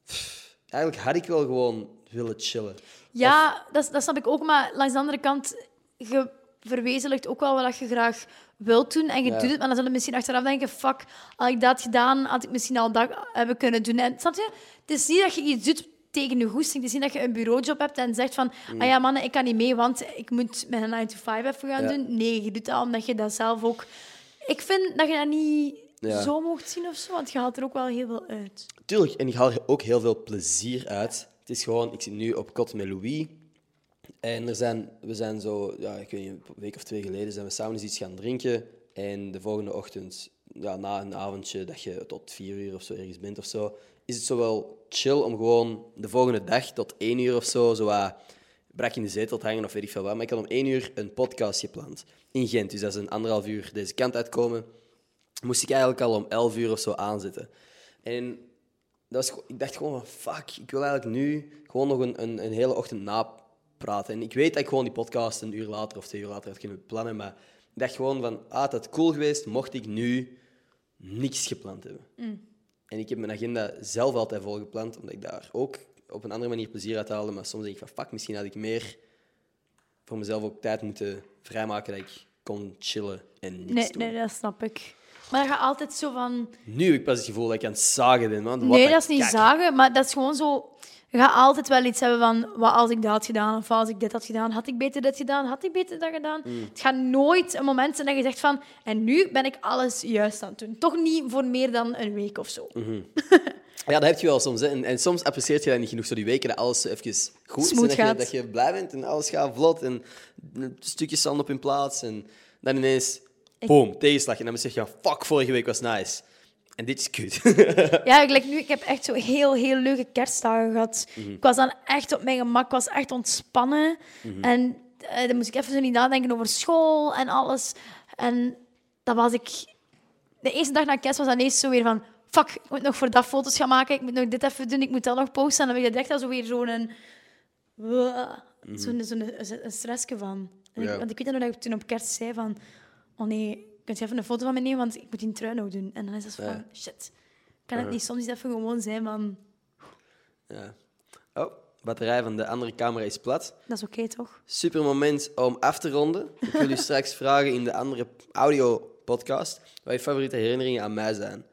pff, eigenlijk had ik wel gewoon willen chillen.
Ja, dat, dat snap ik ook. Maar langs de andere kant, je verwezenlijkt ook wel wat je graag wilt doen. En je
Ja.
doet het, maar dan zullen we misschien achteraf denken... Fuck, had ik dat gedaan, had ik misschien al dat hebben kunnen doen. En, snap je? Het is niet dat je iets doet tegen je goesting. Het is niet dat je een bureaujob hebt en zegt van...
Mm.
Ah ja, mannen, ik kan niet mee, want ik moet mijn 9 to 5 even gaan
Ja.
doen. Nee, je doet dat omdat je dat zelf ook... Ik vind dat je dat niet
Ja.
zo mocht zien of zo, want je haalt er ook wel heel veel uit.
Tuurlijk, en ik haal er ook heel veel plezier uit. Het is gewoon, ik zit nu op kot met Louis. En er zijn, we zijn zo, ja, ik weet niet, een week of twee geleden zijn we samen eens iets gaan drinken. En de volgende ochtend, ja, na een avondje dat je tot vier uur of zo ergens bent of zo, is het zo wel chill om gewoon de volgende dag tot één uur of zo, zo wat brak in de zetel te hangen of weet ik veel wat. Maar ik had om één uur een podcast gepland in Gent. Dus dat is een anderhalf uur deze kant uitkomen. Moest ik eigenlijk al om elf uur of zo aanzetten. En dat was, gewoon- ik dacht gewoon van, fuck, ik wil eigenlijk nu gewoon nog een, een, een hele ochtend napraten. En ik weet dat ik gewoon die podcast een uur later of twee uur later had kunnen plannen, maar dacht gewoon van, ah, dat cool geweest, mocht ik nu niks gepland hebben.
Mm.
En ik heb mijn agenda zelf altijd volgepland, omdat ik daar ook op een andere manier plezier uit haalde. Maar soms denk ik van, fuck, misschien had ik meer voor mezelf ook tijd moeten vrijmaken dat ik kon chillen en niks
Nee,
doen.
nee, dat snap ik. Maar dat gaat altijd zo van...
Nu heb ik pas het gevoel dat ik aan het zagen ben, man. Wat
nee,
een
dat is niet
kak.
zagen, maar dat is gewoon zo... Je gaat altijd wel iets hebben van, wat als ik dat had gedaan, of als ik dit had gedaan, had ik beter dit gedaan, had ik beter dat gedaan.
Mm.
Het gaat nooit een moment zijn dat je zegt van, en nu ben ik alles juist aan het doen. Toch niet voor meer dan een week of zo.
Mhm. Ja, dat heb je wel soms. Hè. En, en soms apprecieert je dat niet genoeg. Zo die weken dat alles zo even goed
Smooth
is. En dat je,
gaat.
dat je blij bent en alles gaat vlot. En stukjes staan op hun plaats. En dan ineens, boom, tegenslag. En dan zeg je, ja, fuck, vorige week was nice. En dit is kut. (laughs)
Ja, ik, like nu, ik heb echt zo heel, heel leuke kerstdagen gehad.
Mhm.
Ik was dan echt op mijn gemak, ik was echt ontspannen.
Mhm.
En eh, dan moest ik even zo niet nadenken over school en alles. En dan was ik... De eerste dag na kerst was dan ineens zo weer van... Fuck, ik moet nog voor dat foto's gaan maken, ik moet nog dit even doen, ik moet dat nog posten. En dan heb ik daar direct al zo weer zo'n... eh, Zo'n zo'n een stressje van. En ik-
Ja.
Want ik weet nog dat ik toen op kerst zei van... Oh nee, kun je even een foto van me nemen, want ik moet die trui nog doen. En dan is dat zo van...
Ja.
Shit. Kan het niet soms even gewoon zijn van...
ja. Oh, batterij van de andere camera is plat.
Dat is oké, toch?
Super moment om af te ronden. Ik wil u straks vragen in de andere audio-podcast wat je favoriete herinneringen aan mij zijn.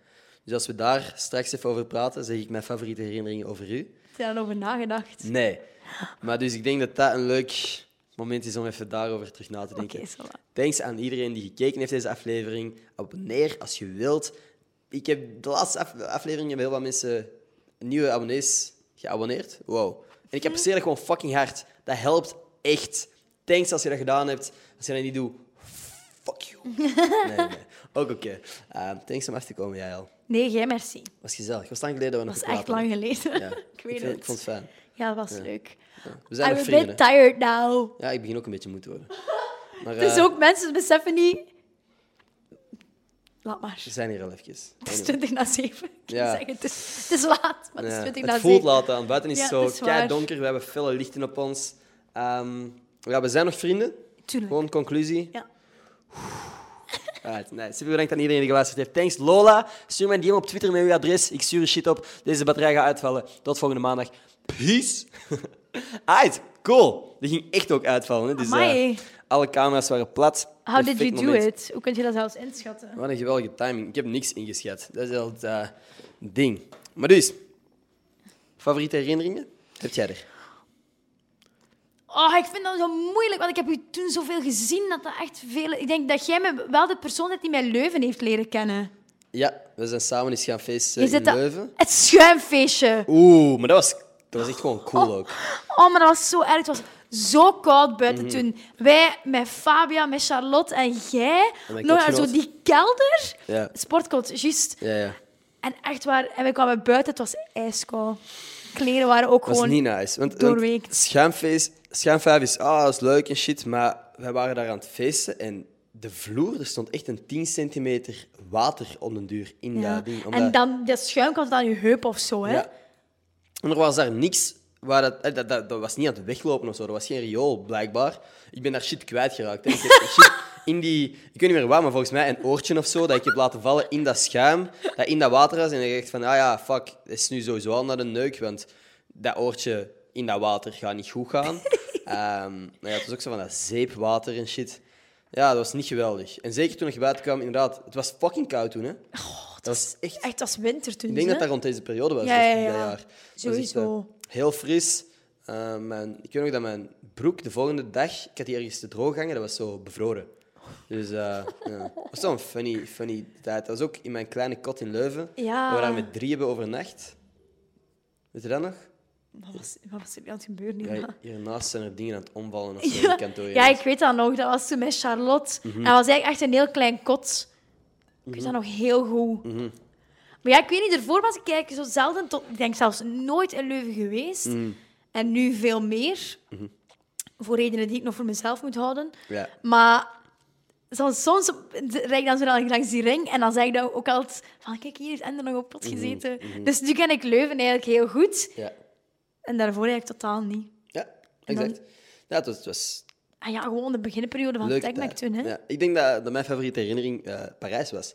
Dus als we daar straks even over praten, zeg ik mijn favoriete herinneringen over u.
Heb je daarover nagedacht?
Nee. Maar dus ik denk dat dat een leuk moment is om even daarover terug na te denken.
Oké, zo voilà.
Thanks aan iedereen die gekeken heeft deze aflevering. Abonneer als je wilt. Ik heb de laatste af- aflevering hebben heel wat mensen nieuwe abonnees geabonneerd. Wow. En ik apprecieer dat gewoon fucking hard. Dat helpt echt. Thanks als je dat gedaan hebt. Als je dat niet doet, fuck you.
(laughs)
Nee, nee. Ook oké. Eh, thanks om af te komen, jij al.
Nee, jij merci.
Was gezellig. Was lang geleden dat we
Dat
nog
is
gepraat
echt lang
hadden.
geleden. (laughs)
Ja.
ik weet
vind-
het.
Ik vond het fijn.
Ja, dat was leuk.
We zijn
I'm
nog
a
vrienden.
bit tired now.
Ja, ik begin ook een beetje moe te
(laughs)
worden. Maar
Het is
eh,
ook mensen beseffen niet... Laat maar.
we zijn hier al eventjes.
(laughs) Het is 20 na 7. Ik kan
Ja.
zeggen, het is, het is laat, maar het is
Ja,
20 na
het
7.
voelt laat aan. Buiten is
Ja,
zo
het is waar.
kei donker. We hebben felle lichten op ons. Ehm, ja, we zijn nog vrienden.
Tuurlijk.
Gewoon conclusie.
Ja.
Alright, nee, super bedankt aan iedereen die geluisterd heeft. Thanks Lola. Stuur mij een DM op Twitter met uw adres. Ik stuur je shit op. Deze batterij gaat uitvallen. Tot volgende maandag. Peace. (laughs) Alright, cool. Die ging echt ook uitvallen. Hè? Dus, eh,
Amai.
alle camera's waren plat.
How did you
Perfect
do
moment.
it? Hoe kun je dat zelfs inschatten?
Wat een geweldige timing. Ik heb niks ingeschat. Dat is al het eh, ding. Maar dus, favoriete herinneringen? Heb jij er?
Oh, ik vind dat zo moeilijk, want ik heb u toen zoveel gezien dat dat echt veel... Ik denk dat jij me wel de persoon bent die mij Leuven heeft leren kennen.
Ja, we zijn samen eens gaan feesten
Je
in
zit dat...
Leuven.
Het schuimfeestje.
Oeh, maar dat was, dat was echt gewoon cool ook.
Oh, maar dat was zo erg. Het was zo koud buiten
Mhm.
toen. Wij met Fabia, met Charlotte en jij
En mijn
nog naar
kotgenoot.
zo die kelder.
Ja.
Sportkot, juist.
Ja, ja.
En echt waar, en we kwamen buiten, het was ijskoud. Kleren waren ook
Dat was
gewoon...
niet nice. Want, want
doorweekt.
schuimfeest, schuimvijf is, ah, dat is leuk en shit. Maar wij waren daar aan het feesten en de vloer, er stond echt een 10 centimeter water om den duur in
Ja.
dat ding.
En
omdat-
dan, dat schuim kwam tot aan je heup of zo, hè?
Ja. En er was daar niks waar dat, eh, dat, dat, dat was niet aan het weglopen of zo. Er was geen riool, blijkbaar. Ik ben daar shit kwijtgeraakt. Hè. Ik heb shit in die, ik weet niet meer waar, maar volgens mij een oortje of zo dat ik heb laten vallen in dat schuim, dat in dat water was. En ik dacht van, ah ja, fuck, dat is nu sowieso al naar de neuk, want dat oortje in dat water gaat niet goed gaan. Ehm maar ja, het was ook zo van dat zeepwater en shit. Ja, dat was niet geweldig. En zeker toen ik buiten kwam, inderdaad, het was fucking koud toen, hè. dat was echt
Echt, het was winter toen, dus,
ik denk
hè?
dat dat rond deze periode was,
Ja,
dus
ja,
dit
ja.
jaar. Dat was echt,
Sowieso.
eh, heel fris. Eh, mijn, ik weet nog dat mijn broek de volgende dag... Ik had die ergens te droog hangen, dat was zo bevroren. Dus eh (laughs) ja. Het was zo'n funny, funny tijd. Dat was ook in mijn kleine kot in Leuven.
Ja.
Waar we daar met drie hebben overnacht. Weet je dat nog?
Wat was, wat was er aan het gebeuren? Nina?
Ja, hiernaast zijn er dingen aan het omvallen of zo in
(laughs) Ja.
het kantoor. Mhm.
Ja, ik weet dat nog. Dat was toen met Charlotte. En dat was eigenlijk echt een heel klein kot. Ik weet dat nog heel goed.
Mhm.
Maar ja, ik weet niet, ervoor was ik eigenlijk zo zelden tot... Ik denk zelfs nooit in Leuven geweest.
Mhm.
En nu veel meer. Voor redenen die ik nog voor mezelf moet houden.
Ja.
Maar soms, soms rijd ik dan zo lang- langs die ring en dan zeg ik dan ook altijd van kijk, hier is Ender nog op pot
Mhm.
gezeten. Dus nu ken ik Leuven eigenlijk heel goed.
Ja,
En daarvoor eigenlijk totaal niet.
ja
dan-
exact. Ja, het was... Het was
Ah ja, gewoon de beginperiode van
Leuk
TechMac
tijd.
toen, hè?
Ja, ik denk dat, dat mijn favoriete herinnering eh, Parijs was.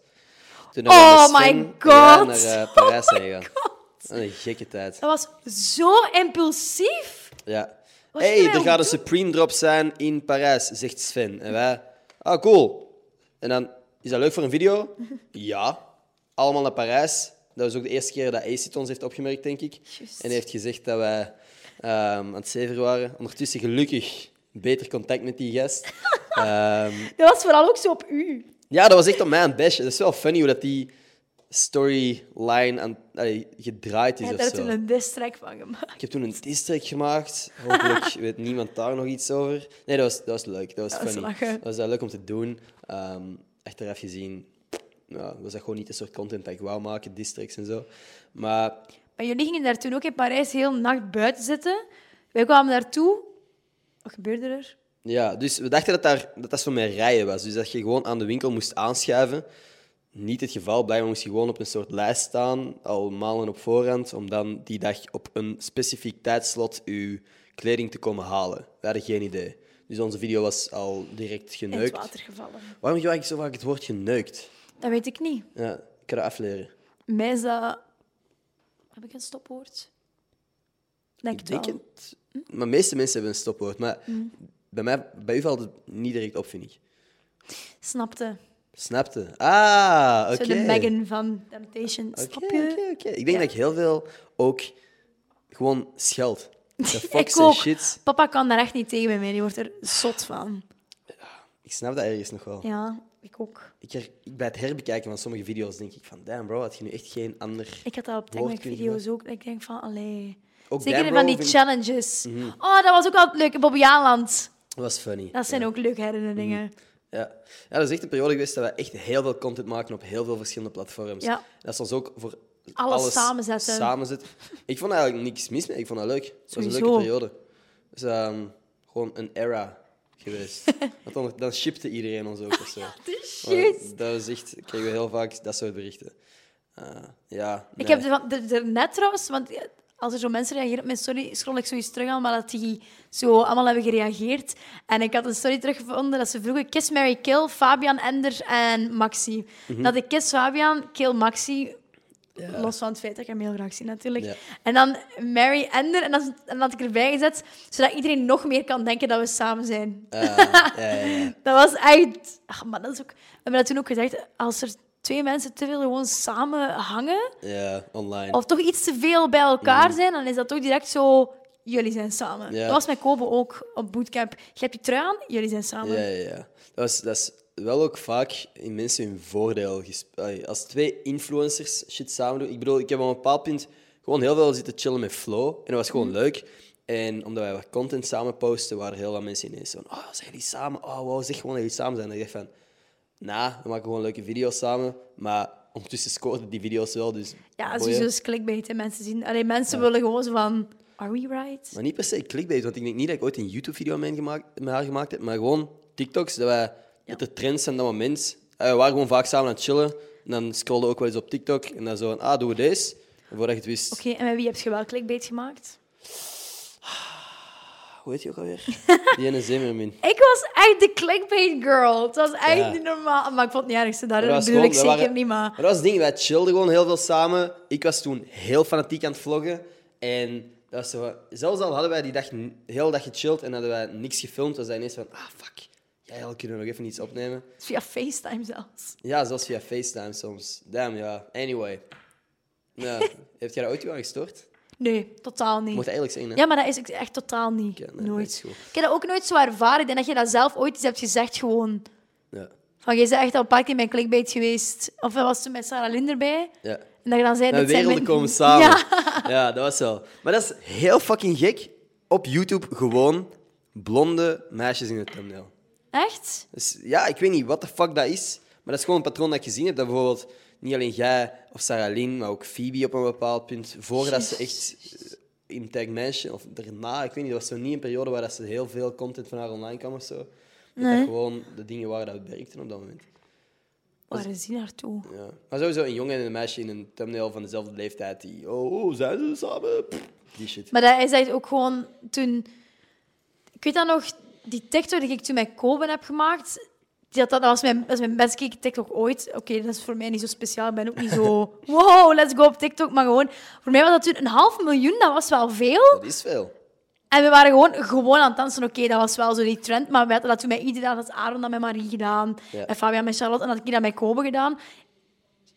Toen we
Oh
met Sven
my
ja,
god.
naar eh, Parijs
Oh my
zijn gegaan.
god.
Wat Een gekke tijd.
Dat was zo impulsief.
Ja.
Wat
hey,
gingen wij
er gaat een
doen?
Supreme Drop zijn in Parijs, zegt Sven. En wij, ah cool. En dan, is dat leuk voor een
(laughs)
video? Ja. Allemaal naar Parijs. Dat was ook de eerste keer dat AC ons heeft opgemerkt, denk ik.
Juist.
En heeft gezegd dat wij ehm, aan het zeven waren. Ondertussen gelukkig beter contact met die gast. Ehm,
Dat was vooral ook zo op u.
ja, dat was echt op mij een bash. Het is wel funny hoe dat die storyline aan, allee, gedraaid is
Hij
of
had daar
zo.
toen een distrek van gemaakt.
Ik heb toen een district gemaakt.
(laughs)
Hopelijk weet niemand daar nog iets over. Nee, dat was, dat was leuk. Dat was
Dat was
funny.
lachen.
Dat was eh, leuk om te doen. Ehm achteraf gezien nou, was dat gewoon niet de soort content dat ik wou maken, districts en zo. Maar
Maar jullie gingen daar toen ook in Parijs heel nacht buiten zitten. Wij kwamen daartoe. Wat gebeurde er?
ja, dus we dachten dat daar, dat, dat zo met rijen was. Dus dat je gewoon aan de winkel moest aanschuiven. Niet het geval, blijkbaar moest je gewoon op een soort lijst staan, al maanden op voorhand, om dan die dag op een specifiek tijdslot je kleding te komen halen. We hadden geen idee. Dus onze video was al direct
In het
geneukt.
water gevallen.
Waarom gebruik ik zo vaak het woord geneukt?
Dat weet ik niet.
Ja, ik kan dat afleren.
Mij is dat... Heb ik een stopwoord? Denk
Ik
het
denk
wel. Mm.
het. Maar de meeste mensen hebben een stopwoord. Maar bij, mij, bij u valt het niet direct op, vind ik.
Snapte.
Snapte? Ah, oké.
Zo de Megan van Temptation.
Oké,
Snap je?
oké, oké. Ik denk dat ik heel veel ook gewoon
(laughs)
scheld. De
Ik
fox en
ook.
shit.
Papa kan daar echt niet tegen bij mij. Die wordt er zot van.
Ik snap dat ergens nog wel.
Ja, ik ook.
Ik her- ik, bij het herbekijken van sommige video's denk ik van... Damn bro, had je nu echt geen ander...
Ik had dat op
Woord
TikTok
kun je
video's ook. dat Ik denk van, allee.
Ook
Zeker
damn,
van
bro,
die
vind ik- Mhm.
challenges. Oh, dat was ook altijd leuk. Bobby Aanland.
Dat was funny.
Dat zijn ook leuke herinneringen.
Mhm. Ja. ja, dat is echt een periode geweest dat we echt heel veel content maken op heel veel verschillende platforms.
Ja.
Dat is ons ook voor
Alles samenzetten.
samenzetten. Ik vond eigenlijk niks mis mee. Ik vond dat leuk. Het was een
Sowieso.
leuke periode. Dus ehm, gewoon een era
(laughs)
geweest. Want dan, dan shipte iedereen ons ook of zo.
Juist.
Maar Dat was echt, kregen we heel vaak dat soort berichten. Eh, ja,
Ik
nee.
heb er, van- er, er net trouwens, want als er zo mensen reageren op mijn story, scroll ik zoiets terug aan, maar dat die zo allemaal hebben gereageerd. En ik had een story teruggevonden dat ze vroegen Kiss, Mary Kill, Fabian, Ender en Maxi.
Mhm.
Dat ik Kiss, Fabian, Kill, Maxi... Los van het feit dat ik hem heel graag zie, natuurlijk.
Ja.
En dan Mary Ender, en dan, en dat had ik erbij gezet, zodat iedereen nog meer kan denken dat we samen zijn.
Eh, ja, ja, ja.
(laughs) Dat was echt... Ach, maar dat is ook... We hebben dat toen ook gezegd, als er twee mensen te veel gewoon samen hangen,
Ja, online.
of toch iets te veel bij elkaar zijn, dan is dat toch direct zo. Jullie zijn samen.
Mm. Ja.
Dat was met Kobe ook op bootcamp. Je hebt je trui aan, jullie zijn samen.
Ja, ja, ja. Dat, was, dat is wel ook vaak in mensen hun voordeel. gesp- Allee, Als twee influencers shit samen doen. Ik bedoel, ik heb op een bepaald punt gewoon heel veel zitten chillen met Flo. En dat was gewoon
Mhm.
leuk. En omdat wij wat content samen posten, waren heel wat mensen ineens van... Oh, zijn jullie samen? Oh, wow, zeg gewoon dat jullie samen zijn. En ik dacht van... Nou, we maken gewoon leuke video's samen. Maar ondertussen scoorden die video's wel, dus...
Ja,
boeien.
als je zo'n clickbait en mensen zien. Alleen mensen willen gewoon zo van. Are we right?
Maar niet per se clickbait, want ik denk niet dat ik ooit een YouTube-video met, hen gemaakt- met haar gemaakt heb, maar gewoon TikToks, dat, wij, dat de trends zijn op dat moment. Eh, we waren gewoon vaak samen aan het chillen. En dan scrollden we ook wel eens op TikTok. En dan zo van, ah, doen we deze? En voordat je het wist,
Oké, en met wie heb je wel clickbait gemaakt?
hoe heet je ook alweer? Die ene Zimmerman.
Ik was echt de clickbait girl. Het was echt
Ja.
niet normaal. Maar ik vond het niet erg. zo Daar
Maar dat was
bedoel
gewoon-
ik
we
zeker
waren-
niet, maar...
Maar dat was het ding, wij chillden gewoon heel veel samen. Ik was toen heel fanatiek aan het vloggen. En dat was zo, van- zelfs al hadden wij die dag n- de hele dag gechilled en hadden wij niks gefilmd, was dat ineens van, ah, fuck. Jij al kunnen we nog even iets opnemen.
Via FaceTime zelfs.
Ja, zelfs via FaceTime soms. Damn, ja. Anyway. Ja.
(laughs)
Heeft jij dat ooit aan gestoord?
Nee, totaal niet.
Moet dat eigenlijk zijn, hè?
Ja, maar dat is ik echt totaal niet.
Oké, nee, dat is
nooit.
goed.
Ik heb dat ook nooit zo ervaren. Ik denk dat je dat zelf ooit eens hebt gezegd, gewoon...
Ja.
Van, jij bent echt al een paar keer mijn clickbait geweest. Of er was toen met Sarah Linder bij.
ja.
En dat je dan zei...
Mijn
dit zijn
werelden
mijn-
komen samen.
Ja.
(laughs) Ja. dat was wel. Maar dat is heel fucking gek. Op YouTube gewoon blonde meisjes in het thumbnail.
Echt?
Dus, ja, ik weet niet wat de fuck dat is. Maar dat is gewoon een patroon dat ik gezien heb. Dat bijvoorbeeld niet alleen jij of Sarah Lynn, maar ook Phoebe op een bepaald punt. Voordat ze echt eh, in Tag Mansion of daarna, ik weet niet, dat was zo niet een periode waar dat ze heel veel content van haar online kwam of zo. Dat dat gewoon de dingen waren dat werkten op dat moment.
Waar is die naartoe?
Ja. Maar sowieso een jongen en een meisje in een thumbnail van dezelfde leeftijd die. Oh, oh, zijn ze samen? Pff, die shit.
Maar dat is echt ook gewoon toen... Ik weet dat nog, die TikTok die ik toen met Koben heb gemaakt, die had dat, dat was mijn, dat is mijn best gekeken TikTok ooit. Oké, dat is voor mij niet zo speciaal. Ik ben ook niet
(laughs)
zo... Wow, let's go op TikTok. Maar gewoon, voor mij was dat toen een half miljoen. Dat was wel veel.
Dat is veel.
En we waren gewoon, gewoon aan het dansen. Oké, dat was wel zo die trend. Maar we hadden dat toen met iedereen. Dat had Aaron dat met Marie gedaan.
Ja.
En Fabian met Charlotte. En dat had ik dat met Kobe gedaan.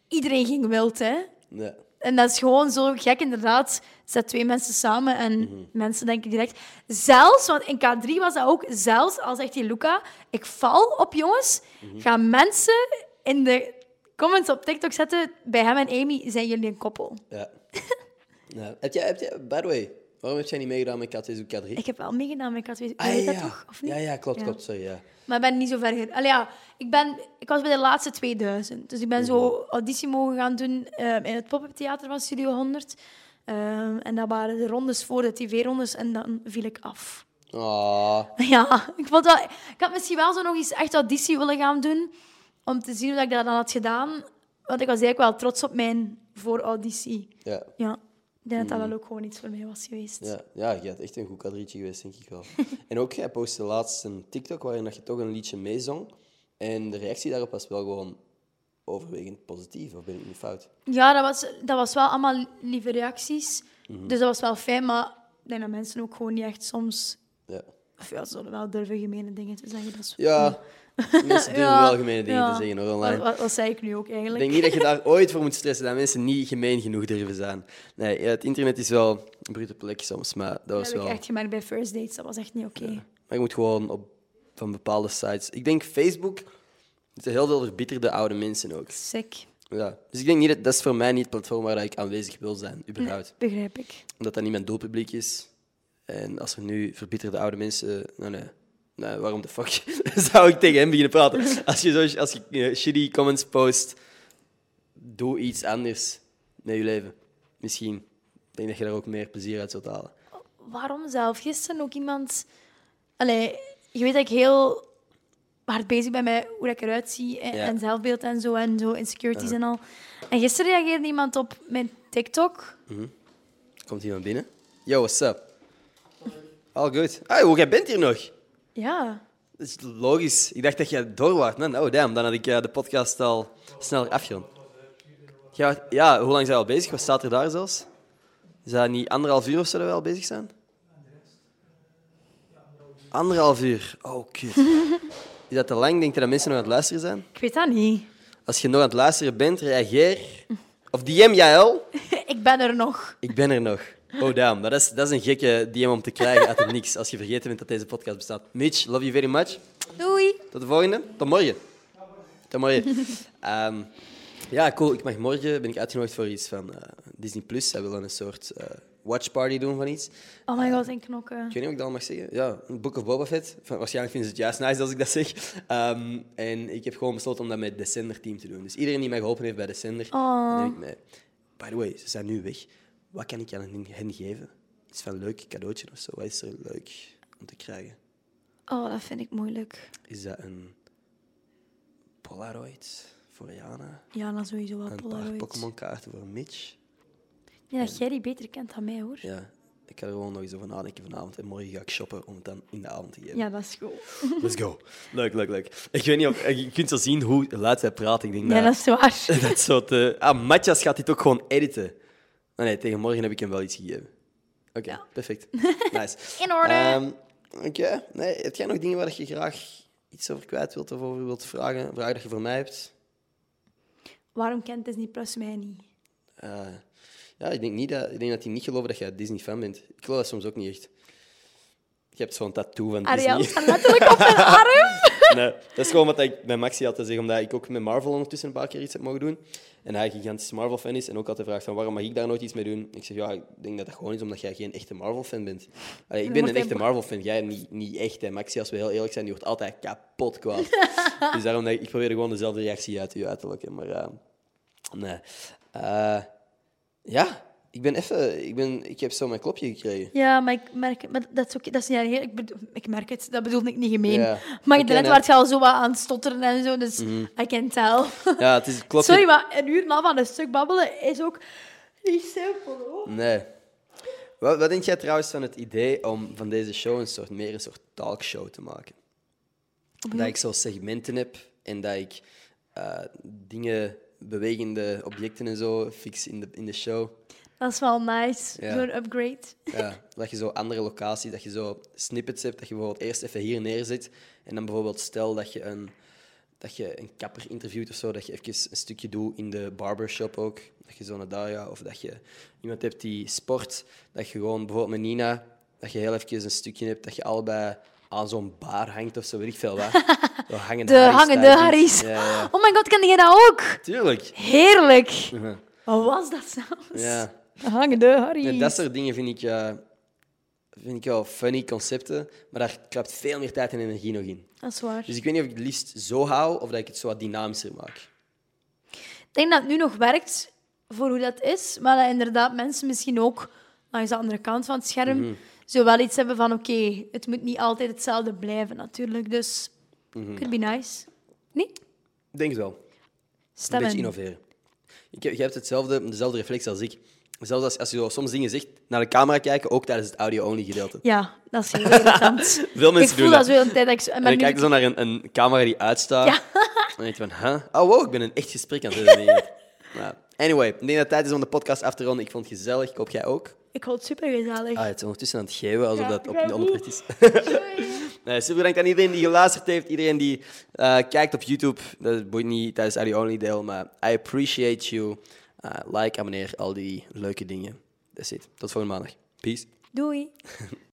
Iedereen ging wild, hè.
Ja.
En dat is gewoon zo gek, inderdaad. Zet twee mensen samen en
Mhm.
mensen denken direct. Zelfs, want in K3 was dat ook, zelfs al zegt die Luca, ik val op jongens,
Mhm.
gaan mensen in de comments op TikTok zetten, bij hem en Amy zijn jullie een koppel.
ja. ja. Heb jij, heb jij, by the way, waarom heb jij niet meegedaan met K2 zoek K3?
Ik heb wel meegedaan, maar ik had weet,
Ah,
weet
ja.
dat toch, of niet?
ja, ja, klopt, klopt, sorry. Ja.
Maar ik ben niet zo ver. ge- Allee, ja, ik, ben, ik was bij de laatste 2000. Dus ik ben zo auditie mogen gaan doen ehm, in het pop-up theater van Studio 100. Ehm, en dat waren de rondes voor de tv-rondes en dan viel ik af. (laughs)
Ah,
Ja, ik, vond wel, ik had misschien wel zo nog eens echt auditie willen gaan doen. Om te zien hoe dat ik dat dan had gedaan. Want ik was eigenlijk wel trots op mijn voorauditie.
ja.
Ja, ik denk dat dat wel ook gewoon iets voor mij was geweest.
Ja, ja, je had echt een goed kadrietje geweest, denk ik
(laughs)
wel. en ook, jij postte laatst een TikTok waarin dat je toch een liedje meezong. En de reactie daarop was wel gewoon overwegend positief, of ben ik niet fout?
Ja, dat was, dat was wel allemaal lieve reacties.
Mhm.
Dus dat was wel fijn, maar ik denk dat mensen ook gewoon niet echt soms...
Ja,
Of ja, ze zullen wel durven gemene dingen te zeggen. Dat is, (laughs)
ja mensen durven
Ja,
wel gemene dingen
ja.
te zeggen hoor,
Wat,
online.
wat, wat zei ik nu ook
Ik
eigenlijk?
denk niet dat je
(laughs)
daar ooit voor moet stressen, dat mensen niet gemeen genoeg durven zijn. Nee, ja, het internet is wel een brute plek soms, maar dat
Dat
was
heb ik
wel...
echt gemerkt bij first dates. Dat was echt niet oké.
Maar je moet gewoon op, van bepaalde sites... Ik denk Facebook... Er zijn heel veel verbitterde oude mensen ook.
Sick.
Ja. Dus ik denk niet dat dat is voor mij niet het platform waar ik aanwezig wil zijn, überhaupt.
Begrijp ik.
Omdat dat niet mijn doelpubliek is. En als er nu verbitterde oude mensen. Nou nee. Nou, waarom de fuck (laughs) zou ik tegen hem beginnen praten? Als je, zo, als je eh, shitty comments post, doe iets anders met je leven. Misschien. Ik denk dat je daar ook meer plezier uit zult halen.
waarom zelf? Gisteren ook iemand... Allee, je weet dat ik heel hard bezig ben met hoe dat ik eruit zie en,
Ja.
en zelfbeeld en zo en zo, insecurities en al. En gisteren reageerde iemand op mijn TikTok.
Komt iemand binnen? Yo, what's up? All good. Ah, hoe jij bent hier nog?
Ja.
Dat is logisch. Ik dacht dat jij door was. Man. Oh, damn. Dan had ik eh, de podcast al sneller afgerond. Jij was- Ja, hoe lang zijn we al bezig? Wat staat er daar zelfs? Is dat niet anderhalf uur of zo dat we al bezig zijn? Anderhalf uur. Oh, kut. Is dat te lang? Denk je dat mensen nog aan het luisteren zijn?
Ik weet dat niet. (laughs)
Als je nog aan het luisteren bent, reageer. Of DM Jael.
ik ben er nog.
Ik ben er nog. Oh, damn. Dat is, dat is een gekke DM om te krijgen uit het niks. Als je vergeten bent dat deze podcast bestaat. Mitch, love you very much.
Doei.
Tot de volgende. Tot morgen. Tot morgen. Ehm, ja, cool. Ik mag morgen ben ik uitgenodigd voor iets van eh, Disney Plus. Zij willen een soort eh, watchparty doen van iets.
Oh my god, en knokken.
Ik weet niet of ik dat al mag zeggen. Ja, een Book of Boba Fett. Van- waarschijnlijk vinden ze het juist nice als ik dat zeg. Ehm, en ik heb gewoon besloten om dat met Descender team te doen. Dus iedereen die mij geholpen heeft bij Descender,
Oh.
neem ik mee. By the way, ze zijn nu weg. Wat kan ik aan hen- hen geven? Iets van een leuk cadeautje of zo. Wat is er leuk om te krijgen?
Oh, dat vind ik moeilijk.
Is dat een Polaroid voor Jana?
Ja, dan sowieso wel
Een paar
Polaroid.
Pokémon kaarten voor Mitch?
Ja, dat jij die beter kent dan mij, hoor. Ja,
Ja, ik ga er gewoon nog eens over nadenken vanavond. En morgen ga ik shoppen om het dan in de avond te geven.
dat is goed.
Let's go. (laughs) Leuk, leuk, leuk. Ik weet niet of... eh, Je kunt zo zien hoe laat zij praat. Ik denk
Ja, dat
dat...
is waar.
(laughs) dat soort... eh, ah, Matjas gaat dit ook gewoon editen. Maar nee, tegen morgen heb ik hem wel iets gegeven. Oké,
(laughs)
perfect. Nice.
(laughs) In orde.
Ehm, Oké. Nee, heb jij nog dingen waar je graag iets over kwijt wilt of over wilt vragen? Een vraag dat je voor mij hebt?
Waarom kent Disney Plus mij niet?
Eh, ja, ik denk, niet dat, ik denk dat die niet geloven dat jij Disney-fan bent. Ik geloof dat soms ook niet echt. Je hebt zo'n tattoo van (laughs)
Ariel
Disney.
staat letterlijk op mijn arm.
(laughs) Nee, dat is gewoon wat ik bij Maxi had te zeggen, omdat ik ook met Marvel ondertussen een paar keer iets heb mogen doen. En hij een gigantische Marvel-fan is en ook altijd vraagt van waarom mag ik daar nooit iets mee doen? Ik zeg, ja, ik denk dat dat gewoon is omdat jij geen echte Marvel-fan bent. Allee, ik ben
wordt
een
hij
echte
bo-
Marvel-fan, jij niet, niet echt. Hè. Maxi, als we heel eerlijk zijn, die wordt altijd kapot kwaad. dus daarom, dat ik ik probeer gewoon dezelfde reactie uit u uit te lokken. Maar eh, nee. Eh, ja, ik ben even... Ik, ben, ik heb zo mijn klopje gekregen.
Ja, maar ik merk het. Maar dat is, oké, dat is niet erg. Ik, bedoel- ik merk het. Dat bedoelde ik niet gemeen.
Ja.
Maar
Oké,
je net
nee.
werd je al zo wat aan het stotteren en zo. Dus I can tell.
Ja, het is het klopje...
Sorry, maar een uur na van een stuk babbelen is ook niet simpel, hoor.
Nee. Wat, wat denk jij trouwens van het idee om van deze show een soort, meer een soort talkshow te maken? Dat ik zo segmenten heb en dat ik eh, dingen, bewegende objecten en zo fix in de, in de show.
Dat is wel nice.
Ja.
Zo'n upgrade.
Ja, dat je zo andere locaties, dat je zo snippets hebt, dat je bijvoorbeeld eerst even hier neerzet en dan bijvoorbeeld stel dat je een, dat je een kapper interviewt of zo, dat je even een stukje doet in de barbershop ook, dat je zo naar daar gaat, of dat je iemand hebt die sport, dat je gewoon bijvoorbeeld met Nina, dat je heel even een stukje hebt, dat je allebei aan zo'n bar hangt of zo, weet ik veel
(laughs)
wat. Zo hangende
De
Harry's
hangende
type iets.
Harry's.
Ja, ja,
(laughs) Oh my god, kende jij dat ook?
tuurlijk.
Heerlijk. Wat was dat zelfs?
Ja.
De hangende Harry.
Ja, dat soort dingen vind ik, eh, vind ik wel funny concepten, maar daar klapt veel meer tijd en energie nog in.
Dat is waar.
Dus ik weet niet of ik het liefst zo hou of dat ik het zo wat dynamischer maak.
Ik denk dat het nu nog werkt voor hoe dat is, maar dat inderdaad mensen misschien ook langs de andere kant van het scherm
Mhm.
zo wel iets hebben van oké, het moet niet altijd hetzelfde blijven natuurlijk, dus
Mhm.
could be nice. Nee?
Ik denk het wel. Een
Stemmen.
beetje innoveren. Ik, heb- jij hebt hetzelfde, dezelfde reflex als ik. Zelfs als, als je zo soms dingen zegt, naar de camera kijken, ook tijdens het audio-only gedeelte.
Ja, dat is heel irritant.
(laughs) Veel mensen
ik voel
doen
dat
dat.
zo een tijd dat ik zo...
En
maar
dan
nu-
kijk je zo naar een, een camera die uitstaat.
Ja. (laughs)
En dan denk je van, huh? Oh wow, ik ben een echt gesprek aan het hebben. (laughs) hier. Nou, anyway, ik denk dat het tijd is om de podcast af te ronden. Ik vond het gezellig, ik hoop jij ook.
Ik vond het supergezellig.
Ah, het is ondertussen aan het geven, alsof
Ja,
dat op
ik
de
ben
onderricht is. (laughs) nee, super bedankt aan iedereen die geluisterd heeft, iedereen die eh, kijkt op YouTube. Dat boeit niet tijdens Audio Only deel, maar I appreciate you. Eh, like, abonneer, al die leuke dingen. That's it. Tot volgende maandag. Peace.
Doei.